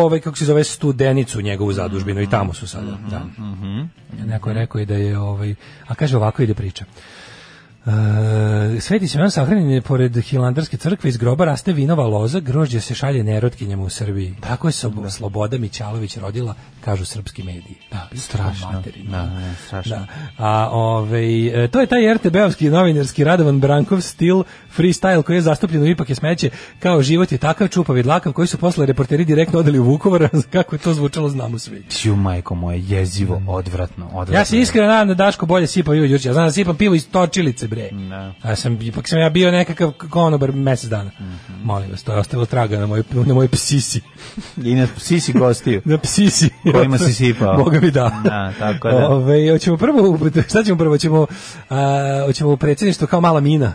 G: ovaj kako se zove studenicu njegovu zadužbinu i tamo su sada. Da.
H: Mhm.
G: Neko je rekao i da je ovaj a kaže ovako ide priča. E, Sveti Simeon sahranjen je pored Hilandarske crkve iz groba raste vinova loza, grožđe se šalje nerotkinjama u Srbiji. Tako je sob- Sloboda Mićalović rodila, kažu srpski mediji. Da, strašno.
H: Da, ne, strašno.
G: A ovaj e, to je taj RTB-ovski novinarski Radovan Brankov stil freestyle koji je zastupljen u ipak je smeće kao život je takav čupav i dlakav koji su posle reporteri direktno odali u Vukovar kako je to zvučalo znamo svi.
H: Ću, majko moje, jezivo, odvratno, odvratno.
G: Ja se iskreno nadam da Daško bolje sipa Ivo Đurić. Ja znam da sipam pivo iz točilice, bre.
H: Da.
G: A sam, ipak sam ja bio nekakav konobar mesec dana. Molim vas, to je ostalo traga na moj, na moj psisi.
H: I na sisi gostiju.
G: Na psisi.
H: Kojima si sipao.
G: Boga mi da.
H: Da, tako da.
G: Ove, hoćemo prvo, u- šta ćemo prvo? Hoćemo, a, hoćemo u predsjedništvo kao mala mina.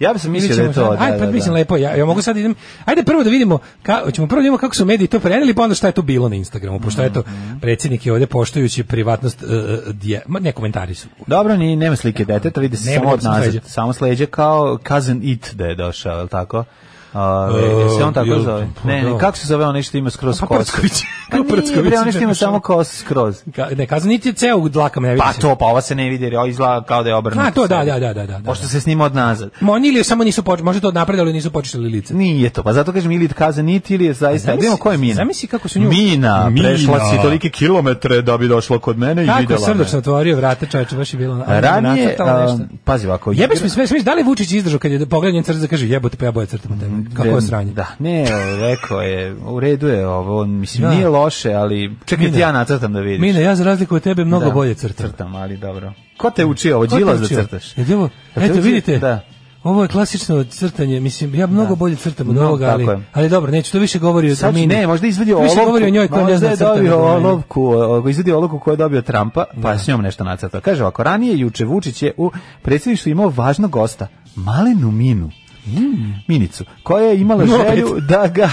H: Ja bi sam
G: Ili
H: mislio da je
G: ćemo-
H: to, da,
G: Ajde,
H: da,
G: pa
H: da.
G: mislim lepo, ja, ja mogu sad idem. Ajde prvo da vidimo, ka, hoćemo prvo da vidimo kako su mediji to preneli, pa onda šta je to bilo na Instagramu, pošto eto,
H: Mhm.
G: predsjednik je ovdje poštujući privatnost, e, e, dje- ma, ne komentari su.
H: Dobro, ni nema slike deteta, vidi se
G: Nema,
H: samo
G: nema
H: od
G: samo
H: nazad,
G: sleđa.
H: samo sleđe kao Cousin It da je došao, je li tako? A,
G: E,
H: se on tako
G: jel-
H: zove? Ne,
G: pa
H: ne,
G: da.
H: kako se zove onaj što ima skroz
G: Pa
H: kosu?
G: Prcković.
H: Pa
G: Kao
H: nije,
G: Prcković. ono-
H: bre, onaj što ima samo kosu skroz.
G: Ka- ne, kazan niti je ceo dlaka ne vidi
H: Pa
G: se.
H: to, pa ovo se ne vidi, jer ovo izgleda kao da je obrnuto.
G: A, to, da,
H: sebi.
G: da, da, da, da.
H: Pošto se snima od nazad.
G: Ma oni ili samo nisu počeli, možda to napredali, nisu počeli lice.
H: Nije to, pa zato kažem ili Cousin It ili je zaista,
G: Pa zamisli-
H: gdje ko je Mina?
G: zamisli kako su nju-
H: Mina,
G: Mina.
H: prešla si tolike kilometre da bi došla kod mene i
G: Kako
H: videla
G: je
H: me.
G: srdačno otvorio vrate, čoveče, baš je bilo... ono, a,
H: Ranije,
G: nacrtala
H: a,
G: nešto.
H: pazi ovako,
G: Jebeš
H: igra-
G: mi sve, smiješ, da li je Vučić izdržao kad je pogledan crza kaže jebote, pa ja boje crtam od tebe. Kako je sranje?
H: Da, ne, rekao je, u redu je ovo, on, mislim,
G: Da.
H: nije loše, ali čekaj ti
G: Mina.
H: ja nacrtam da vidiš.
G: Mina, ja za razliku od tebe mnogo
H: Da,
G: bolje crtam.
H: Crtam, ali dobro. Ko te učio ovo,
G: Ko te
H: Đilas da
G: učio?
H: crtaš?
G: Je li ovo?
H: Jel te
G: Eto,
H: učio?
G: vidite,
H: Da.
G: ovo je klasično crtanje, mislim, ja mnogo bolje crtam od
H: No,
G: ovoga,
H: tako
G: ali,
H: je.
G: ali dobro, neću, to više govori o
H: Sad,
G: Mini.
H: ne, možda izvadio
G: To Više
H: olovku.
G: govori o njoj koja ne
H: možda
G: zna
H: je
G: crtanje
H: dobio
G: nego meni.
H: olovku, o- izvadio olovku koju je dobio Trumpa, pa s njom nešto nacrtao. Kaže ovako, ranije juče Vučić je u predsjedništvu imao važnog gosta, Malenu Minu.
G: Mm.
H: Minicu, koja je imala
G: 0,5.
H: želju da ga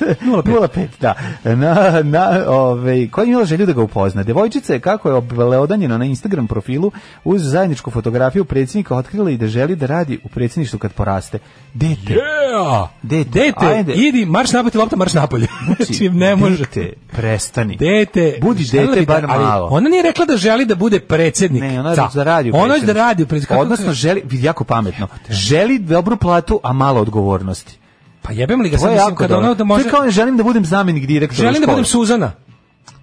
H: 05 da na na ovaj koja je imala želju da ga upozna. Devojčica je kako je obeleodanjena na Instagram profilu uz zajedničku fotografiju predsjednika otkrila i da želi da radi u predsjedništvu kad poraste. Dete.
G: Yeah!
H: Dete,
G: Dete,
H: ajde.
G: idi, marš napad i lopta, marš napolje. Znači, ne može.
H: Dete, prestani.
G: Dete,
H: Budi
G: želela
H: dete
G: bi da-
H: bar
G: ali
H: malo.
G: Ona nije rekla da želi da bude predsjednik.
H: Ne, ona
G: Ca.
H: da radi u
G: Ona je da
H: predsjedništvu.
G: radi u predsjednik. Kako-
H: Odnosno želi, vidi, jako pametno. Želi dobru platu, a malo odgovornosti.
G: pa jebem li ga
H: To
G: sad,
H: je
G: mislim,
H: jako
G: kad ona
H: dobro.
G: da
H: To
G: može...
H: je kao ne želim da budem zamjenik direktora
G: Želim da
H: škole.
G: budem Suzana.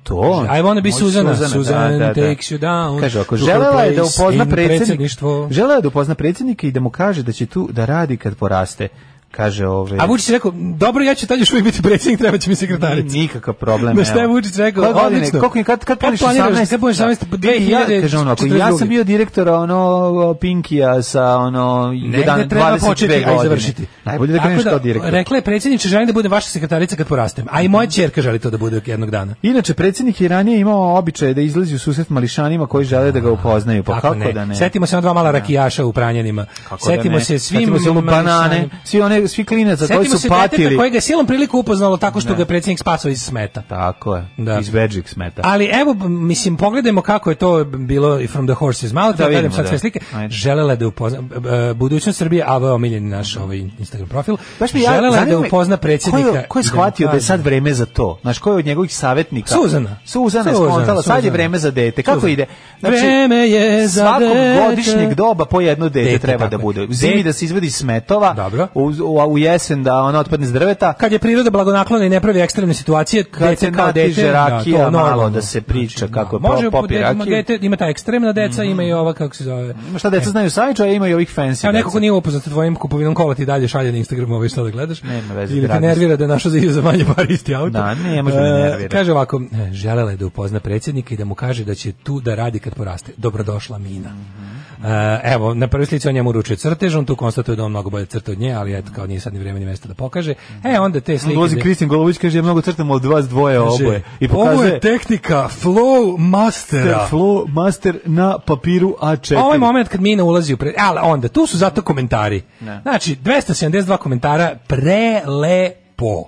H: To.
G: I wanna be
H: Može
G: Suzana.
H: da,
G: Suzanne
H: da, da.
G: takes you down
H: Kaže, ako
G: to her
H: želela je da
G: place
H: upozna
G: in
H: predsjednik,
G: predsjedništvo.
H: želela je da upozna predsjednika i da mu kaže da će tu da radi kad poraste. Kaže ovaj- ove...
G: A Vučić je rekao, dobro, ja ću tad još uvijek biti predsjednik, treba će mi sekretarica.
H: Nikakav problem.
G: Na šta je
H: evo.
G: Vučić rekao?
H: Koje godine?
G: Odlično.
H: Koliko je, kad, kad
G: Kad
H: puniš
G: planiraš,
H: 18?
G: kad puniš 18? Pa
H: Da. E, ja, kaže ono, ako ja
G: 2042.
H: sam bio direktor ono, Pinkija sa ono, 11,
G: Negde treba
H: 22
G: početi, a i
H: godine.
G: završiti.
H: Najbolje da
G: Tako
H: kreneš kao direktor. Mhm.
G: Rekla je predsjedniče, želim da budem vaša sekretarica kad porastem. A i moja ćerka želi to da bude jednog dana.
H: Inače, predsjednik je ranije imao običaj da izlazi u susret mališanima koji žele da ga upoznaju. Pa kako, da ne?
G: Setimo se na dva mala rakijaša u pranjenima.
H: Kako da
G: Setimo
H: ne?
G: se svim
H: Setimo se ono banane,
G: mališanima.
H: svi one svi klinaca koji
G: Setimo
H: su
G: se deteta
H: patili.
G: kojega je silom priliku upoznalo tako što ga je predsjednik spasao iz smeta.
H: Tako je.
G: Da.
H: Iz Veđik smeta.
G: Ali evo, b- mislim, pogledajmo kako je to bilo i from the horse's mouth,
H: Da
G: da,
H: vidimo,
G: gledam sad
H: da.
G: sve slike.
H: Ajde.
G: Želela je da upozna, b- b- budućnost Srbije, a ovo je omiljeni naš ovaj Instagram profil,
H: Baš mi ja-
G: želela je da
H: zanima me,
G: upozna
H: ko
G: predsjednika.
H: je- Ko je
G: i da mu
H: shvatio da je
G: kaže-
H: sad vreme za to? Znaš, ko je od njegovih savjetnika?
G: Suzana.
H: Suzana je
G: Suzana,
H: skontala, sad je
G: Suzana.
H: vreme za dete. Kako
G: Suzana.
H: ide? Znači,
G: Vreme je za
H: svakog
G: dete.
H: godišnjeg doba po jedno dete,
G: Dete,
H: treba
G: tako
H: da
G: je.
H: bude. U zimi
G: Dete.
H: da se izvadi iz smetova,
G: Dobro.
H: U, u, a u jesen da ona otpadne s drveta,
G: kad je priroda blagonaklona i ne pravi ekstremne situacije,
H: Kad
G: dete
H: se
G: kao
H: natiže
G: dete,
H: rakija,
G: to je normalno. Znači,
H: malo da se priča kako je
G: može,
H: pop-
G: po-
H: popi
G: dete- ima
H: rakiju.
G: Dete, ima ta ekstremna deca, ima i ova, kako se zove.
H: Ima šta deca znaju Savića, a ima i ovih fancy
G: E.
H: deca.
G: Evo neko ko nije upoznat sa tvojim kupovinom kola ti dalje šalje na Instagram ovo šta da gledaš.
H: Nema veze,
G: Ili te
H: dragost.
G: nervira da je našao za za manje par isti auto.
H: Da, ne može da me
G: E,
H: nervira.
G: Kaže ovako, e, želela je da upozna predsjednika i da mu kaže da će tu da radi kad poraste. Dobrodošla Mina.
H: Mhm.
G: E, evo, na prvoj slici on njemu uručuje crtež, on tu konstatuje da on mnogo bolje crta od nje, ali eto, kao nije sad ni vreme ni mesta da pokaže. E, onda te slike...
H: Dolazi
G: gde-
H: Kristin Golović, kaže, ja mnogo crtam od vas dvoje
G: Kaže,
H: Pa oboje. I
G: Ovo je
H: pokazuje
G: tehnika flow mastera.
H: Flow Master na papiru A4.
G: Ovo je moment kad Mina ulazi u pre... Ali onda, tu su zato komentari. Znači, 272 komentara, prelepo.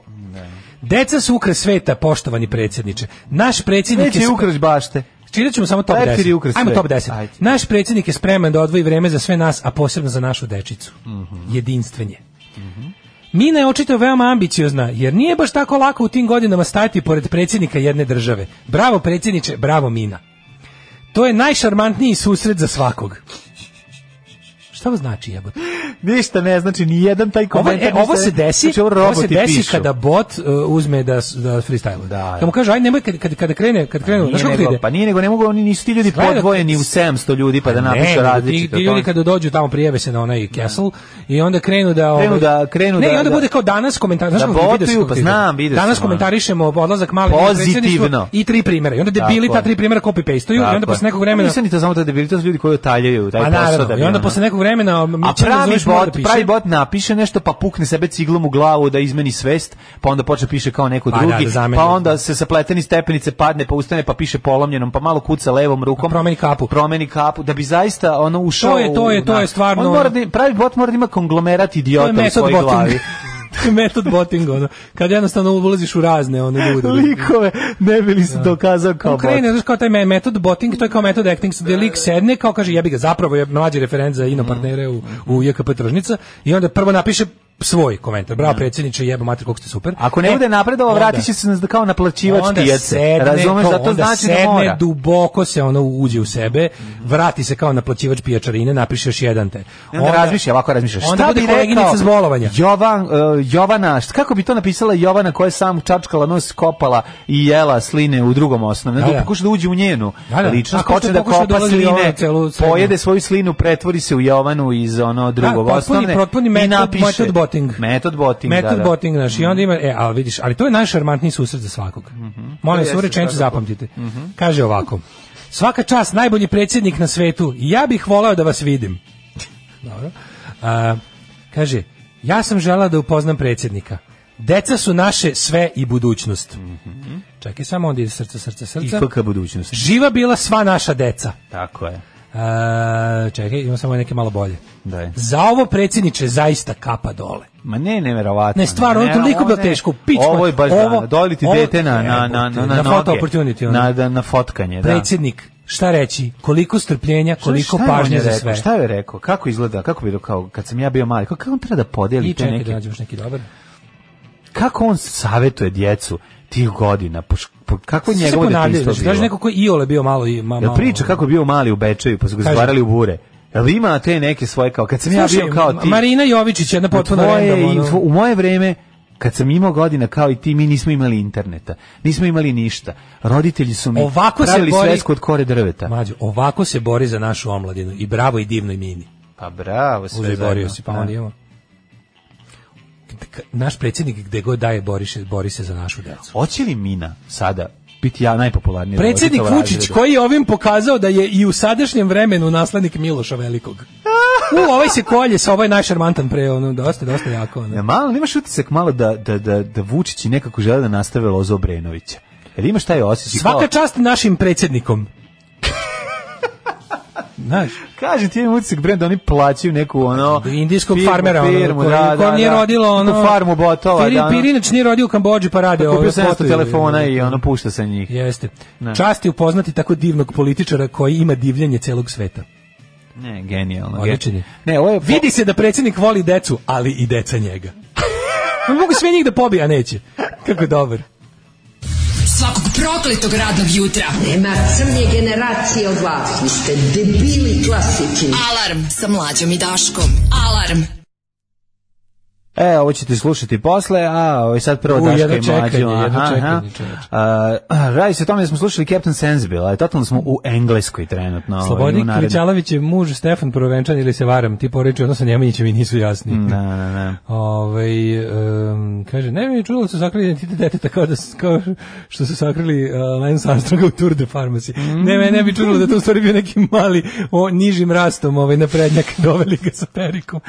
G: Deca su ukras sveta, poštovani predsjedniče. Naš predsjednik
H: Neće
G: je...
H: ukrać bašte.
G: Čitat ćemo samo top
H: Leptir je
G: 10.
H: ukras
G: Ajmo
H: sveta.
G: top 10.
H: Ajde.
G: Naš predsjednik je spreman da odvoji vreme za sve nas, a posebno za našu dečicu.
H: Mhm.
G: Jedinstven je. Mina je očito veoma ambiciozna, jer nije baš tako lako u tim godinama stajati pored predsjednika jedne države. Bravo predsjedniče, bravo Mina. To je najšarmantniji susret za svakog. Šta ovo znači jebote?
H: Ništa ne, znači ni jedan taj
G: Ovo,
H: komentar.
G: e, ovo
H: ništa
G: se
H: ne-
G: desi,
H: znači, ovo
G: ovo se
H: roboti
G: desi
H: pišu.
G: kada bot uh, uzme da s- da freestyle.
H: Da,
G: Da,
H: da.
G: mu kaže aj nemoj kad kad kada krene, kad krenu,
H: Nije
G: znaš kako to
H: nego,
G: ide?
H: pa nije nego, ne mogu, oni nisu ti ljudi
G: Gledaj,
H: podvojeni u 700 ljudi pa da
G: Ne,
H: napišu
G: nego
H: različito.
G: Ti, ti
H: to je-
G: ljudi kada dođu tamo prijave se na onaj castle i onda krenu da ovaj-
H: Krenu da- krenu
G: ne,
H: da-
G: i onda
H: da-
G: bude kao danas komentar, znaš
H: da
G: kako vidio sam
H: botuju,
G: kako
H: pa
G: to ide.
H: znam, vidio
G: Danas
H: sam,
G: komentarišemo odlazak male u
H: Pozitivno.
G: predsjedništvo i tri primjera. I onda debili
H: Tako je.
G: ta tri primjera copy pasteuju i
H: Tako
G: onda
H: je.
G: posle nekog vremena
H: Nisu ni to samo to debili, to su ljudi koji otaljaju taj
G: Pa
H: posao.
G: naravno,
H: da bi
G: i onda
H: ono-
G: posle nekog vremena mi
H: A
G: ćemo
H: pravi
G: razumeš, mora da
H: bot,
G: piše.
H: pravi bot napiše nešto pa pukne sebe ciglom u glavu da izmeni svest, pa onda počne piše kao neko
G: Pa da,
H: drugi,
G: da zameni.
H: pa onda se sa pleteni stepenice padne, pa ustane, pa piše polomljenom, pa malo kuca levom rukom.
G: Pa promeni kapu.
H: Promeni kapu, da bi zaista ono ušao.
G: To je- to je-
H: u-
G: to je
H: na-
G: stvarno
H: On mora
G: ono-
H: da, pravi bot mora da ima konglomerat
G: To
H: idiota
G: je
H: u
G: metod
H: svojoj glavi.
G: botting. To je metod botting, ono. Kad jednostavno ulaziš u razne one ljude.
H: Likove, ne bi li se dokazao kao
G: On
H: bot.
G: krene, znaš, kao taj me- metod botting, to je kao metod acting, gde lik sedne, kao kaže, jebi ga, zapravo je mlađi referent za ino partnere u, u JKP tržnica, i onda prvo napiše svoj komentar, bravo predsjedniče, jebo mater, koliko ste super.
H: Ako ne
G: E,
H: bude napredovao,
G: onda-
H: vratit će se na- kao naplaćivač
G: onda
H: pijace.
G: sedne,
H: Razumeš,
G: kao,
H: zato
G: onda
H: znači
G: sedne,
H: da mora.
G: duboko se ono uđe u sebe, vrati se kao naplaćivač pijačarine, napiše još jedan te.
H: I onda razmišlja, ovako razmišlja.
G: onda
H: Šta
G: bude
H: bi rekao
G: koleginica zbolovanja.
H: Jovan, uh, Jovana, št- kako bi to napisala Jovana koja je sam čačkala nos, kopala i jela sline u drugom osnovu.
G: Da,
H: Da,
G: da.
H: Pokuša da uđe u njenu
G: Da, da.
H: ličnost,
G: Tako što
H: počne da
G: pokuša da
H: kopa
G: ulazi Jovana
H: sline,
G: u celu sredinu.
H: pojede svoju slinu, pretvori se u Jovanu iz ono drugog
G: potpuni-
H: osnovne.
G: potpuni
H: i
G: metod-
H: napiše-
G: metod botting.
H: Metod botting,
G: Metod
H: da, Mhm. da.
G: botting, znaš, i onda ima, e, ali vidiš, ali to je najšarmantniji susret za svakog. Molim vas,
H: Mhm. jeste
G: ovu rečenicu
H: svakako. Mhm.
G: zapamtite. Kaže ovako, svaka čast, najbolji predsjednik na svetu, ja bih volao da vas vidim. Dobro. A, kaže, ja sam žela da upoznam predsjednika. Deca su naše sve i budućnost.
H: Mhm.
G: Čekaj, samo onda ide srce, srce,
H: I
G: srce.
H: FK budućnost.
G: Živa bila sva naša deca.
H: Tako je.
G: E, E, čekaj, imam samo neke malo bolje.
H: Daj.
G: Za ovo predsjedniče zaista kapa dole.
H: Ma ne, neverovatno.
G: Ne, stvarno, ono je toliko
H: ovo
G: bilo
H: ne.
G: teško, pič mu-
H: Ovo je baš
G: ovo-
H: ovo, doli ti
G: ovo-
H: dete na, na, na,
G: Jebote,
H: na,
G: na photo
H: noge.
G: opportunity, ono.
H: Na, da, na fotkanje, da.
G: Predsjednik, šta reći? Koliko strpljenja,
H: Šta
G: koliko
H: je on
G: pažnje
H: je
G: za
H: rekao?
G: sve.
H: Šta je rekao? Kako izgleda? Kako bi to kao kad sam ja bio mali? Kako, kako on treba da podeli
G: I
H: te
G: čekaj
H: neke?
G: da nađeš neki dobar.
H: Kako on savjetuje djecu tih godina? Po, š- po, kako je
G: Sve se
H: njegovo
G: ponavljaju,
H: detinjstvo
G: znači,
H: bilo?
G: Kaže neko ko je iole bio malo i ma,
H: Jel
G: malo.
H: priča kako je bio mali u Bečeju, pa su ga
G: Kaže-
H: stvarali u bure. Jel ima te neke svoje kao kad sam ja
G: Slušaj,
H: bio kao ti?
G: Marina Jovičić, jedna
H: u
G: potpuno
H: tvoje
G: random.
H: i
G: ono.
H: tvo- u moje vreme kad sam imao godina kao i ti, mi nismo imali interneta. Nismo imali ništa. Roditelji su mi
G: Ovako se
H: pravili
G: bori-
H: svesku od kore drveta.
G: Mlađo, ovako se bori za našu omladinu i bravo i divno i mini.
H: Pa bravo, sve
G: Uzaj
H: zajedno.
G: borio si, pa
H: Da.
G: onda imamo. K- Naš predsjednik gde god daje bori se, bori se za našu decu.
H: Hoće li Mina sada biti ja najpopularniji?
G: Predsjednik
H: roditelj u
G: Vučić
H: razredu?
G: koji je ovim pokazao da je i u sadašnjem vremenu naslednik Miloša Velikog. U, ovaj se kolje sa ovaj najšarmantan pre, ono, dosta, dosta jako. Ono.
H: Ja, malo, nemaš utisak malo da, da, da, da Vučići nekako žele da nastave Lozo Obrenovića. Jel imaš taj osjećaj?
G: Svaka
H: Kao-
G: čast našim predsjednikom. Znaš,
H: Kaže ti imam utisak brend da oni plaćaju neku ono
G: indijskog
H: firmu,
G: farmera, ono,
H: firmu,
G: koji-
H: da,
G: kom
H: da,
G: nije
H: da.
G: rodilo ono...
H: Neku farmu botova,
G: Piri-
H: da. ono,
G: Pirinač nije rodio u Kambođi, pa rade
H: Kupio
G: ove
H: sam 100
G: fotoje.
H: telefona i ono pušta sa njih.
G: Jeste.
H: Ne.
G: Čast je upoznati tako divnog političara koji ima divljenje celog sveta.
H: Ne, genijalno.
G: Odličan je.
H: gen- Ne, ovo je
G: Vidi se da predsjednik voli decu, ali i deca njega. Ma Mogu sve njih da pobija, neće. Kako je dobar.
F: Svakog prokletog radnog jutra.
J: Nema crnje generacije od vas. Vi ste debili klasični.
F: Alarm sa mlađom i Daškom. Alarm.
H: E, ovo ćete slušati posle, a ovo je sad prvo
G: U,
H: Daška
G: jedno
H: i mlađu.
G: čekanje, jedno
H: aha,
G: čekanje,
H: aha.
G: čoveče.
H: A, Radi se o tome da smo slušali Captain Sensible, ali totalno smo u Engleskoj trenutno. ovaj, u
G: Slobodnik
H: narednom-
G: Kličalović je muž Stefan Provenčan ili se varam, ti poreči ono sa Nemanjićem i nisu jasni.
H: Da, da, da.
G: Ove, kaže, ne mi je čulo da su sakrili identitet deteta kao, da, s- kao što su sakrili uh, Lance Armstronga u Tour de Pharmacy. Ne, me ne bi čulo da to u stvari bio neki mali o, nižim rastom ovaj, naprednjak doveli ga sa perikom.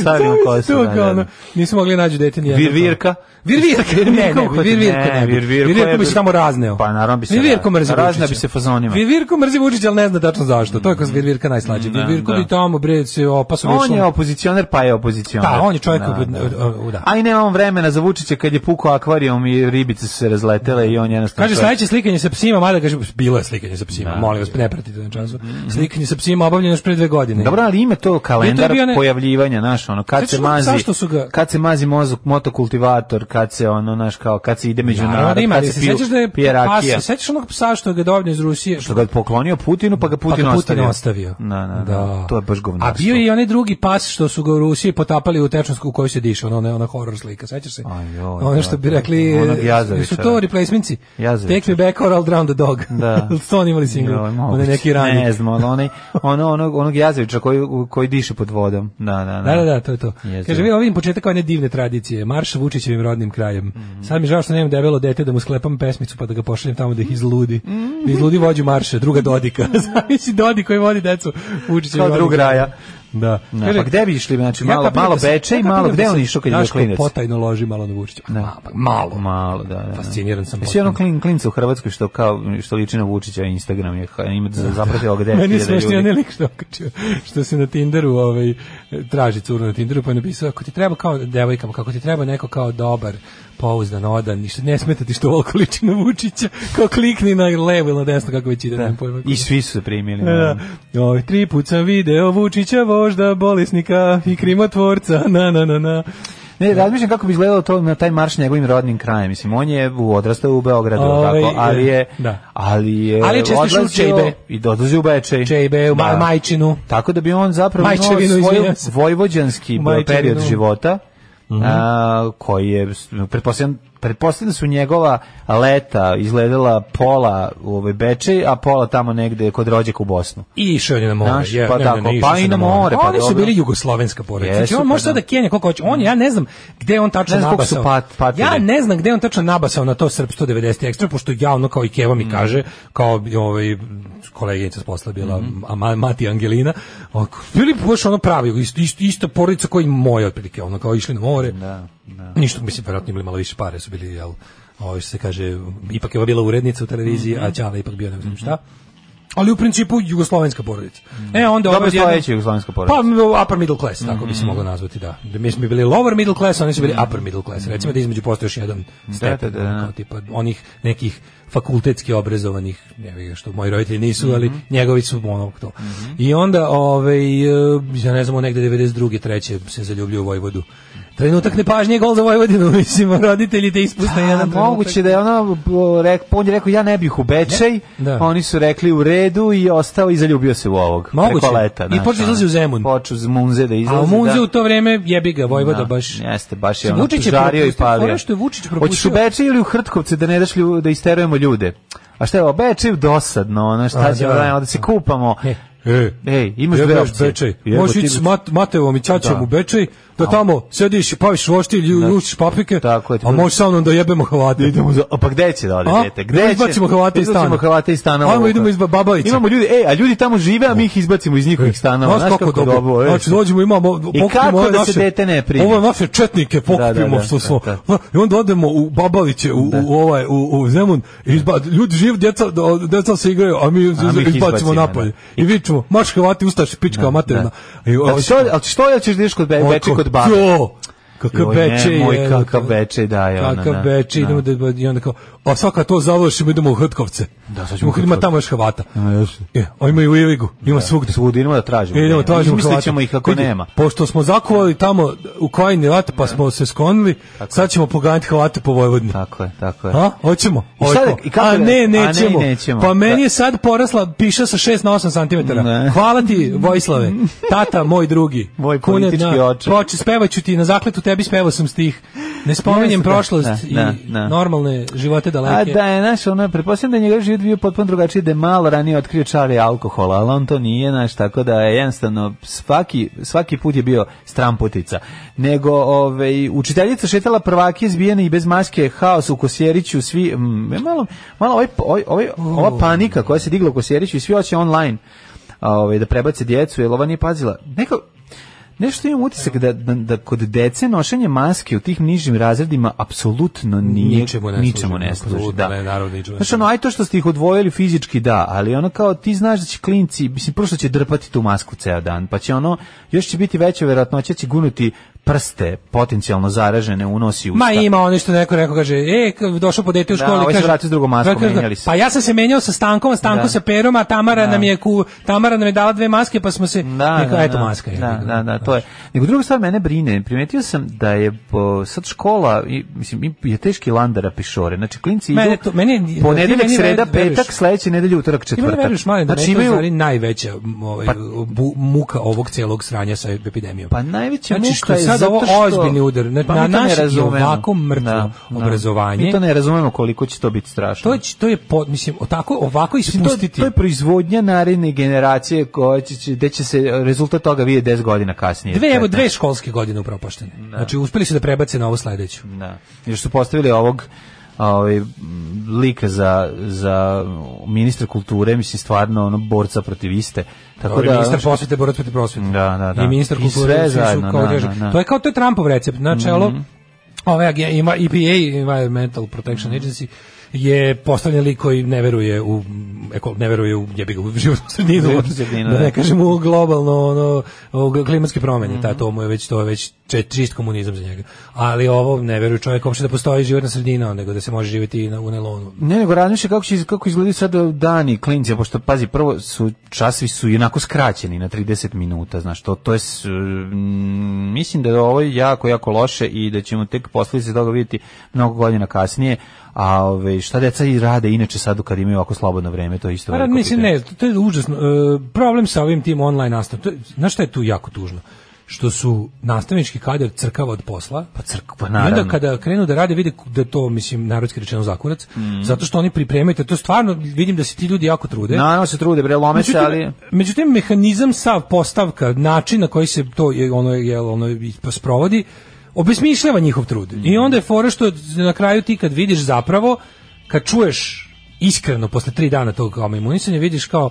H: Stavili mu kosu,
G: To
H: da,
G: kao
H: da,
G: ono,
H: da.
G: Nisu mogli naći dete nijedno.
H: Virvirka?
G: Virvirka, ne, ne,
H: Virvirka,
G: Virvirka ne,
H: ne,
G: bi.
H: Virvirko
G: Virvirko
H: je-
G: bi se tamo razneo.
H: Pa, naravno bi se
G: Virvirko
H: ra-
G: mrzi
H: razneo
G: Vučića.
H: bi se fazonima.
G: Virvirko mrzi Vučića, ali ne zna tačno zašto. To je kao Virvirka najslađe.
H: Da,
G: Virvirko
H: Mm, da.
G: bi tamo, bre, se opasom
H: On
G: išao.
H: je opozicioner, pa je opozicioner.
G: Da, on je čovjek
H: Da,
G: od-
H: da.
G: od- od- od- da.
H: A i nemamo vremena za Vučića kad je pukao akvarijum i ribice su se razletele i on jednostavno...
G: Kaže
H: čovjek-
G: sledeće slikanje sa psima, mada kaže bilo je slikanje sa psima. Molim vas, ne pratite na času. Slikanje sa psima obavljeno još pre dve godine.
H: Mm. Dobro, ali ime to
G: I to
H: kalendar
G: je bio ne-
H: pojavljivanja, naš, ono, kad
G: Sećaš
H: se
G: se
H: mazi,
G: zašto su ga-
H: kad se mazi mozog motokultivator, kad se, ono, naš, kao, kad se ide među
G: Naravno
H: narod,
G: da ima,
H: kad se
G: ali se
H: piju,
G: sećaš da je
H: pije
G: pas,
H: rakija.
G: sećaš onog psa što je ga dobio iz Rusije,
H: Što ga je poklonio Putinu, pa ga
G: pa
H: Putin,
G: ga Putin
H: ostavio.
G: ostavio.
H: Na, na, da. To je baš
G: A
H: govnarstvo.
G: bio je i onaj drugi pas što su ga u Rusiji potapali u tečnosku u kojoj se diše, ona ona, ona horor slika, sećaš se?
H: Aj, joj,
G: ono što
H: da,
G: bi
H: da.
G: rekli,
H: Onog
G: e,
H: Jazovića.
G: su to replacementsi.
H: Jazovića.
G: Take me back or I'll drown the dog.
H: Da.
G: to oni imali single,
H: Joj, moguće.
G: onaj neki rani.
H: Ne znam, ali onaj, ono, onog, onog jazevića koji, koji diše pod vodom. Da, da, da.
G: Da, da, da, to je to.
H: Jezivo.
G: Kaže, vi vidim početak ove divne tradicije, marš Vučićevim rodnim krajem. Sad mi žao što nemam debelo dete da mu sklepam pesmicu pa da ga pošaljem tamo da ih izludi. Da izludi vođu marša, druga Dodika. Zamisli Dodi koji vodi decu Vučićevim
H: Kao
G: rodnim
H: drug
G: krajem.
H: raja.
G: Da.
H: Da, pa gde bi išli, znači, malo-
G: kapiram
H: malo
G: da se-
H: Bečej,
G: ja
H: malo-
G: kapiram
H: gde
G: da
H: on
G: se
H: išao kad je bio
G: Daško
H: klinac?
G: potajno loži malo na Vučića.
H: Da.
G: Ma, pa Malo.
H: Malo, da, da, da.
G: Fasciniran sam
H: Jesi ono
G: potpuno.
H: klin, klinca u Hrvatskoj što, kao, što liči na Vučića, Instagram je, ima zapratio ga 10.000
G: Meni je
H: ljudi.
G: smešnije onaj lik što, okačio, što se na Tinderu ovaj, traži curu na Tinderu pa je napisao ako ti treba kao devojkama, kako ti treba neko kao dobar, pouzdan, odan, ništa, ne smeta ti što ovoliko liči na Vučića, kao klikni na levo ili na desno kako već ide. Da. Pojma,
H: I svi su se primili.
G: Da.
H: naravno.
G: Oj, tri put sam video Vučića, vožda, bolesnika i krimotvorca, na na na na.
H: Ne, razmišljam kako bi izgledalo to na taj marš njegovim rodnim krajem. Mislim, on je u odrastao u Beogradu,
G: Ovaj,
H: tako, ali je,
G: da.
H: ali je,
G: Ali je često išao u
H: odlazio
G: Čejbe.
H: I da odlazio u Bečej.
G: Čejbe, u Ma- Majčinu.
H: Tako da bi on zapravo imao
G: Majčevinu,
H: svoj
G: izvinjam se.
H: vojvođanski
G: U Majčevinu. Mhm.
H: period života, a, koji je, pretpostavljam, pretpostavljam da su njegova leta izgledala pola u ovoj Bečej, a pola tamo negde kod rođaka u Bosnu.
G: I išao je na more.
H: Znaš,
G: je,
H: pa tako,
G: išao
H: pa
G: sam
H: i na more, pa
G: Oni su
H: dobro.
G: bili jugoslovenska porodica. Znači,
H: Jesu,
G: on
H: pa
G: može
H: da.
G: sad da Kenja koliko hoće. On, ja ne znam gde je on tačno
H: Ne znam koliko su
G: nabasao.
H: pat- patili.
G: ja ne znam gde je on tačno nabasao na to Srp 190 ekstra, pošto ja ono kao i Keva
H: Mm.
G: mi kaže, kao ovaj, koleginica s posla bila
H: Mm-hmm.
G: a ma- Mati Angelina, ovako, bili baš ono pravi, ist, ist, ista porodica koji moja otprilike, ono kao išli na more. Ništa, mislim, vjerojatno imali malo više pare, su bili, ovaj,
H: Mm-hmm.
G: jel, ovo što se kaže, ipak je ova bila urednica u televiziji, a Ćala ipak bio ne znam šta ali u principu jugoslovenska porodica. E onda
H: Mm. Dobro
G: ovaj odjednom-
H: stojeća jugoslovenska porodica. Mm-hmm.
G: Pa m, upper middle class, tako bi se moglo nazvati, da. Da, Mi smo bili lower middle class, oni su bili upper middle class. Recimo da između postoji još jedan stepen,
H: Mm-hmm. da, da, da.
G: ono, tipa onih nekih fakultetski obrazovanih, ne bih ga što moji roditelji
H: Mm-hmm.
G: nisu, ali njegovi su ono to. I onda, ovaj, e, ja ne znam, negde 92. treće se zaljubljio u Vojvodu. Trenutak nepažnje je gol za Vojvodinu, mislim, roditelji te
H: A,
G: ispuste jedan trenutak.
H: moguće da Pa je ono bo, rek, on je rekao ja ne bih u Bečej,
G: Da.
H: oni su rekli u redu i ostao i zaljubio se u ovog.
G: Moguće.
H: Preko leta,
G: I
H: znaš,
G: počeo izlazi
H: ono.
G: u Zemun.
H: Počeo iz Munze da izlazi.
G: A u Munze
H: da.
G: u to vreme jebi ga Vojvoda
H: Da,
G: baš.
H: Jeste, baš je
G: Mislim,
H: ono
G: Vučić je
H: žario i
G: propustio,
H: palio.
G: fora što je Vučić
H: Hoćeš u
G: propustio.
H: Bečej ili u Hrtkovce da ne daš lju, da isterujemo ljude? A šta je ovo, Bečeju dosadno, ono šta
G: A,
H: ćemo
G: da.
H: da, radimo, da se kupamo.
G: E.
H: Ej, imaš dve
G: Jebeš
H: opcije.
G: Bečej.
H: Jebo
G: Možeš
H: ti
G: ići
H: bi-
G: s Mat- Matevom i Ćaćom
H: Da.
G: u Bečej, da tamo sediš i paviš voštilj i lučiš paprike,
H: Tako je, ti
G: a
H: budeš-
G: možeš sa mnom da jebemo Hrvate.
H: Idemo za, a pa gde će da ode
G: A?
H: dete?
G: Da
H: Gde će?
G: izbacimo Hrvate iz stana.
H: Izbacimo Hrvate iz stana.
G: Ajmo,
H: ovako.
G: idemo iz Babajića.
H: Imamo ljudi, ej, a ljudi tamo žive, a mi ih izbacimo iz njihovih stanova. Znaš kako je dobro. ej.
G: Znači, dođemo, imamo...
H: I
G: pokupimo
H: kako
G: ove
H: da se
G: naše-
H: dete ne primi?
G: Ove naše četnike pokupimo,
H: Da, da, da,
G: što smo...
H: da,
G: I onda odemo u Babaviće, u, u, ovaj, u, u Zemun, i izba, ljudi živ, djeca, djeca se igraju, a mi,
H: ih
G: izbacimo,
H: izbacimo,
G: napolje. I vičemo, maš Hrvati, ustaš, pička, materina. I,
H: A Znači, što, ali što je ćeš da ideš kod be,
G: Oj,
H: Beče
G: ko-
H: kod babe?
G: Jo, kakav
H: Joj,
G: beče je.
H: nemoj,
G: evo
H: kakav
G: te.
H: beče, da, je ona,
G: Kakav
H: da,
G: beče,
H: da.
G: idemo da, i onda kao, a svaka to završimo, idemo u Hrtkovce.
H: Da, sad ćemo u
G: Ima
H: Hrtkovce.
G: tamo još Hrvata.
H: Ima još.
G: Je, a ima i u Ivigu, ima svugde.
H: Svudi, idemo da tražimo.
G: E, idemo, tražimo
H: Izmislit
G: Hrvate.
H: ćemo ih ako
G: Vidi,
H: nema.
G: Pošto smo zakuvali tamo u Krajini rat, pa smo se sklonili, sad ćemo poganjati Hrvate po Vojvodini.
H: Tako je, pa tako je.
G: A, hoćemo.
H: I šta da-
G: Ojko.
H: i kako
G: a
H: da-
G: ne,
H: a ne,
G: nećemo.
H: nećemo.
G: Pa meni
H: Da.
G: je sad porasla piša sa 6 na 8 cm.
H: Ne.
G: Hvala ti, Vojislave. Tata, moj drugi.
H: Moj
G: Kune
H: politički
G: dna.
H: oče.
G: Poče, spevaću ti, na zakletu tebi spevao sam stih. Ne spominjem
H: Jeste, da,
G: prošlost
H: da,
G: i
H: da, da.
G: normalne živote
H: A
G: daleke.
H: da je, znaš, ono, pretpostavljam da je njegov život bio potpuno drugačiji, da je malo ranije otkrio čare alkohola, ali on to nije, znaš, tako da je jednostavno svaki, svaki put je bio stramputica. Nego, ovaj, učiteljica šetala prvake izbijene i bez maske, haos u Kosjeriću, svi, mm, malo, malo ovaj, ovaj, ovaj, ova panika koja se digla u Kosjeriću i svi hoće online ovaj, da prebace djecu, jer ova nije pazila. Neko, Nešto imam utisak da, da, da kod dece nošenje maske u tih nižim razredima apsolutno nije,
G: Ničemu ne služi.
H: ničemu ne služi.
G: Apsolutno
H: Da.
G: ne, naravno, ničemu ne
H: Znaš, ono, aj to što ste ih odvojili fizički, da, ali ono kao ti znaš da će klinci, mislim, prvo što će drpati tu masku ceo dan, pa će ono, još će biti veća verovatnoća će gunuti prste potencijalno zaražene u nos i usta.
G: Ma ima ono što neko rekao kaže, e, k- došao po dete u
H: Da,
G: školu
H: ovaj se
G: kaže,
H: vratio s drugom maskom,
G: vratio-
H: menjali se.
G: Pa ja sam se menjao sa Stankom, a Stanko
H: Da.
G: sa Perom, a Tamara nam je ku, Tamara nam je dala dve maske, pa smo se
H: da,
G: Rekao,
H: da,
G: eto
H: da,
G: maska. je.
H: Da, da, da, to je. Nego druga stvar mene brine, primetio sam da je po, sad škola, i, mislim, i- je teški landara pišore. Znači, klinci
G: Mene
H: idu
G: to- meni- ti
H: ponedeljak,
G: meni
H: sreda,
G: ver- veruješ?
H: petak, sledeće nedelje, utorak,
G: Ti meni
H: četvrtak.
G: veruješ mali da
H: znači,
G: znači, imaju...
H: imaju,
G: najveća ovaj,
H: Pa-
G: bu- muka ovog cijelog sranja sa epidemijom.
H: Pa najveća
G: znači,
H: muka
G: što
H: je
G: sad
H: zato
G: ovo
H: što-
G: ozbiljni udar na,
H: Pa mi
G: na
H: to ne
G: naše i
H: razumemo.
G: ovako mrtvo
H: Da, da.
G: obrazovanje.
H: Mi to ne razumemo koliko će to biti strašno.
G: To je, to je po, mislim, tako, ovako
H: Mislim, to,
G: ispustiti.
H: to je proizvodnja naredne generacije koja će, će, gde će se rezultat toga vidjeti 10 godina kasnije.
G: Dve, evo,
H: 15.
G: dve školske godine upropaštene. Znači, uspeli su da prebace na ovo sledeću.
H: Da. Još su postavili ovog ovaj m, lika za za ministra kulture, mislim stvarno ono borca protiv iste. Tako
G: Dobro,
H: da
G: ministar prosvete, borac protiv prosvete.
H: Da, da, da.
G: I ministar
H: I
G: kulture.
H: sve
G: svi su
H: zajedno,
G: kao
H: da,
G: odreženi.
H: da, Mhm. da.
G: To je kao, to je Trumpov recept. Na čelo, ove agen- ima EPA, Environmental Protection
H: Mhm.
G: Agency, je postavljen lik koji ne veruje u eko, ne veruje u jebi ga u životnu sredinu,
H: Životnu sredinu,
G: da ne
H: da.
G: kažem u globalno ono u klimatske promjene
H: Mhm.
G: ta to mu je već to je već če- čist komunizam za njega ali ovo ne veruje čovjek uopšte da postoji životna sredina nego da se može živjeti i na, u nelonu
H: Ne, nego razmišlja kako će iz- kako izgledaju sad dani klinci, pošto pazi, prvo su časovi su jednako skraćeni na 30 minuta, znaš, to to je s- mm, mislim da je ovo jako jako loše i da ćemo tek posljedice toga vidjeti mnogo godina kasnije. A ove, šta deca i rade inače sad kad imaju ovako slobodno vreme, to je isto
G: Pa,
H: veliko
G: mislim,
H: pitanje.
G: ne, to, to je užasno. E, problem sa ovim tim online nastavom, to je- znaš šta je tu jako tužno? Što su nastavnički kadar crkava od posla,
H: Pa crkva,
G: I onda
H: naravno.
G: kada krenu da rade, vide ku- da je to, mislim, narodski rečeno zakurac,
H: Mm.
G: zato što oni pripremaju, to je stvarno, vidim da se ti ljudi jako trude.
H: Naravno se trude, bre, lome se, ali...
G: Međutim, međutim, mehanizam sav postavka, način na koji se to je, ono, je, ono, ih sprovodi, obesmišljava njihov trud. I
H: Mhm.
G: onda je fora što na kraju ti kad vidiš zapravo, kad čuješ iskreno posle tri dana tog kao imunisanja, vidiš kao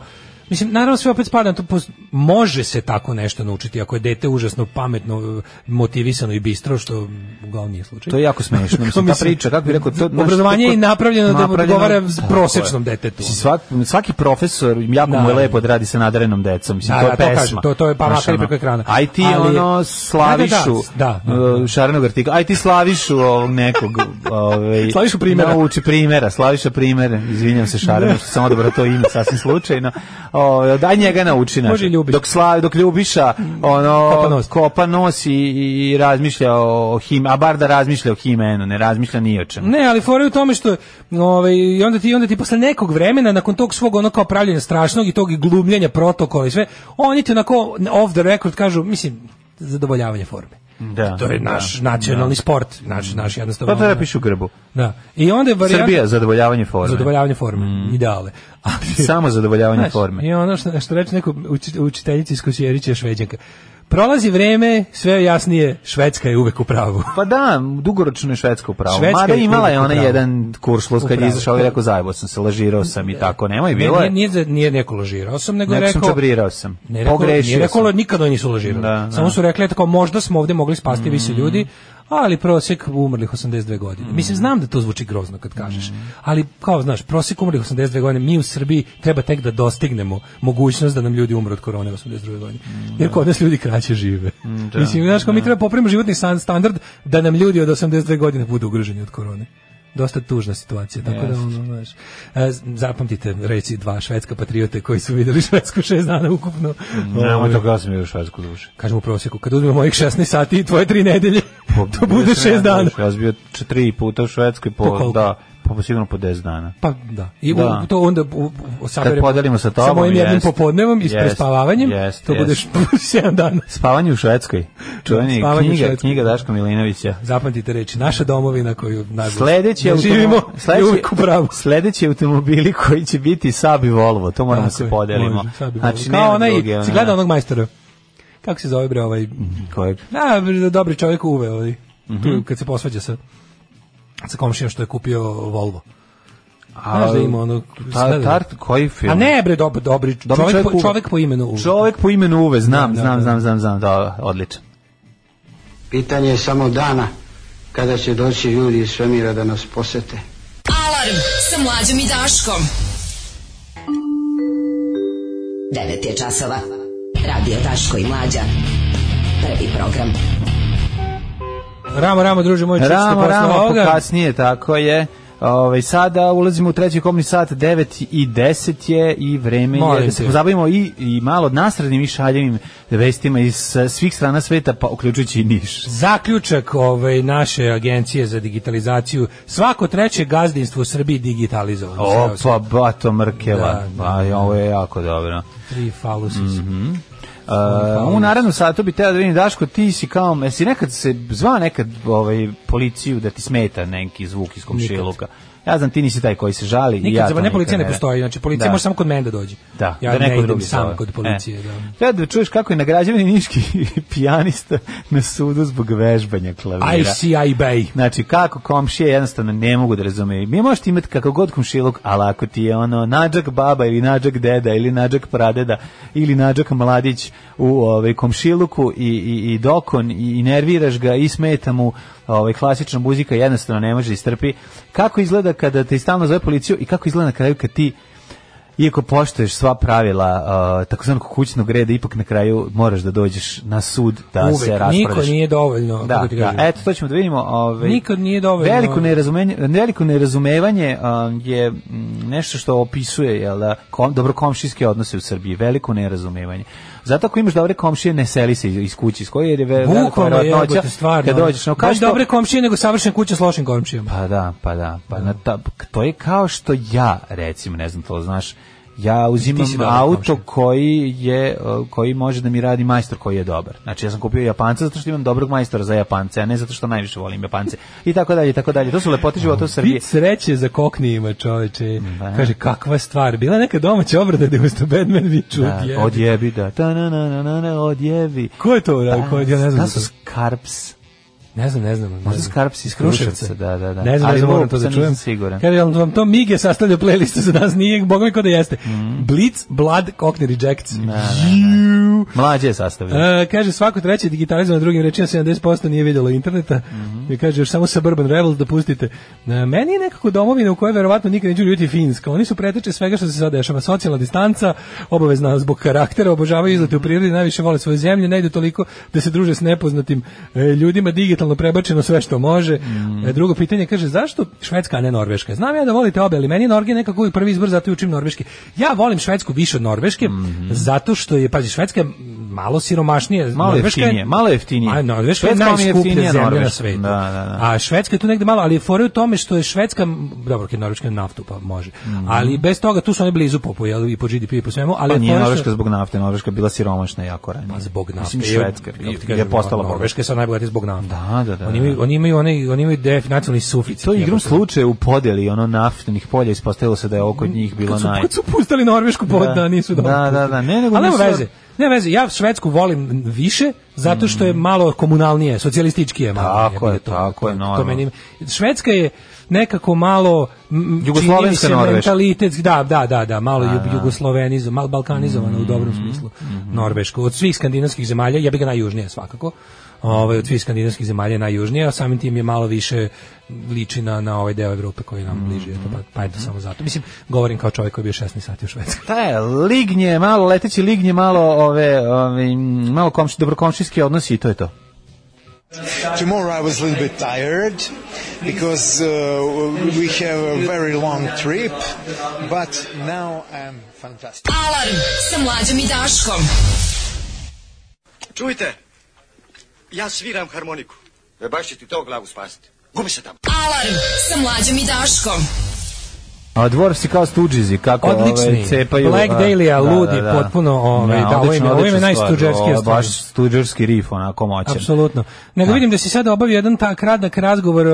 G: Mislim, naravno sve opet spada na to, pos- može se tako nešto naučiti ako je dete užasno pametno, motivisano i bistro, što uglavnom nije slučaj.
H: To je jako smešno, mislim, ta priča, kako bi rekao, to, znaš,
G: Obrazovanje
H: to-
G: je napravljeno da
H: napravljeno-
G: odgovara
H: Tako je.
G: prosečnom detetu. ono.
H: Mislim, svak, svaki profesor jako
G: Da.
H: mu je lepo da radi sa nadarenom decom. Mislim,
G: Da,
H: to
G: da,
H: je
G: to
H: pesma.
G: kažem, to- to je pa
H: Znaš,
G: makar i
H: ono,
G: preko ekrana.
H: Aj ti
G: Ali-
H: ono slavišu,
G: Da, da, da, da, da.
H: uh, šarenog artika, aj ti slavišu ovog nekog. ovaj,
G: Slavišu primera.
H: Nauči primera, slaviša primera. Izvinjam se šarenog, što sam odabrao to ime sasvim slučajno. Ovaj, daj njega nauči. Znači.
G: Može i Ljubiša.
H: Dok, slavi, dok Ljubiša ono,
G: Kopa nos.
H: kopa nos i, i razmišlja o, o him, a bar da razmišlja o himenu, ne razmišlja ni o čemu.
G: Ne, ali fora je u tome što ovaj i onda ti onda ti posle nekog vremena nakon tog svog ono kao pravljenja strašnog i tog i glumljenja protokola i sve, oni ti onako off the record kažu, mislim, zadovoljavanje forme.
H: Da,
G: to je naš
H: da,
G: nacionalni sport, naš naš jednostavno. ono,
H: Pa treba pišu grbu.
G: Da. I onda je varijanta
H: Srbija, zadovoljavanje forme.
G: zadovoljavanje forme, ideale. Ali-
H: Samo zadovoljavanje
G: Znaš,
H: forme.
G: I ono što, što reče neko uči- učiteljica iz Kosjerića Šveđanka. Prolazi vreme, sve je jasnije, Švedska je uvek u pravu.
H: Pa da, dugoročno je Švedska upravo.
G: Švedska
H: Mada
G: je
H: imala je
G: uvijek u
H: ona
G: pravu.
H: jedan kuršlus kad je
G: pravu.
H: izašao i rekao zajebo sam se, lažirao sam i tako. Nemoj, bilo
G: Ne,
H: je.
G: nije, nije, nije neko ložirao sam, nego je
H: Neko sam
G: rekao...
H: čabrirao sam.
G: Ne rekao, nije
H: Pogrešio
G: rekao,
H: sam.
G: nikad oni nisu ložirali.
H: Da, da.
G: Samo su rekli, eto kao, možda smo ovde mogli spasti više ljudi, ali prosjek umrlih 82 godine. Mislim, znam da to zvuči grozno kad kažeš, ali kao, znaš, prosjek umrlih 82 godine, mi u Srbiji treba tek da dostignemo mogućnost da nam ljudi umru od korone 82 godine. Jer kod nas ljudi kraće žive. Mislim, znaš, kao mi treba popravimo životni san- standard da nam ljudi od 82 godine budu ugroženi od korone. Dosta tužna situacija, tako da ono, znaš. E, z- zapamtite reći dva švedska patriote koji su videli švedsku šest dana ukupno.
H: Nemoj to kada sam bio u Švedsku duše.
G: Kažem u prosjeku, kad uzmemo mojih 16 sati i tvoje tri nedelje, to bude 6 dana.
H: Ja Pa, sam bio čet- tri puta u Švedskoj,
G: Po
H: po,
G: koliko?
H: da, po, sigurno po 10 dana.
G: Pa da. I u-
H: Da.
G: to onda u, u, u saberemo
H: podelimo sa
G: Sa
H: tobom,
G: mojim jednim
H: jest.
G: popodnevom i s
H: Jest,
G: prespavavanjem,
H: jest,
G: to
H: jest.
G: budeš 7 dana.
H: Spavanje u Švedskoj. Čuveni
G: Spavanje u
H: knjiga,
G: Švedskoj.
H: knjiga Daška Milinovića.
G: Zapamtite reči, naša domovina koju nažalost
H: Sledeći
G: ne
H: automo-
G: živimo,
H: sledeći-
G: je uvijek u pravu.
H: Sledeći automobili koji će biti Saab i Volvo, to moramo
G: Tako
H: se
G: je,
H: podelimo.
G: može, sad bi
H: Znači,
G: volio.
H: nema
G: Kao onaj,
H: druge, ono,
G: si
H: da.
G: gledao onog majstora, kako se zove bre ovaj,
H: Kojeg?
G: Da, dobri čovjek uve, ovaj,
H: Mhm.
G: tu kad se posvađa sa sa komšijom što je kupio Volvo.
H: A,
G: Znaš da ima ono-
H: Ta, Pa, tart, koji film?
G: A ne bre, dob, dobri,
H: Dobri
G: čovjek,
H: Uve.
G: po, čovjek po imenu Uve.
H: Čovjek po imenu Uve, znam,
G: Da, da,
H: znam,
G: da.
H: znam, znam, znam, da, odličan.
K: Pitanje je samo dana kada će doći ljudi iz svemira da nas posete.
F: Alarm sa mlađom i Daškom.
J: 9 je časova. Radio Daško i Mlađa. Prvi program.
G: Ramo, ramo, druže moj, čučite
H: Ramo,
G: Pa posle
H: ramo, pa
G: ovoga.
H: kasnije, tako je. Ove, sada ulazimo u treći komni sat, 9 i 10 je i vreme je
G: Molim
H: da se
G: te.
H: pozabavimo i, i malo nasrednim i šaljivim vestima iz e, svih strana sveta, pa uključujući i Niš.
G: Zaključak ove naše agencije za digitalizaciju, svako treće gazdinstvo u Srbiji digitalizovano. Sreo sam
H: Opa, pa Bato Mrkeva,
G: Da, da,
H: pa ovo je jako dobro.
G: Tri falusi.
H: Mm, Uh, u narednom satu bi teo da vidim Daško, ti si kao, jesi nekad se zva nekad ovaj, policiju da ti smeta neki zvuk iz komšiluka? Ja znam, ti nisi taj koji se žali. i ja
G: Nikad
H: to
G: za ne policija ne postoji, znači policija
H: Da.
G: može samo kod mene da dođe.
H: Da,
G: ja
H: da
G: ne
H: neko
G: idem
H: drugi
G: sam
H: zove.
G: kod policije,
H: E.
G: da.
H: Treba da čuješ kako je nagrađivani niški pijanista na sudu zbog vežbanja klavira.
G: ICI Bay.
H: Znači, kako komšije jednostavno ne mogu da razumeju. Mi možete imati kako god komšiluk, ali ako ti je ono nađak baba ili nađak deda ili nađak pradeda ili nađak mladić u ovaj, komšiluku i, i, i dokon i, i nerviraš ga i smeta mu ovaj, klasična muzika jednostavno ne može istrpi. Kako izgleda kada te stalno zove policiju i kako izgleda na kraju kad ti iako poštuješ sva pravila uh, takozvanog kućnog reda, ipak na kraju moraš da dođeš na sud da
G: Uvek.
H: se raspraviš.
G: Niko nije dovoljno,
H: Da,
G: kako ti
H: da,
G: kažem.
H: eto, to ćemo da vidimo. Ove,
G: Nikad nije dovoljno.
H: Veliko nerazumevanje, veliko nerazumevanje a, je mm, nešto što opisuje jel, da, kom, dobro komšijske odnose u Srbiji. Veliko nerazumevanje. Zato ako imaš dobre komšije, ne seli se iz, iz kuće iz koje jer je ve- velika
G: Bukvalno je,
H: verovatnoća
G: jebote, stvarno. ono,
H: kad dođeš. No, kao
G: Baš
H: što-
G: dobre komšije nego savršena kuća s lošim komšijama.
H: Pa da, pa da. Pa na ta, to je kao što ja, recimo, ne znam to, znaš, ja uzimam
G: si dobar
H: auto
G: komšija.
H: koji je uh, koji može da mi radi majstor koji je dobar. Znači ja sam kupio Japanca zato što imam dobrog majstora za Japance, a ne zato što najviše volim Japance. I tako dalje, i tako dalje. To su lepote života u Srbiji.
G: Bit sreće za koknijima, čoveče. Kaže, kakva stvar. Bila je neka domaća obrada da je usto Batman viču.
H: Da,
G: odjebi.
H: odjebi, da. Ta, na, na, na, na, na, odjebi.
G: Ko je to uradio? Ko je, ja ne znam.
H: Da
G: za
H: su
G: to.
H: Skarps.
G: Ne znam, ne znam. ne
H: Možda
G: znam.
H: Skarps iz Kruševca, da, da, da.
G: Ne znam,
H: Ali
G: ne znam, moram
H: moram,
G: to da
H: sad
G: čujem.
H: nisam siguran.
G: Kaže, jel vam to Mige sastavlja playlistu za nas? Nije, bog mi ko da jeste.
H: Mhm.
G: Blitz, Blood, Cockney Rejects. Ju.
H: Mlađe je sastavljeno.
G: E, kaže, svako treće digitalizovano drugim rečima 70% nije vidjelo interneta. I kaže, još samo Suburban Rebels da pustite. E, meni je nekako domovina u kojoj verovatno nikad neću ljubiti Finska. Oni su preteče svega što se sad dešava. Socijalna distanca, obavezna zbog karaktera, obožavaju izlete u prirodi, najviše vole svoje zemlje, ne idu toliko da se druže s nepoznatim e, ljudima, digitalno prebačeno sve što može.
H: Mm.
G: E, drugo pitanje, kaže, zašto Švedska, a ne Norveška? Znam ja da volite obe, ali meni je Norge nekako uvijek prvi izbor, zato i učim norveški. Ja volim Švedsku više od Norveške,
H: Mhm.
G: zato što je, pazi, Švedska je malo siromašnije,
H: Malo
G: Norveška
H: jeftinije, malo jeftinije.
G: A Norveška je
H: Švedska vam je
G: najskuplja
H: jeftinija
G: zemlja na
H: Norveška.
G: svetu.
H: Da, da, da.
G: A Švedska je tu negde malo, ali je fora u tome što je Švedska, m, dobro, kad Norveška je naftu, pa može. Ali bez toga tu su oni blizu po, po, jel, i po GDP i po svemu, ali
H: Mhm. Pa
G: je
H: nije
G: fora što-
H: Norveška zbog nafte, Norveška je bila siromašna jako ranije.
G: E, Pa zbog nafte.
H: Mislim, Švedska
G: kako ti
H: je, je
G: kažem, ono,
H: postala
G: Norveška je sad najbogatija zbog nafte.
H: Da, da, da,
G: Oni imaju,
H: da.
G: oni imaju, onaj- oni imaju def, nacionalni suficit.
H: To je igrom
G: jebote.
H: slučaja u podeli ono naftnih polja ispostavilo se da je oko njih bilo
G: Kad su,
H: naj.
G: kad su pustili Norvešku pod, da,
H: Da.
G: nisu dobro.
H: Da, da, da, ne, nego
G: Ali nema
H: nisu-
G: veze. Ne veze, ja Švedsku volim više zato što je malo komunalnije, socijalističkije malo.
H: Mm. Tako
G: jebi ga
H: je, tako je, normalno.
G: meni- Švedska je nekako malo m,
H: Jugoslovenska
G: čini mi se
H: Norveška.
G: mentalitet, da, da, da, da, malo jug, jugoslovenizo, malo balkanizovano u dobrom smislu. Norveška od svih skandinavskih zemalja, ja bih ga najjužnije svakako. Ovaj od svih skandinavskih zemalja je najjužnije, a samim tim je malo više liči na, na ovaj deo Evrope koji je nam bliži, eto, pa, pa eto samo zato. Mislim, govorim kao čovjek koji je bio 16 sati u Švedskoj.
H: Ta je lignje, malo leteći lignje, malo ove, ove m, malo komši, dobrokomšijski odnosi i to je to.
L: Tomorrow I was a little bit tired because uh, we have a very long trip, but now I'm fantastic.
F: Alarm sa mlađom i Daškom.
M: Čujte, ja sviram harmoniku. E baš će ti to glavu spasiti. Gubi se tamo.
F: Alarm sa mlađom i Daškom.
H: A dvorf si kao stuđizi, kako
G: Odlični.
H: ove, cepaju.
G: Black
H: a,
G: Dahlia, ludi, potpuno, ove, da, ovo im je- ovo im je
H: odlična stvar,
G: najstuđerskija
H: ovo, Baš stuđerski rif, onako moćan.
G: Apsolutno. Nego vidim da si sada obavio jedan tak radnak razgovor, e,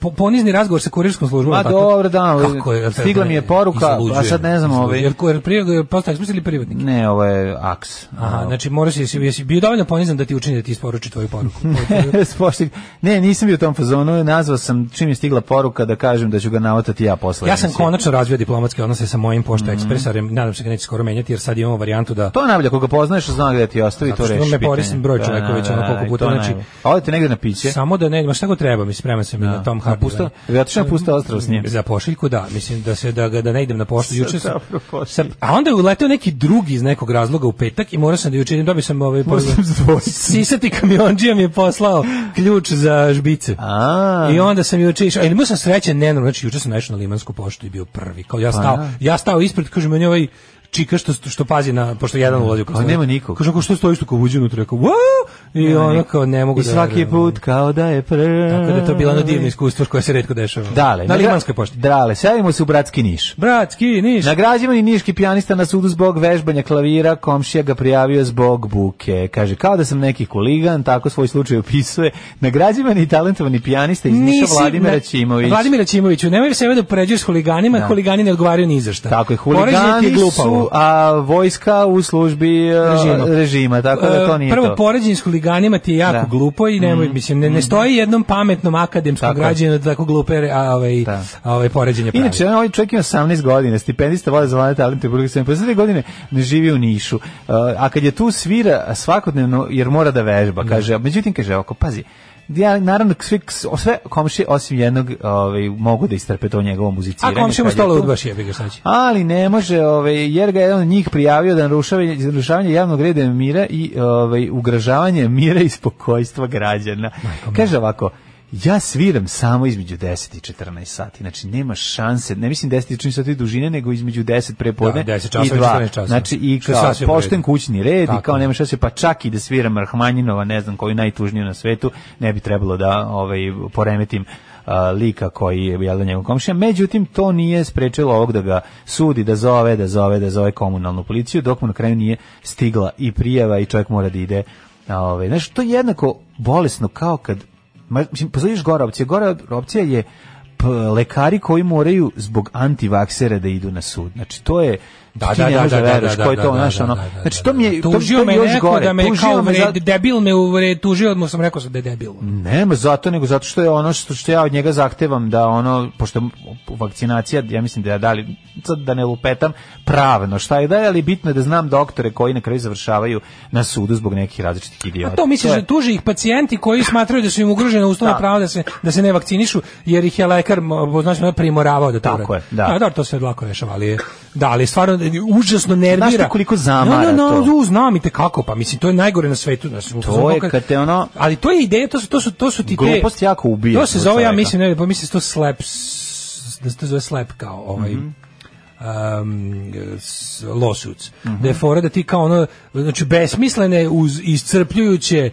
G: po- ponizni razgovor sa kurirskom službom.
H: Ma
G: tako?
H: dobro, da, ali
G: Kako je,
H: stigla mi je poruka, a sad ne znam,
G: ovaj.
H: ovaj-
G: Jer jer prije postaje ili privatnik.
H: Ne, ovo je aks.
G: Aha, znači moraš jesi jesi bio dovoljno ponizan da ti učini da ti isporuči tvoju poruku.
H: Spošti- ne, nisam bio u tom fazonu, nazvao sam čim je stigla poruka da kažem da ću ga navotati ja posle.
G: Ja sam
H: emisije.
G: konačno razvio diplomatske odnose sa mojim pošta ekspresarem, nadam se da neće skoro menjati jer sad imamo varijantu da
H: Mhm. To je najbolje, koga poznaješ, zna gde ti ostavi,
G: Zato
H: to
G: što
H: reši
G: me
H: pitanje.
G: Borisin broj
H: Da,
G: Čoveković,
H: da,
G: ono
H: da,
G: koliko
H: i
G: puta,
H: to je
G: znači-
H: najbolje. A odete negde na piće?
G: Samo da ne, ma šta god treba, mislim, spreman sam i na tom hardu.
H: pusto- jel otišao na pusto ostrvo s njim?
G: Za pošiljku, da, mislim da se da ga da ne idem na poštu juče sam.
H: Dobro, pošli.
G: sam- a onda je uleteo neki drugi iz nekog razloga u petak i morao sam da juče idem, dobio sam ovaj
H: sam s dvojicom.
G: Sisati kamiondžija mi je poslao ključ za žbice.
H: A.
G: I onda sam juče išao, ali imao sam sreće, ne, znači juče sam naišao na Limansku poštu i bio prvi. Kao ja stao,
H: Pa da.
G: ja stao ispred, kaže meni ovaj čika što što pazi na pošto jedan ulazi u kasnu.
H: nema nikog.
G: Kaže kako što stojiš tu kao uđe unutra, rekao, "Wow!" I ono kao ne mogu
H: I
G: da
H: svaki
G: verujem.
H: put kao da je prvi.
G: Tako da je to bilo ono divno iskustvo koje se redko dešava.
H: Dale,
G: na
H: nagra-
G: Limanskoj pošti.
H: Dale, selimo se u bratski Niš.
G: Bratski, niš.
H: Nagrađivan je niški pijanista na sudu zbog vežbanja klavira, komšija ga prijavio zbog buke. Kaže, kao da sam neki kuligan, tako svoj slučaj opisuje. Nagrađivan je i talentovani pijanista iz Niša
G: Nisi-
H: Vladimira
G: na-
H: Ćimović.
G: Vladimira Ćimoviću, nemoj se ovdje upoređuješ s huliganima,
H: Da.
G: huligani ne odgovaraju ni za šta.
H: Tako je,
G: Poređenje ti je
H: huligani
G: glupavo.
H: su, a vojska u službi e,
G: Režima.
H: režima. tako da to
G: E,
H: nije
G: Prvo,
H: to.
G: poređenje s huliganima ti je jako
H: Da. Mm-hmm.
G: glupo i nemoj, mislim, ne, ne stoji jednom pametnom akademskom
H: Tako je.
G: građaninu da tako glupe re- a, ovaj,
H: Da.
G: a, ovaj poređenje pravi.
H: Inače, ovaj čovjek ima 18 godina, stipendista voda za vane talente u Republike Srbije, pa za dvije godine ne živi u Nišu. Uh, a kad je tu svira svakodnevno, jer mora da vežba, kaže, međutim, kaže, ovako, pazi, ja, naravno, sve, sve komši osim jednog ovaj, mogu da istrpe to njegovo
G: a
H: muziciranje.
G: komšijemo
H: kad je
G: stolo
H: tu.
G: udbaš jebi ga sad će.
H: Ali ne može, ovaj, jer ga je jedan od njih prijavio da narušavanje, za narušavanje javnog reda i mira i ovaj, ugražavanje mira i spokojstva građana. Kaže ovako, ja sviram samo između 10 i 14 sati, znači nema šanse, ne mislim 10 i 14 sati dužine, nego između 10 prepodne
G: Da, 10 časova
H: i
G: i
H: 2.
G: 14 časova.
H: Znači i
G: Što je
H: kao
G: sasvim u redu.
H: pošten kućni red
G: Tako
H: i kao
G: je.
H: nema šanse, pa čak i da sviram Rahmanjinova, ne znam koju najtužniju na svetu, ne bi trebalo da ovaj, poremetim a, lika koji je jel da njegov komšija. Međutim, to nije sprečilo ovog da ga sudi, da zove, da zove, da zove komunalnu policiju, dok mu na kraju nije stigla i prijava i čovjek mora da ide. a, Ovaj. Znaš, to je jednako bolesno kao kad, ma, mislim, pozoviš gora opcija, gora opcija je p- lekari koji moraju zbog antivaksera da idu na sud. Znači, to je
N: Da,
H: ti
N: da,
H: ne
N: da,
H: možeš
N: da, da,
H: veruješ
N: da,
H: ko je
N: da,
H: to,
N: da,
H: znaš,
N: da,
H: ono.
N: da, da,
H: Znači, to mi je, to,
G: Tužio
H: to mi
G: me
H: je još
G: neko
H: gore.
G: da me
H: Tužio
G: kao
H: me
G: uvred,
H: zato-
G: debil me uvred, tužio odmah sam rekao sam da je debil.
H: Nema zato, nego zato što je ono što, što ja od njega zahtevam da ono, pošto vakcinacija, ja mislim da ja dali, sad da ne lupetam, pravno šta je da je, ali bitno je da znam doktore koji na kraju završavaju na sudu zbog nekih različitih idiota.
G: A to misliš
H: je-
G: da tuže ih pacijenti koji smatraju da su im ugrožena ustavna prava da se da se ne vakcinišu jer ih je lekar m, znači ono, primoravao da to
H: Tako
G: urade.
H: je, da.
G: A, da, to se lako rešava, ali je- da, ali stvarno e, užasno nervira.
H: Znaš ti koliko zamara
G: no, no, no,
H: to?
G: u, znam i te kako, pa mislim to je najgore na svetu, znači.
H: To je kad te ono...
G: Ali to je ideja, to su to su to su ti te
H: Glupost jako ubija
G: To se
H: tu
G: zove ja
H: čoveka.
G: mislim, ne, pa mislim da se to slep s- da se to zove slep kao ovaj
H: Mhm.
G: um, s- lawsuits. Da je fora da ti kao ono, znači besmislene uz iscrpljujuće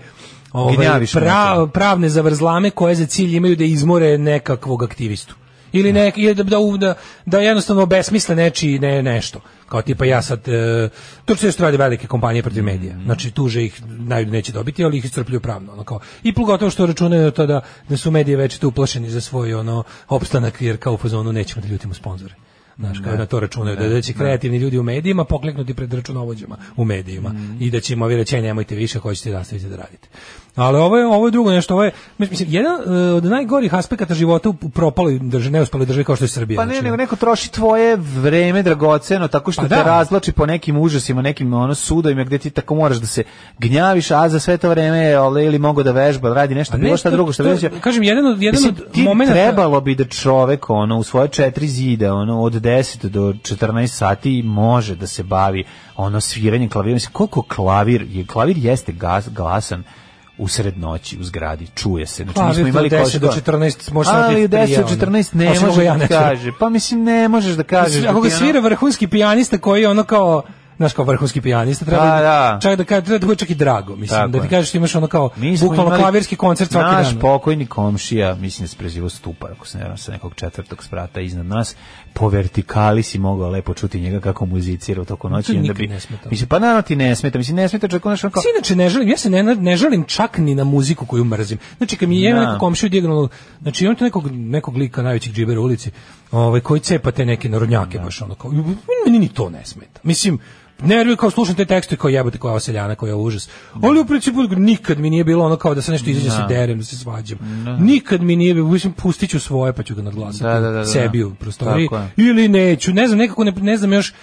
G: ovaj,
H: Gnjaviš
G: pra-
H: neko.
G: pravne zavrzlame koje za cilj imaju da izmore nekakvog aktivistu. Ili nek, ili da, da, da, da jednostavno besmisle nečiji ne, nešto. Kao tipa ja sad, e, to što radi velike kompanije protiv medija. Znači tuže ih, najdu neće dobiti, ali ih iscrpljuju pravno. Ono kao. I pogotovo što računaju na to da, da su medije već tu uplašeni za svoj ono, opstanak, jer kao u fazonu nećemo da ljutimo sponzore. Znaš,
H: Mm,
G: kao
N: Ne.
G: na to računaju, da,
N: Ne,
G: da će
N: ne.
G: kreativni ljudi u medijima pokleknuti pred računovođama u medijima
H: Mm.
G: i da će im ovi reći, "E, nemojte više, hoćete nastaviti da radite. Ali ovo je, ovo je drugo nešto, ovo je, mislim, jedan e, od najgorih aspekata života u propaloj državi, neuspaloj državi kao što je Srbija.
H: Pa ne,
G: znači.
H: nego neko troši tvoje vreme dragoceno tako što
G: Pa
H: te
G: da.
H: razlači po nekim užasima, nekim ono sudovima gdje ti tako moraš da se gnjaviš, a za sve to vreme je ole ili mogu da vežba, da radi nešto,
G: A
H: bilo
G: ne,
H: šta
G: to-
H: drugo što
G: pa to-
H: veže.
G: kažem, jedan od- jedan
H: Mislim,
G: od
H: ti
G: momenata-
H: trebalo bi da čovek ono u svoje četiri zida, ono od 10 do 14 sati može da se bavi ono sviranjem klavira. Mislim, koliko klavir je klavir jeste gas, glasan usred noći u zgradi čuje se znači mi
G: Klavir
H: smo
G: do
H: imali
G: 10 do
H: košta-
G: 14 može sad biti
H: ali 10 do
G: tri, ono.
H: 14 ne
G: Osim ako
H: može
G: ja
H: da
G: ne sviram.
H: kaže pa mislim ne možeš da kažeš
G: Ako
H: da
G: ga
H: ti ono-
G: svira vrhunski pijanista koji je ono kao znaš kao vrhunski pijanista treba
H: Pa, da.
G: čak da kaže treba da bude čak i drago mislim
H: Tako
G: da ti
H: je.
G: kažeš da imaš ono kao
H: Mi smo
G: bukvalno
H: imali-
G: klavirski koncert svaki
H: naš
G: dan
H: pokojni komšija, mislim da se prezivo Stupar, ako se ne varam, sa nekog četvrtog sprata iznad nas, po vertikali si mogao lepo čuti njega kako muzicira u toku noći.
G: To
H: i onda
G: nikad
H: bi,
G: ne smeta.
H: Mislim, pa naravno ti ne smeta, mislim, ne smeta čak ono što kao...
G: Se Znači, inače ne želim, ja se ne, ne želim čak ni na muziku koju mrzim. Znači kad mi je
H: Da.
G: neko komšija dijagonalno, znači imam tu nekog nekog lika najvećeg džibera u ulici, ovaj koji cepa te neke narodnjake baš ono kao meni ni to ne smeta. Mislim nervi kao slušam te tekste kao jebote koja je ova seljana koja je užas. Ali u principu nikad mi nije bilo ono kao da se nešto izađe da se
H: Da.
G: derem, da se svađam. Nikad mi nije bilo, mislim pustit ću svoje pa ću ga nadglasati
H: Da, da, da, da, da.
G: sebi u prostoriji
H: Tako je.
G: ili neću, ne znam, nekako ne, ne znam još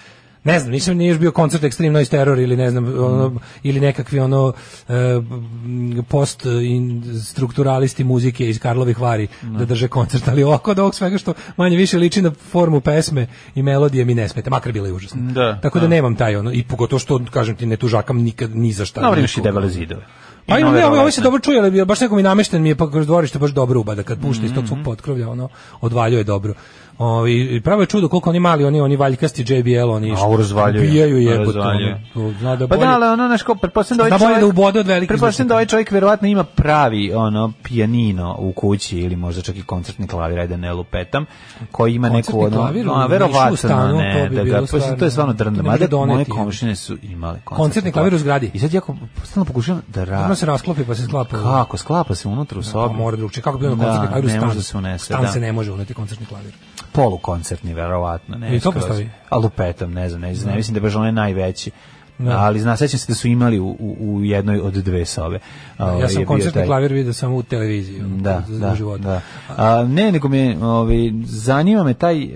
G: Ne znam, nisam nije još bio koncert Extreme Noise Terror ili ne znam, ono, ili nekakvi ono e, m, post in, strukturalisti muzike iz Karlovih Vari da drže koncert, ali ovako od ovog svega što manje više liči na formu pesme i melodije mi ne smeta, makar bile užasne.
H: Da,
G: Tako da,
H: da.
G: nemam taj ono, i pogotovo što, kažem ti, ne tužakam nikad ni za šta.
H: Dobro, imaš i
G: nikoga.
H: debele zidove.
G: Pa
H: I
G: ima,
H: nove
G: ne, ovo, ovo
H: roletne.
G: se dobro čuje, ali baš neko mi namešten mi je pa kroz dvorište baš dobro ubada kad pušta iz
H: Mhm.
G: tog svog potkrovlja, ono odvaljuje dobro. O, i, i pravo je čudo koliko oni mali, oni oni valjkasti JBL, oni
H: A, ovo razvaljuje.
G: ubijaju jebote,
H: Razvaljuje.
G: ono, to zna da
H: Pa
G: bolje-
H: da, ali ono, znaš, kao, pretpostavljam da ovaj
G: Zna bolje
H: čovjek-
G: da ubode od velikih
H: Pretpostavljam da ovaj čovjek verovatno ima pravi, ono, pijanino u kući ili možda čak i koncertni klavir, ajde ne lupetam, koji ima neku,
G: Koncertni
H: ono,
G: klavir u
H: a,
G: Nišu
H: verovatno,
G: u stanu,
H: ne,
G: to bi
H: da ga,
G: bilo
H: pa, mislim, to je stvarno
G: stvarno,
H: drndom.
G: to ne može
H: Mada moje
G: doneti.
H: komšine su imale koncertni,
G: Koncertni klavir u zgradi.
H: I sad ja kom- stalno pokušavam da radim.
G: Odmah se rasklopi pa se sklapa. Pa
H: Kako, sklapa se unutra u sobi.
G: mora drugčije. Kako bi ono koncertni
H: Da,
G: klavir u
H: ne
G: stanu?
H: može da se unese,
G: Stan
H: da.
G: se ne može uneti koncertni klavir.
H: polukoncertni verovatno ne
G: I to
H: skroz.
G: postoji.
H: a lupetom ne znam ne, znam,
G: Da.
H: mislim da je baš onaj najveći
G: Da.
H: ali zna sećam se da su imali u, u, u jednoj od dve sobe Ovaj,
G: ja
H: je
G: sam
H: bio
G: koncertni
H: taj-
G: klavir vidio samo u televiziji. ono,
H: da,
G: u- u
H: da,
G: životu.
H: da. A, ne, nego me ovaj, zanima me taj e,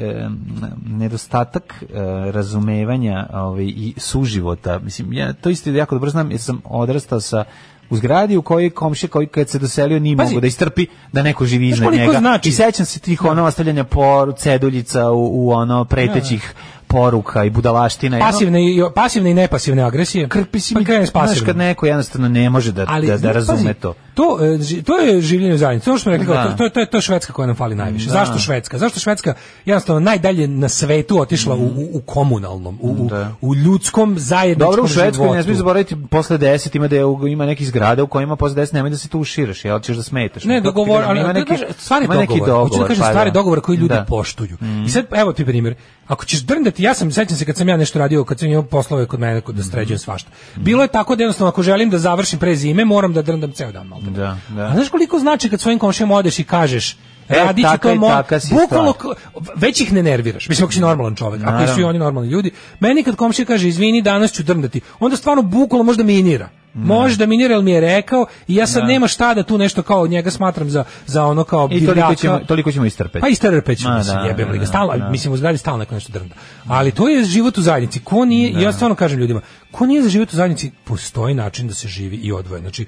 H: nedostatak e, razumevanja ovaj, i suživota. Mislim, ja to isto jako dobro znam, jer sam odrastao sa u zgradi u kojoj komšija koji kad se doselio nije
G: Pazi.
H: mogu da istrpi da neko živi
G: Znaš
H: iznad
G: koliko
H: njega.
G: znači?
H: I sećam se tih ono ostavljanja por, ceduljica u, u ono pretećih poruka i budalaština. i ono,
G: Pasivne i, pasivne i nepasivne agresije. Krpi si pa kreneš s
H: Znaš
G: pasivnom.
H: kad neko jednostavno ne može da, da, da
G: znaš,
H: razume
G: pazi,
H: to.
G: To, e, ži- to je življenje u zajednici. To što smo rekli, kao,
H: Da.
G: to, to, to, je, to je Švedska koja nam fali najviše.
H: Da.
G: Zašto Švedska? Zašto Švedska jednostavno najdalje na svetu otišla u, u, u komunalnom, u, u,
H: Da.
G: u ljudskom zajedničkom
H: Dobro, u Švedskoj ne
G: životu.
H: smiješ zaboraviti posle 10 ima da je, ima nekih zgrada u kojima posle 10 nemoj da se tu uširaš, jel ćeš da smetaš.
G: Ne,
H: Kako ti
G: dogovor,
H: kažem,
G: ali
H: ima neki
G: stvari
H: ima neki
G: dogovor. Hoću da kažem
H: pa
G: stvari
H: da.
G: dogovor koji ljudi
H: Da. Mm.
G: poštuju. I sad evo ti primjer. Ako ćeš drndati, ja sam sećam se kad sam ja nešto radio, kad sam imao poslove kod mene kod da sređujem
H: Mm.
G: svašta. Bilo je tako da jednostavno ako želim da završim pre zime, moram da drndam ceo dan. malo.
H: Da, E, da.
G: A znaš koliko znači kad svojim komšijama odeš i kažeš Radit ću
H: taka
G: to
H: i
G: mo...
H: taka si
G: Bukvalno,
H: stvar.
G: k- već ih ne nerviraš. Mislim, ako si normalan čovek, ako su i
H: Naravno.
G: oni normalni ljudi. Meni kad komšija kaže, izvini, danas ću drmdati, onda stvarno bukvalno možda minira. Može da minira, ali mi je rekao i ja sad
H: Mm. Da.
G: nema šta da tu nešto kao njega smatram za, za ono kao
H: I toliko
G: divljaka.
H: ćemo, toliko ćemo istrpeti.
G: Pa istrpet ću,
H: Ma,
G: mislim,
H: da,
G: jebem li
H: da,
G: ga. Stalno,
H: da.
G: mislim, u zgradi stalno neko nešto drnda. Ali to je život u zajednici. Ko nije, ja stvarno kažem ljudima, ko nije za život u zajednici, postoji način da se živi i odvoje. Znači,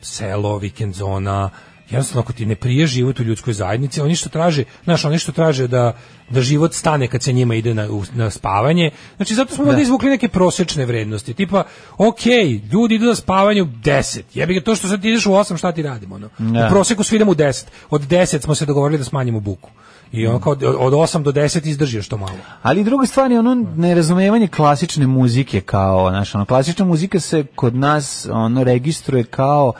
G: selo, vikend zona, jednostavno ako ti ne prije život u ljudskoj zajednici, oni što traže, znaš, oni što traže da, da život stane kad se njima ide na, u- na spavanje, znači zato smo da. izvukli neke prosečne vrednosti, tipa, ok, ljudi idu na spavanje u 10, jebi ga to što sad ti ideš u 8, šta ti radimo, ono?
H: Da.
G: U proseku svi idemo u 10, od 10 smo se dogovorili da smanjimo buku. I on kao od, od 8 do 10 izdrži još to malo.
H: Ali druga stvar je ono nerazumevanje klasične muzike kao, znaš, ono, klasična muzika se kod nas ono registruje kao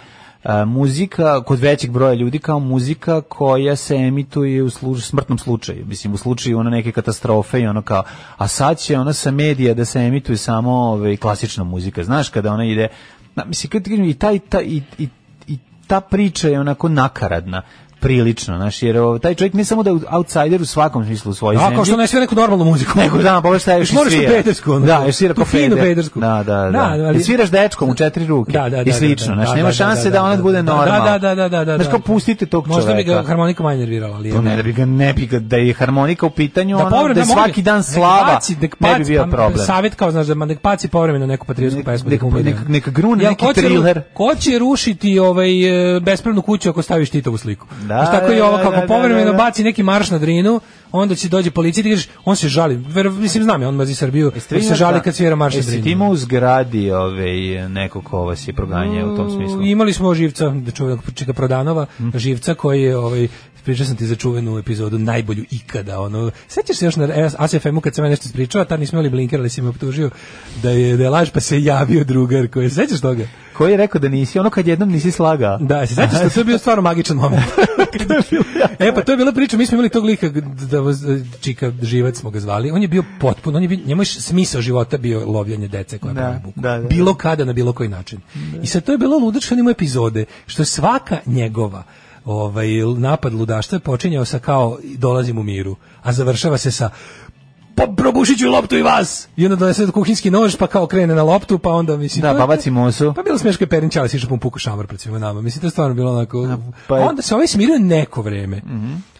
H: a, muzika kod većeg broja ljudi kao muzika koja se emituje u služ, smrtnom slučaju, mislim u slučaju ono neke katastrofe i ono kao a sad će ona sa medija da se emituje samo ovaj klasična muzika, znaš kada ona ide na, mislim kad ti kažem, i taj taj i, i, i ta priča je onako nakaradna prilično, znaš, jer o, taj čovjek ne samo da je outsider u svakom smislu u svojoj
G: A kao što ne svira neku normalnu muziku.
H: Nego da, pa šta još i
G: Moraš tu
H: svira.
G: pedersku, ono.
H: Da, još svira
G: Tu
H: ko
G: finu
H: peder.
G: pedersku.
H: Da, da, da.
G: ali-
H: I sviraš dečkom u četiri ruke.
G: Da, da, da,
H: I slično,
G: da, da,
H: znaš,
G: da,
H: nema
G: da,
H: šanse
G: da,
H: da
G: da,
H: ona
G: da,
H: bude
G: da,
H: normalna.
G: da, da, da, da, da,
H: Znaš,
G: da.
H: kao pustite tog čoveka. Pa
G: Možda bi ga harmonika manje nervirala, ali
H: To ne
G: evo.
H: da bi ga ne bi ga da je harmonika u pitanju,
G: da
H: ono,
G: povremeno
H: da je
G: može-
H: svaki dan
G: nek
H: slava,
G: paci, nek
H: ne bi
G: paci,
H: bio
G: pa,
H: problem.
G: Savet kao znaš da ma nek paci povremeno neku patriotsku
H: Nek-
G: pesmu
H: nek-
G: da umire.
H: nek- nek grune
G: Jel,
H: neki
G: ko će ru-
H: thriller?
G: Ko će rušiti ovaj e, bespravnu kuću ako staviš Titovu sliku?
H: Da,
G: Znaš, tako i
H: da,
G: ovo
H: da,
G: kako
H: da,
G: povremeno
H: da, da.
G: baci neki marš na Drinu, onda će dođe policija i ti kažeš, on se žali. Ver, mislim znam ja, on mazi Srbiju, on se žali kad svira marš na
H: Jesi ti
G: Drinu.
H: imao u zgradi ovaj, neko ko vas je proganjao
G: Mm,
H: u tom smislu?
G: Imali smo živca, da čuvenog čika Prodanova, živca koji je, ovaj, pričao sam ti za čuvenu epizodu, najbolju ikada, ono, sećaš se još na ASFM-u kad sam ja nešto ispričao, tad nismo imali blinker, ali si me optužio da je, da je laž, pa se javio drugar koji, sećaš toga?
H: Koji je rekao da nisi, ono kad jednom nisi slaga.
G: Da, se sećaš da to je bio stvarno magičan moment. e, pa to je bila priča, mi smo imali tog lika, da vas, čika živac smo ga zvali, on je bio potpuno, on je bio, njemu je smisao života bio lovljanje dece koja
H: Da,
G: prave buku.
H: da, da.
G: bilo kada, na bilo koji način. I sad to je bilo ludačno njemu epizode, što je svaka njegova ovaj, napad ludaštva je počinjao sa kao dolazim u miru, a završava se sa pa probušit ću loptu i vas. I onda donese kuhinski nož, pa kao krene na loptu, pa onda mislim...
H: Da,
G: to je-
H: pa baci mosu.
G: Pa bilo smeško je Perin Čalis išao po puku šamar pred svima nama. Mislim, to je stvarno bilo onako...
H: pa je- Mhm.
G: Onda se ovaj smirio neko vreme.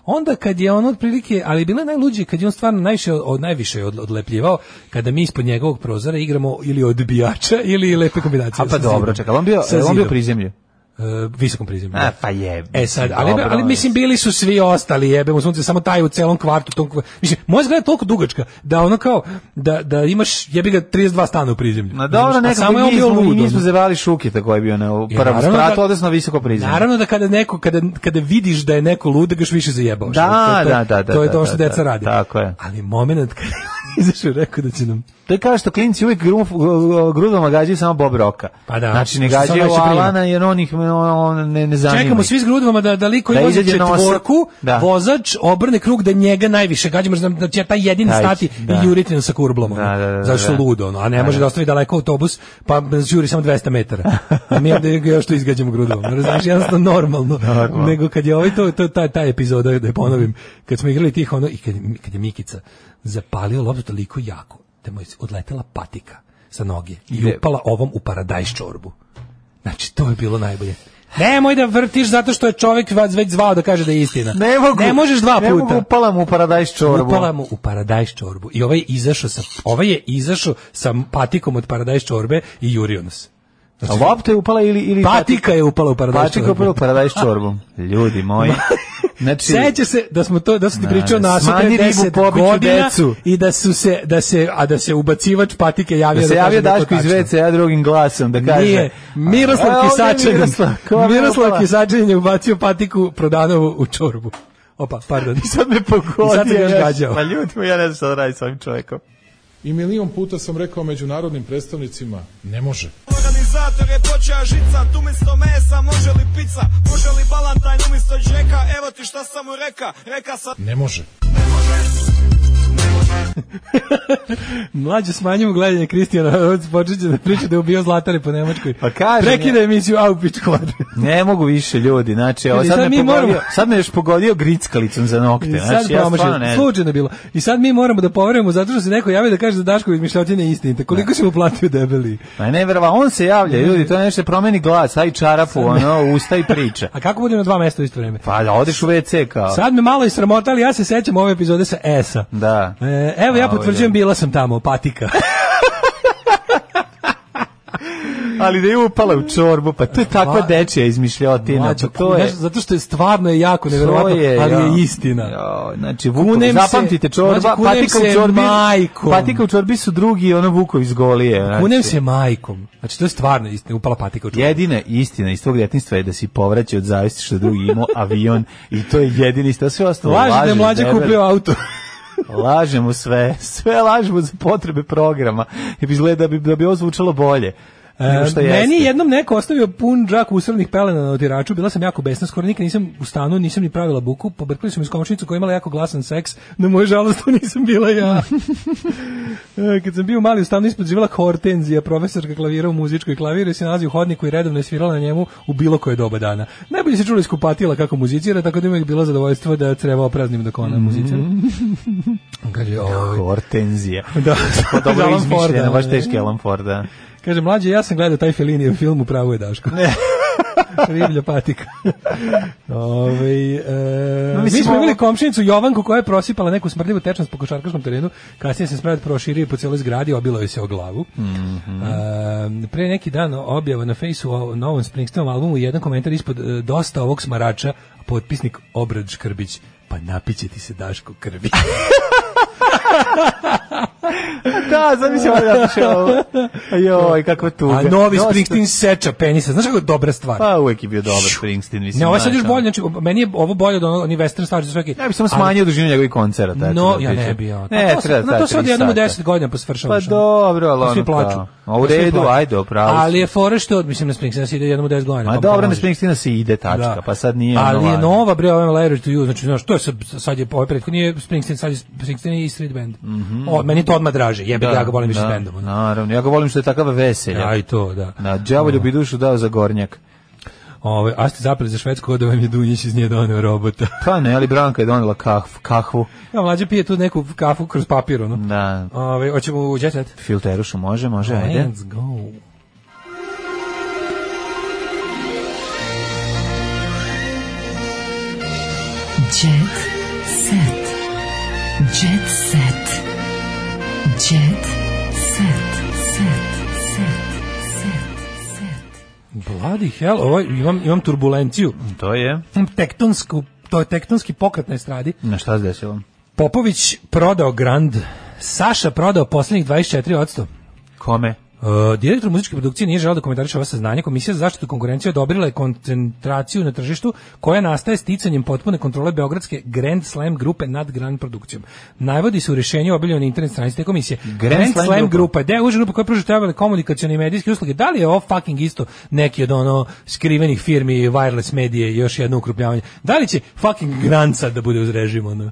G: Onda kad je on otprilike, ali bilo je najluđe kad je on stvarno najviše od najviše od, odlepljivao kada mi ispod njegovog prozora igramo ili odbijača ili lepe kombinacije.
H: A pa
G: sa
H: dobro,
G: zidom.
H: čekaj, on bio,
G: Sa
H: on bio
G: zidom.
H: prizemlju.
G: E, visokom prizemlju.
H: A, pa je.
G: E sad, ali,
H: dobro,
G: ali mislim bili su svi ostali, jebemo sunce, samo taj u celom kvartu, tom, kva- mislim, moja zgrada je toliko dugačka da ono kao da da imaš jebi ga 32 stana u prizemlju.
H: Na
G: Znaš,
H: dobro,
G: a
H: ono nekako
G: samo je
H: mi
G: on bio
H: smo,
G: lud.
H: mi smo
G: ono.
H: zevali Šukita koji je bio na
G: I
H: prvom
G: naravno
H: spratu,
G: da-
H: odnosno visoko prizemlju.
G: Naravno da kada neko kada kada vidiš da je neko lud, da ga još više zajebaš.
H: Da,
G: To je-
H: da, da, da,
G: To je
H: da,
G: to što
H: da,
G: deca
H: da,
G: rade.
H: tako je.
G: Ali momenat kada je on izašao i rekao da će nam
H: To je kao što klinci uvijek gru- grudama gađaju samo Bob Roka.
G: Pa da.
H: Znači ne
G: Što sam
H: gađaju
G: najviše prima.
H: Alana jer on ih ono, on ne, ne zanima.
G: Čekamo
H: ih.
G: svi s grudvama da, da liko
H: Da
G: da vozi
H: izađe na osam.
G: četvorku,
H: Da.
G: vozač obrne krug da njega najviše gađamo, da će znači, taj jedini
H: Taj,
G: stati
H: da.
G: i juriti nas sa kurblom. ono.
H: Da, da, da,
G: Zato što je
H: da.
G: ludo, ono, a ne
H: Da,
G: može
H: da.
G: da ostavi daleko autobus, pa nas juri samo 200 metara. A mi ovde ga još to izgađamo grudvama. Razumiješ, jednostavno normalno.
H: Normalno.
G: Nego kad je ovaj, to, to, taj, taj epizoda, da je ponovim, kad smo igrali tih, ono, i kad, je- kad je Mikica zapalio loptu toliko jako, da mu je odletela patika sa noge i
H: Ide.
G: upala ovom u paradajz čorbu. Znači, to je bilo najbolje. Nemoj da vrtiš zato što je čovjek vas već zvao da kaže da je istina.
H: Ne mogu.
G: možeš dva
H: Ne mogu,
G: puta.
H: upala mu u paradajz čorbu.
G: Upala mu u paradajz čorbu. I ovaj je izašao sa, ovaj je izašao sa patikom od paradajz čorbe i jurio nas. Znači,
H: A Lopta je upala ili... ili
G: Patika je upala u paradajz
H: Patika je upala u paradajz čorbu. Ljudi moji. Znači,
G: Seća se da smo to da su ti
H: Da,
G: pričao
H: da,
G: na pre
H: smanji ribu,
G: 10
H: pobiću
G: godina
H: decu.
G: i da su se da se a da se ubacivač patike javio
H: da se
G: kaže
H: javio
G: da je to
H: Daško iz WC
G: tačno.
H: ja drugim glasom da kaže.
G: Nije,
H: A,
G: Miroslav
H: ovdje je
G: Kisačanin.
H: Miroslav, koja je
G: Miroslav
H: upala?
G: Kisačanin je ubacio patiku Prodanovu u čorbu. Opa, pardon.
H: Sad me pogodio.
G: I sad sam ga još
H: ja-
G: gađao.
H: Pa ljudi, moji, ja ne znam šta da radim s ovim čovjekom.
O: I milion puta sam rekao međunarodnim predstavnicima, ne može.
A: Organizator je počeo žicat Umjesto mesa može li pizza Može li balantajn umjesto džeka Evo ti šta sam mu reka Reka sam
O: Ne može.
A: Ne može Ne može
G: Mlađe smanjimo gledanje Kristijana, on počeće da priča da je ubio Zlatare po Nemačkoj.
H: Pa kažem
G: Prekida emisiju Aupić kvadrat.
H: Ne mogu više ljudi, znači, evo,
G: Vidi,
H: sad,
G: sad
H: me
G: mi
H: pogodio,
G: moramo-
H: sad me još pogodio grickalicom za nokte, znači, ja
G: promašio.
H: stvarno ne znam.
G: Slučajno je bilo. I sad mi moramo da poverujemo zato što se neko javi da kaže da Daškovi izmišljotine istinite. Koliko si mu platio debeli?
H: Ma ne verova, on se javlja, ljudi, to nešto promeni glas, aj čarapu, ono, usta i priča.
G: A kako budem na dva mesta u isto vreme?
H: Pa da odeš u WC kao.
G: Sad me malo i sramota, ali ja se sećam ove epizode sa S-a.
H: Da.
G: E, evo ja
H: Ovo je
G: potvrđujem, bila sam tamo, patika.
H: Ali da je upala u čorbu, pa to je takva
G: Mla-
H: dečija izmišljotina.
G: Mlađo,
H: Pa to je...
G: znaš, zato što je stvarno je jako neverovatno,
H: To je,
G: ali
H: ja.
G: je istina.
H: Jo, znači, vuku,
G: Kunem se-
H: zapamtite čorba,
G: mlađe, kunem
H: patika u
G: se
H: čorbi,
G: majkom.
H: patika u čorbi su drugi, ono vuko iz golije. Znači,
G: Kunem se majkom. Znači, to je stvarno istina, upala patika u čovjeku.
H: Jedina istina iz tog djetinjstva je da si povraćao od zavisti što je drugi imao avion i to je jedini istina, sve ostalo
G: Laži da je
H: lažeš,
G: mlađe
H: debeli.
G: kupio auto.
H: Lažemo sve, sve lažemo za potrebe programa. I bi izgleda da bi, da bi ovo zvučalo bolje. nego što
G: E,
H: jeste.
G: meni je jednom neko ostavio pun džak usrnih pelena na otiraču, bila sam jako besna, skoro nikad nisam u stanu, nisam ni pravila buku, pobrkli su mi s komšnicu koja je imala jako glasan seks, na moju žalost to nisam bila ja. E, Kad sam bio mali u stanu ispod živjela Hortenzija, profesorka klavira u muzičkoj klaviru i se nalazi u hodniku i redovno je svirala na njemu u bilo koje doba dana. Najbolje se čula iz kupatila kako muzicira, tako da mi je uvijek bilo zadovoljstvo da treba opraznim dok ona muzicira.
H: Mm.
G: Kaže, ovaj,
H: Hortenzija.
G: Da.
H: Pa dobro
G: Alan
H: izmišljena,
G: Forda,
H: baš
G: ne?
H: teški Alan Ford, da.
G: Kaže, mlađe, ja sam gledao taj Felinijev film, u pravu je Daško. Riblja patika. Ove, e,
H: No,
G: mi
H: mislim,
G: smo imali
H: ovo-
G: komšinicu Jovanku koja je prosipala neku smrdljivu tečnost po košarkaškom terenu, kasnije se smrad proširio po cijeloj zgradi, obilo je se o glavu.
H: Mhm.
G: E, pre neki dan objava na fejsu o novom Springsteenom albumu jedan komentar ispod e, dosta ovog smarača, potpisnik Obrad Škrbić, pa napiće ti se Daško krvi.
H: Da, zamislim da napiše ovo. Joj, kakva tuga.
G: A novi
H: Dosta-
G: Springsteen seča penisa. Znaš kako je dobra stvar?
H: Pa uvek je bio dobar Springsteen, mislim.
G: Ne, ovo je sad
H: znaš,
G: još
H: ono.
G: bolje, znači meni je ovo bolje od onog- oni western stvari što su neki.
H: Ja bih samo
G: ali-
H: smanjio dužinu njegovih koncerata. eto,
G: No,
H: da
G: ja
H: pričam.
G: ne bi ja.
H: Ne,
G: A to,
H: treba
G: treba, na to se
H: sad
G: od
H: tri
G: jednom u
H: sata.
G: 10 godina posvršavaš.
H: Pa dobro, ali
G: Svi
H: ono
G: plaču. Pa
H: kao. A u
G: Svi
H: redu,
G: plaču.
H: ajde, opravo si.
G: Ali je fora što, mislim, na Springsteen se ide jednom u 10 godina.
H: Ma
G: pa
H: dobro, na
G: pomaže.
H: Springsteena se ide tačka,
G: Da.
H: pa sad nije
G: Ali
H: ono
G: je
H: važno.
G: nova bre ovaj Letter to You, znači znaš, to je sad, sad je ovaj prethodni je Springsteen, sad je Springsteen i Street Band. o, meni to odmah draže, jebe ga, ja ga volim više s
H: Mhm. da,
G: bandom. ono.
H: Naravno, ja ga volim što je takav veselja.
G: Ja i to, da.
H: Na đavolju bi dušu dao za gornjak.
G: Ove, a ste zapeli za švedsko, da vam je Dunjić iz nje doneo robota.
H: Pa ne, ali Branka je donela kahv, kahvu.
G: Ja, mlađe pije tu neku kafu kroz papir, ono.
H: Da,
G: Ove, hoćemo u jet set?
H: filterušu može, može, ajde.
G: Let's go.
F: Jet set. Jet set. Jet set. Set. Set. Set. Set.
G: Bloody hell, ovo, imam, imam turbulenciju.
H: To je.
G: Imam Tektonsku, to je tektonski pokret na estradi.
H: Na šta se desilo?
G: Popović prodao Grand, Saša prodao posljednjih 24%.
H: Kome?
G: Uh, direktor muzičke produkcije nije želeo da komentariše ova saznanja. Komisija za zaštitu konkurencije odobrila je koncentraciju na tržištu koja nastaje sticanjem potpune kontrole beogradske Grand Slam grupe nad Grand produkcijom. Najvodi se u rješenju objavljeno na internet stranici te komisije. Grand,
H: Slam
G: Slam,
H: grupa.
G: grupa je deo uže grupa koja pruža trebale komunikacione i medijske usluge. Da li je ovo fucking isto neki od ono skrivenih firmi, wireless medije i još jedno ukrupljavanje? Da li će fucking Grand sad da bude uz režim? Ono?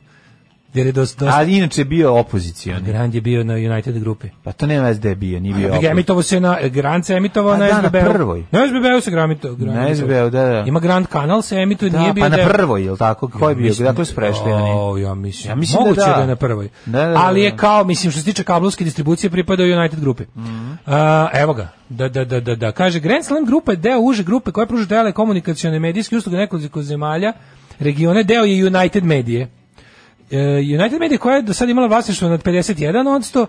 G: Jer je dosta... dosta-
H: Ali inače je bio opozicioni.
G: Grand je bio na United grupi.
H: Pa to nema veze da je bio, nije bio
G: Ja bih
H: opozicioni.
G: emitovo se na e, Grand se emitovao
H: A
G: na
H: da, na
G: SBB.
H: prvoj.
G: Na SBB se gramito.
H: Na SBB-u, da, da.
G: Ima Grand kanal se emituje,
H: Da,
G: nije bio
H: pa na
G: deo-
H: prvoj, jel tako? Ko je bio?
G: Mislim-
H: Dakle su prešli oni?
G: O, ja mislim.
H: Ja mislim da
G: Moguće
H: da.
G: je na prvoj.
H: Da, da, da,
G: Ali
H: da.
G: je kao, mislim, što se tiče kablovske distribucije, pripada u United grupi.
H: Mhm.
G: A, evo ga. Da, da, da, da, da. Kaže, Grand Slam grupa je deo uže grupe koja pruža telekomunikacione medijske usluge nekoliko zemalja, regione, deo je United medije. E, United Media koja je do sada imala vlasništvo nad 51%,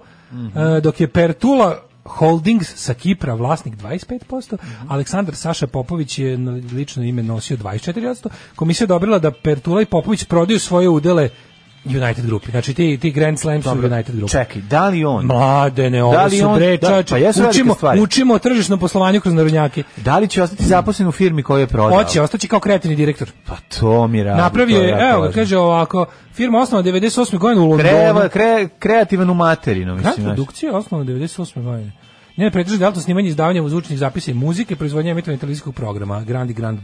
G: e, dok je Pertula Holdings sa Kipra vlasnik 25%, Aleksandar Saša Popović je na lično ime nosio 24%. Komisija je odobrila da Pertula i Popović prodaju svoje udele United grupi. Znači ti, ti Grand Slam su United grupi.
H: Čekaj, da li on?
G: Mladene, ovo
H: Da li
G: su
H: on-
G: bre,
H: da,
G: čače,
H: pa jesu velike
G: učimo,
H: stvari. Pa
G: učimo o tržišnom poslovanju kroz narodnjake.
H: Da li će ostati zaposlen u firmi koju je prodao?
G: Hoće, ostaće kao kreativni direktor.
H: Pa to mi radi.
G: Napravio
H: to
G: je,
H: jako
G: evo ga,
H: važno.
G: kaže ovako, firma osnova 98. godine u Londonu.
H: Kreva, kre, kreativan u materinu, mislim.
G: Grad
H: znaš.
G: produkcija je osnovna 98. godine. Njene pretraže delto snimanje i izdavanje zvučnih zapisa i muzike, proizvodnja emitovanja televizijskog programa Grand i Grand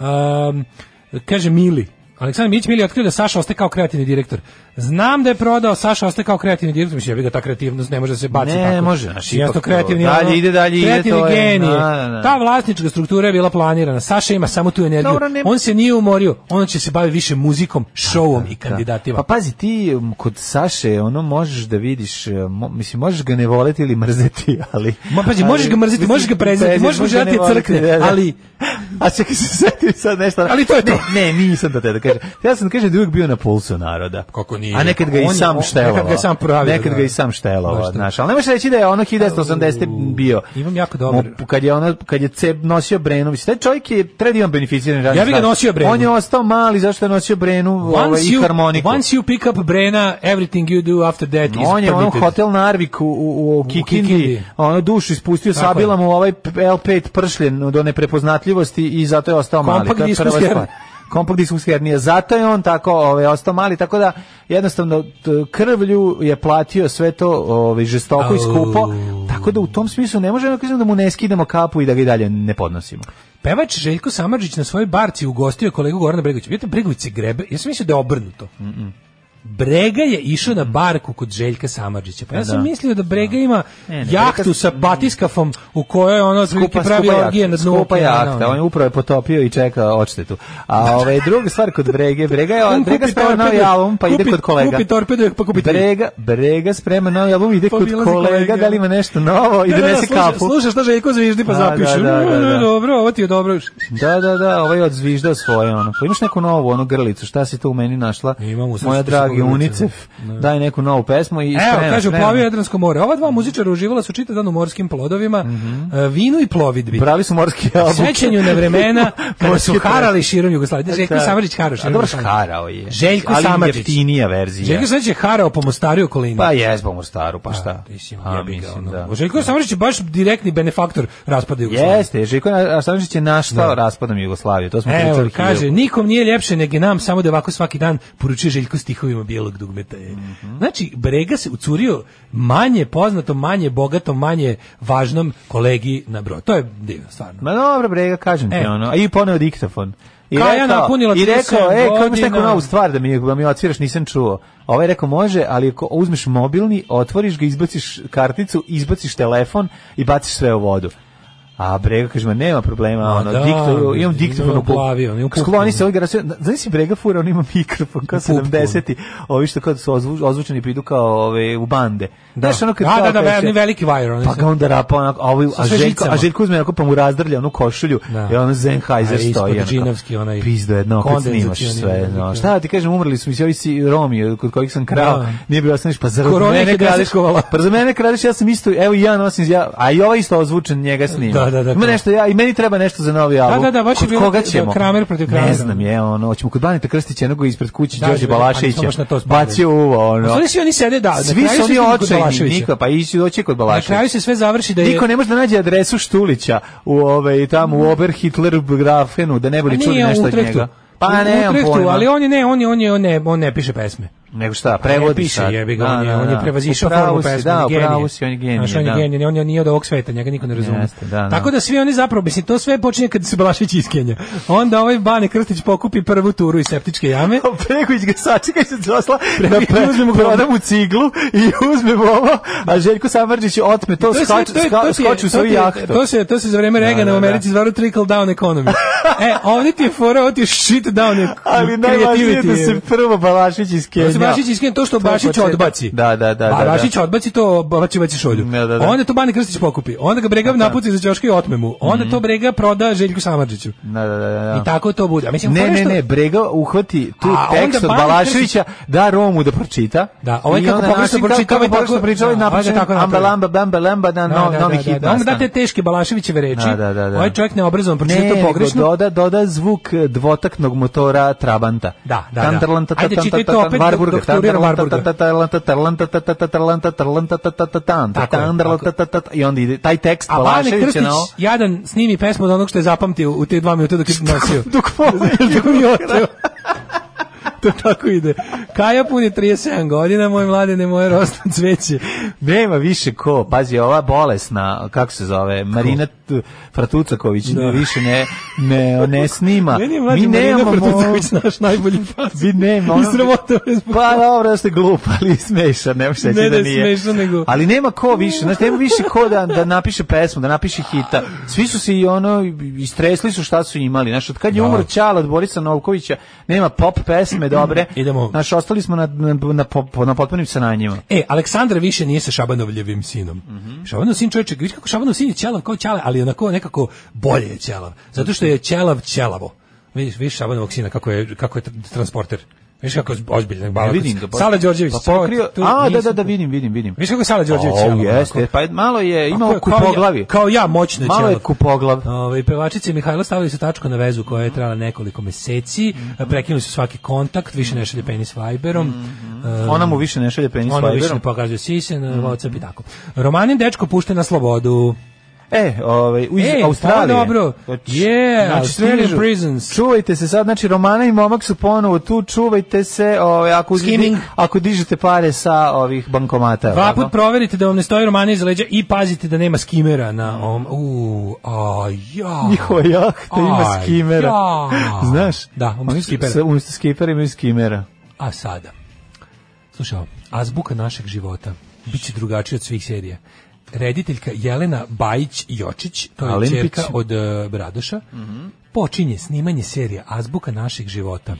G: 2. Um, Ehm, kaže Mili, Aleksandar Mić Mili je otkrio da Saša ostaje kao kreativni direktor. Znam da je prodao, Saša ostaje kao kreativni direktor. Mislim, ja bih ga ta kreativnost ne može da se baci
H: Ne,
G: tako.
H: može, znaš,
G: Jednostavno
H: ipak to,
G: kreativni,
H: dalje
G: ono,
H: ide, dalje ide,
G: kreativni
H: to je,
G: genije.
H: da, da, da.
G: Ta vlasnička struktura je bila planirana. Saša ima samo tu energiju.
H: Dobro, nema-
G: On se nije umorio. On će se baviti više muzikom, šovom i kandidatima.
H: Pa pazi, ti um, kod Saše ono možeš da vidiš, e, mo- mislim, možeš ga ne voleti ili mrzeti, ali...
G: Ma pazi,
H: ali-
G: možeš ga mrzeti,
H: mislim,
G: možeš ga prezirati,
H: prezir,
G: možeš mu
H: ga
G: želeti
H: ne
G: da crkne,
H: voleti, da, da.
G: ali-
H: A čekaj, se setim sad nešto...
G: Ali to je to.
H: Ne, ne, nisam to te da kažem. Ja sam da kažem da je uvijek bio na pulsu naroda.
G: Kako nije?
H: A nekad ga i
G: On je-
H: sam
G: on-
H: štelovao.
G: nekad ga je sam pravio,
H: Nekad
G: da.
H: ga i sam štelovao,
G: Baš to.
H: znaš. Ali ne možeš reći da je ono 1980. bio.
G: Imam jako dobar.
H: Mo- Kad je, ono, kad je ceb nosio brenu, mislim, taj čovjek je tradivan beneficiran radni
G: Ja bi ga
H: staž.
G: nosio brenu.
H: On je ostao mali, zašto je nosio brenu ovaj,
G: Once
H: i
G: you,
H: harmoniku?
G: once you pick up Brena, everything you do after that is
H: on je ono
G: permitted.
H: hotel Narvik u, u, u Kikindi,
G: Kikindi.
H: ono dušu ispustio,
G: Tako je.
H: sabila mu ovaj L5 pršljen do neprepoznatljivosti i zato je ostao mali.
G: Kompakt
H: To je prva
G: diskus
H: stvar. Kompakt diskus hernija. Zato je on tako ovaj, ostao mali, tako da jednostavno t- krvlju je platio sve to ovaj, žestoko i skupo, tako da u tom smislu ne možemo kažem da mu ne skidamo kapu i da ga i dalje ne podnosimo.
G: Pevač Željko Samadžić na svojoj barci ugostio je kolegu Gorana Bregovića. Vidite, Bregović se grebe, ja sam mislio da je obrnuto. Brega je išao na barku kod Željka Samadžića. Pa ja sam
H: Da.
G: mislio da Brega ima
H: Ne, ne,
G: jahtu
H: Brega-
G: sa batiskafom u kojoj ono skupa,
H: skupa,
G: pravi
H: skupa
G: orgije na
H: jahta,
G: dnu.
H: skupa
G: okeana,
H: jahta,
G: ono.
H: on je upravo je potopio i čeka odštetu. A ove druga stvar kod Brege, Brega je
G: On
H: Brega
G: kupi
H: sprema novi
G: torpedu,
H: album, pa ide
G: kupi-
H: kod kolega.
G: kupi torpedu, pa kupi tri.
H: Brega, Brega sprema novi album, ide
G: Pa
H: kod
G: obilazi
H: kolega,
G: kolege.
H: da li ima nešto novo i
G: Da, da, da,
H: donese
G: sluša-
H: kapu.
G: Sluša šta Željko zviždi pa
H: Da,
G: zapiše.
H: da, da, da, da.
G: "E, Dobro, ovo ti je dobro.
H: Da, da, da, ovaj je odzviždao svoje ono. Pa imaš neku novu ono grlicu, šta si tu u meni našla?
G: E, Imam u srcu
H: Moja
G: ti
H: dragi
G: sigurno
H: UNICEF, daj neku novu pesmu i
G: Evo,
H: sprema,
G: kaže,
H: sprema.
G: uplavio Jadransko more. Ova dva muzičara uživala su čitav dan u morskim plodovima,
H: Mhm.
G: e, vinu i plovidbi.
H: Pravi su morski album.
G: Sećanju na vremena kada su
H: Morski
G: harali širom Jugoslavije. Željko
H: Da.
G: Samarđić harao
H: A
G: širom
H: dobro
G: Jugoslavije.
H: škarao je.
G: Željko
H: Ali
G: Samardžić.
H: jeftinija verzija.
G: Željko Samarđić je harao po Mostaru i okolini.
H: Pa jes, pa Mostaru, pa šta?
G: ti si,
H: A,
G: jebi ga,
H: mislim,
G: ono.
H: da.
G: Željko Samarđić je baš direktni benefaktor raspada Jugoslavije.
H: Jeste, Željko Samarđić je naštao
G: Da.
H: raspadom Jugoslavije, to smo
G: Evo,
H: pričali.
G: kaže,
H: hiljadu.
G: nikom nije ljepše nego nam, samo da ovako svaki dan poručuje Željko stihovima bijelog dugmeta. Je.
H: Mhm.
G: Znači, Brega se ucurio manje poznatom, manje bogatom, manje važnom kolegi na brod. To je divno, stvarno.
H: Ma dobro, brega, kažem ti
G: E.
H: ono. A i poneo diktafon. I
G: Kaja
H: rekao,
G: napunila
H: I rekao,
G: 37
H: e, kako imaš neku
G: godina."
H: novu stvar da mi, da mi odsviraš, nisam čuo. Ovaj je rekao, može, ali ako uzmeš mobilni, otvoriš ga, izbaciš karticu, izbaciš telefon i baciš sve u vodu. A Brega kaže, ma nema problema,
G: Ma
H: ono,
G: da,
H: dikto, imam
G: mislim,
H: diktafon
G: imam
H: u pupu.
G: glavi, ono, imam pupu.
H: Skloni se, ovdje, znaš si Brega fura, on ima mikrofon, kao
G: U pupku.
H: 70-ti, ovi što kad su ozvu- ozvučeni pa idu kao ove, u bande.
G: Da,
H: Znaš, ono kad
G: da,
H: kao
G: da, da,
H: kreće-
G: ve- veliki vajer. oni
H: pa
G: su-
H: ga onda rapa onako, a, ovaj,
G: Sa
H: a,
G: sve
H: Željko,
G: žicama.
H: a Željko uzme onako pa mu razdrlja onu košulju
G: Da.
H: i ono
G: A,
H: Sennheiser
G: ispod
H: stoji. onako.
G: džinovski onaj
H: Pizdo jedno, opet snimaš
G: kondenzacioni
H: sve.
G: veliki,
H: No.
G: da.
H: Šta da ti kažem, umrli su mi se ovi si Romi kod kojih sam krao,
G: Da.
H: nije bilo osnoviš, pa zar od
G: Korona ih
H: mene
G: je
H: kradeš,
G: desetkovala.
H: pa za mene kradeš, ja sam isto, evo i ja nosim, ja, a i ovaj isto ozvučen njega snima.
G: Da, da, da,
H: Ima
G: da.
H: nešto, ja, i meni treba nešto za novi album.
G: da, da, baš je
H: kod
G: bilo
H: koga
G: da- da
H: ćemo?
G: Kramer protiv Kramera.
H: Ne znam, je, ono, hoćemo kod Banita Krstića, jednog ispred kuće,
G: Da,
H: Đorđe
G: da, da,
H: Balaševića,
G: ali samo što na to spadaju.
H: bacio uvo,
G: Pa
H: ono.
G: Sada svi oni sede, da, na
H: Svi
G: kraju
H: su oni
G: stignu kod
H: očajni,
G: Balaševića.
H: Niko, pa ići doći kod
G: Na
H: Balaševića.
G: kraju se sve završi da je...
H: Niko ne može da nađe adresu Štulića u ovaj tamo u Oberhitlergrafenu da ne
G: A
H: bude čuli
G: Pa nije,
H: nešto
G: u
H: od
G: Utrehtu.
H: njega.
G: U-
H: Pa
G: u
H: ne,
G: Utrehtu,
H: pojma.
G: ali on je ne, on je, on je, on ne, on ne piše pesme.
H: nego šta,
G: Pa Ne
H: prevodi
G: E, piše,
H: sad.
G: jebi ga,
H: Da,
G: on je,
H: da,
G: on je
H: da.
G: prevazišao
H: U pravu
G: formu
H: si,
G: pesme,
H: da,
G: on je
H: u pravu
G: genije.
H: si, on je genije,
G: Znaš, on je
H: da.
G: genije, on je nije od ovog sveta, njega niko ne razume.
H: Jeste, da, da.
G: Tako da svi oni zapravo, mislim, to sve počinje kad se Balašević iz Kenja. Onda ovaj Bane Krstić pokupi prvu turu iz septičke jame.
H: Preković ga sačeka se dosla da
G: Preković,
H: pe,
G: uzmemo ga.
H: proda mu ciglu i uzmemo ovo, a Željko Samarđić otme to,
G: je sve-
H: skače,
G: to je-
H: ska-
G: to ti je-
H: skoči u
G: to ti
H: svoju
G: je-
H: jahtu.
G: To se, to se za vreme Regana
H: da,
G: u
H: da.
G: Americi zvaro trickle down economy. e, ovdje ti je fora, ovdje ti je shit down ec-
H: Ali najvažnije je da
G: creativity.
H: se prvo Balašić iz Kenja.
G: Da se Bašić iskreno to što
H: To je
G: Bašić
H: početak.
G: odbaci.
H: Da, da, da,
G: A
H: da, da.
G: Bašić odbaci to, baci baci šolju.
H: Da, da, Pa da.
G: Onda to Bane Krstić pokupi. Onda ga Brega napuci za ćoška i otme mu. Onda to Brega proda Željku Samardžiću.
H: Da, da, da, Mhm. da.
G: I tako to bude. A mislim,
H: Ne,
G: fora
H: ne,
G: što-
H: ne, Brega uhvati tu
G: A onda
H: tekst od
G: Bane
H: Balaševića, da Romu da pročita.
G: Da, ovaj
H: I
G: kako
H: onda
G: pogrešno
H: način kako-
G: pročita, ovaj
H: kako pogrešno
G: tako-
H: pročita, ovaj
G: da, ovaj ga
H: napiše
G: tako napravi.
H: Ambalamba, Bambalamba, da, no- novi hit
G: da. Onda
H: nastane.
G: da te teške Balaševićeve reči.
H: Da, da, da, da.
G: Ovaj čovjek neobrazovan pročita
H: Ne,
G: to
H: nego
G: pogrešno.
H: doda, doda zvuk eh, dvotaknog motora Trabanta.
G: Da, da, da.
H: Tantarlan,
G: Ajde,
H: tatatam,
G: čitaj to
H: tatatam,
G: opet
H: Warburga,
G: dok- dok turiram
H: tantarlan,
G: Warburga.
H: tatatarlan, tatatarlan, tatatarlan, tatatarlan, tatatarlan,
G: Tako je,
H: tantarlan, tatatat- I onda ide taj tekst
G: A Bane
H: Balaševića
G: Krstić,
H: na ovo.
G: jadan, snimi pesmu od onog što je zapamtio u te dva minuta dok je nosio.
H: Dok pola-
G: Dok mi je oteo. to tako ide. Kaja puni 37 godina, moj mladine, moje rosno cveće.
H: Nema više ko, pazi, ova bolesna, kako se zove, Marina T- Fratucaković, ne, više ne, ne, ne snima.
G: Meni je mlađa Marina Fratucaković naš najbolji faz.
H: Mi nemamo.
G: I sramota me zbog
H: Pa dobro, da ste glup, ali smeša, ne možeš reći
G: Ne da
H: da
G: je
H: nije.
G: smešno, nego-
H: Ali nema ko više, znači nema više ko da, da napiše pesmu, da napiše hita. Svi su se i ono, istresli su šta su imali. Znaš, od kad je
G: Da.
H: umro Ćala od Borisa Novkovića, nema pop pesme dobre. Idemo. Znaš, ostali smo na, na, na, pop- na potpunim sananjima.
G: E, Aleksandra više nije sa Šabanovljevim sinom.
H: Mhm.
G: Šabanov sin čovječe, vidiš kako Šabanov sin je ćelav kao ćelav, ali onako nekako bolje je ćelav. Zato što je ćelav ćelavo. Vidiš, vidiš Šabanovog sina kako je, kako je tr- transporter. Vidiš kako je ozbiljno.
H: Ja
G: balavac.
H: vidim ga. pa-
G: Sala Đorđević.
H: Pa pokrio,
G: tu-
H: a, da,
G: nisam-
H: da, da, vidim, vidim, vidim.
G: Vidiš kako je Sala Đorđević
H: O,
G: ćelav,
H: jeste,
G: onako.
H: pa malo je,
G: Kako
H: imao
G: je, kao
H: kupoglavi.
G: ja- Kao ja, moćno je
H: Malo je
G: ćelav.
H: kupoglav.
G: Ovaj pevačica i Mihajlo stavili su tačku na vezu koja je trajala nekoliko meseci,
H: Mhm.
G: prekinuli su svaki kontakt, više ne šalje penis Viberom. Em,
H: Ona mu više ne šalje penis
G: Ona mu više
H: Viberom. Mhm.
G: ne pokazuje sise na WhatsApp i tako. Romanin dečko pušten na slobodu.
H: E, ovaj, u iz
G: E,
H: Australije.
G: pa dobro.
H: Znači,
G: Yeah, Australian
H: stižu.
G: prisons.
H: Čuvajte se sad, znači Romana i momak su ponovo tu, čuvajte se, ovaj, ako,
G: Skimming.
H: ako dižete pare sa ovih bankomata.
G: Dva
H: ovako.
G: put proverite da vam ne stoji Romana iza leđa i pazite da nema skimera na ovom. U, a ja.
H: Njihova jahta ima
G: Aj,
H: skimera.
G: ja.
H: Znaš?
G: Da, umjesto
H: Oni su-
G: skipera.
H: sa- Umjesto skipera imaju skimera.
G: A sada. Slušaj, ovo, azbuka našeg života biće drugačija od svih serija. Rediteljka Jelena Bajić Jočić, to je
H: Alimpić.
G: ćerka od e, Bradoša, počinje snimanje serija Azbuka našeg života.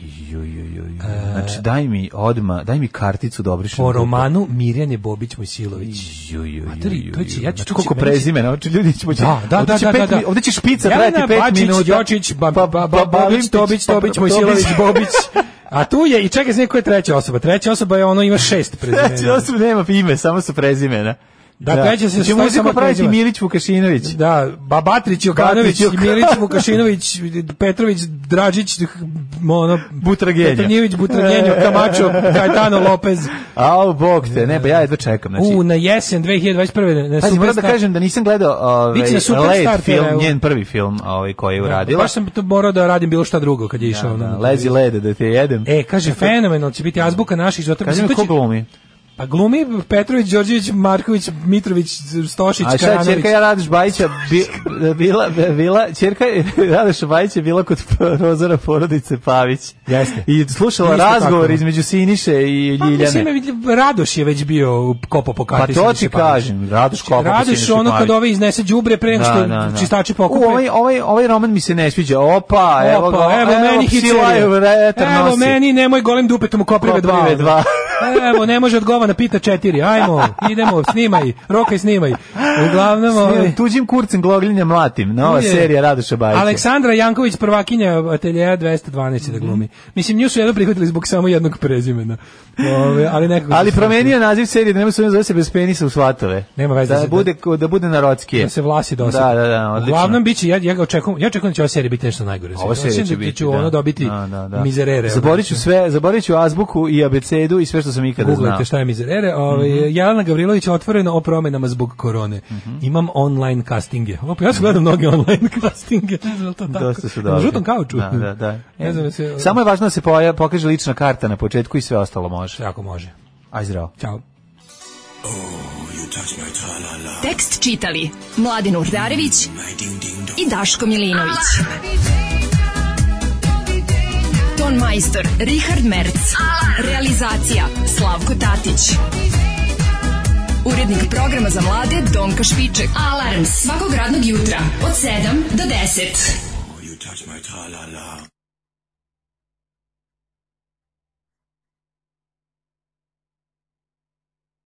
H: Znači, daj mi odma, daj mi karticu dobrišenu.
G: E. Po romanu Mirjane Bobić Mojsilović. Materi, to će, ja ću
H: Znači,
G: to će-
H: koliko
G: meni će-
H: prezimena, znači ljudi ćemo će...
G: Da, da,
H: ovdje
G: da,
H: će
G: da,
H: pet
G: da, da.
H: mi- Ovdje će špica
G: Jelena
H: trajati pet
G: Bačić,
H: minuta. Pa,
G: Jočić, ba, ba, ba, ba, Bobić,
H: Balimpić,
G: Tobić,
H: pa-
G: Tobić,
H: pa-
G: Mojsilović,
H: Tobić.
G: Bobić. A tu je, i čekaj, znači ko je treća osoba? Treća osoba je ono, ima šest prezimena.
H: Znači, osoba nema ime, samo su prezimena.
G: Da, treća se
H: Će
G: stoji samo
H: muziku praviti
G: prezime.
H: Milić Vukašinović.
G: Da, Babatrić,
H: Batrić,
G: Jokanović,
H: Joka-
G: Milić, Vukašinović, Petrović, Dražić, ono,
H: Butragenja. E,
G: Petrnjević, Butragenjo, Kamačo, Kajtano Lopez.
H: Au, bog te, ne, pa ja jedva čekam. Znači,
G: U, na jesen 2021. Na
H: Pazi, moram da
G: Superstar-
H: kažem da nisam gledao
G: Biće na
H: ovaj,
G: Superstar
H: Led film,
G: TV-u.
H: njen prvi film ovaj, koji je uradila.
G: Baš sam to morao da radim bilo šta drugo kad je išao.
H: Da,
G: na-
H: lezi lede da te jedem.
G: E, kaže, fenomenalno će biti azbuka naših života.
H: Kaži mi
G: Mislim, to
H: ko
G: će-
H: glumi?
G: Pa glumi Petrović, Đorđević, Marković, Mitrović, Stošić,
H: A šta,
G: Karanović.
H: čerka ja Radoš Bajića bi, bila, bila, čerka Radoš Bajić je bila kod prozora porodice Pavić.
G: Jeste.
H: I slušala
G: Isto
H: razgovor
G: tako.
H: između Siniše i
G: Pa
H: Ljiljane.
G: mislim, vidi, Radoš je već bio kopo po
H: Pa
G: kati.
H: to ti
G: Siniše Pavića.
H: kažem, Radoš Kopar.
G: Radoš ono kad ove iznese đubre pre nego što čistači pokupe.
H: U, ovaj, ovaj, ovaj roman mi se ne sviđa. Opa, evo ga.
G: Opa, evo, meni hit serija.
H: Evo,
G: Evo meni, nemoj golim dupetom u koprive dva.
H: Koprive dva.
G: evo, ne može od govana pita četiri. Ajmo, idemo, snimaj, rokaj snimaj. Uglavnom, ovaj,
H: Tuđim kurcem glogljenja mlatim. Nova
G: Tu je
H: serija Radoša Bajića.
G: Aleksandra Janković, prvakinja ateljeja 212 da glumi. Mislim, nju su jedno prihvatili zbog samo jednog prezimena. Ove, ali nekako...
H: Ali
G: su-
H: promenio naziv serije, da nema se zove se bez penisa u svatove.
G: Nema veze
H: Da
G: sad.
H: bude, da bude narodskije.
G: da se vlasi dosad.
H: Da, da, da, odlično.
G: Uglavnom biće ja ja ga očekujem, ja očekujem da će ova serija biti nešto najgore.
H: Ovo
G: Očekujem
H: serija će
G: da
H: biti,
G: ću ono
H: da.
G: dobiti
H: Da, da, da.
G: mizerere. ono,
H: Zaborit ću sve, zaborit ću azbuku i abecedu i sve što sam ikada znao.
G: Googlajte šta je mizerere. Ovaj
H: Mhm.
G: Jelena Gavrilović otvoreno o promenama zbog korone. Imam online castinge. Opa, ja sam gledao mnoge online castinge. Ne znam je li to tako.
H: Dosta su
G: Na
H: dobri.
G: žutom kauču.
H: Da, da, da. E,
G: Ne znam, se,
H: Samo je važno da se poja- pokaže lična karta na početku i sve ostalo može.
G: Tako može.
H: Aj zdravo.
G: Ćao.
F: Tekst čitali Mladin Urdarević i Daško Milinović. Ton majstor Richard Merc. Realizacija Slavko Tatić. Urednik programa za mlade Donka Špiček. Alarms svakog radnog jutra od 7 do 10.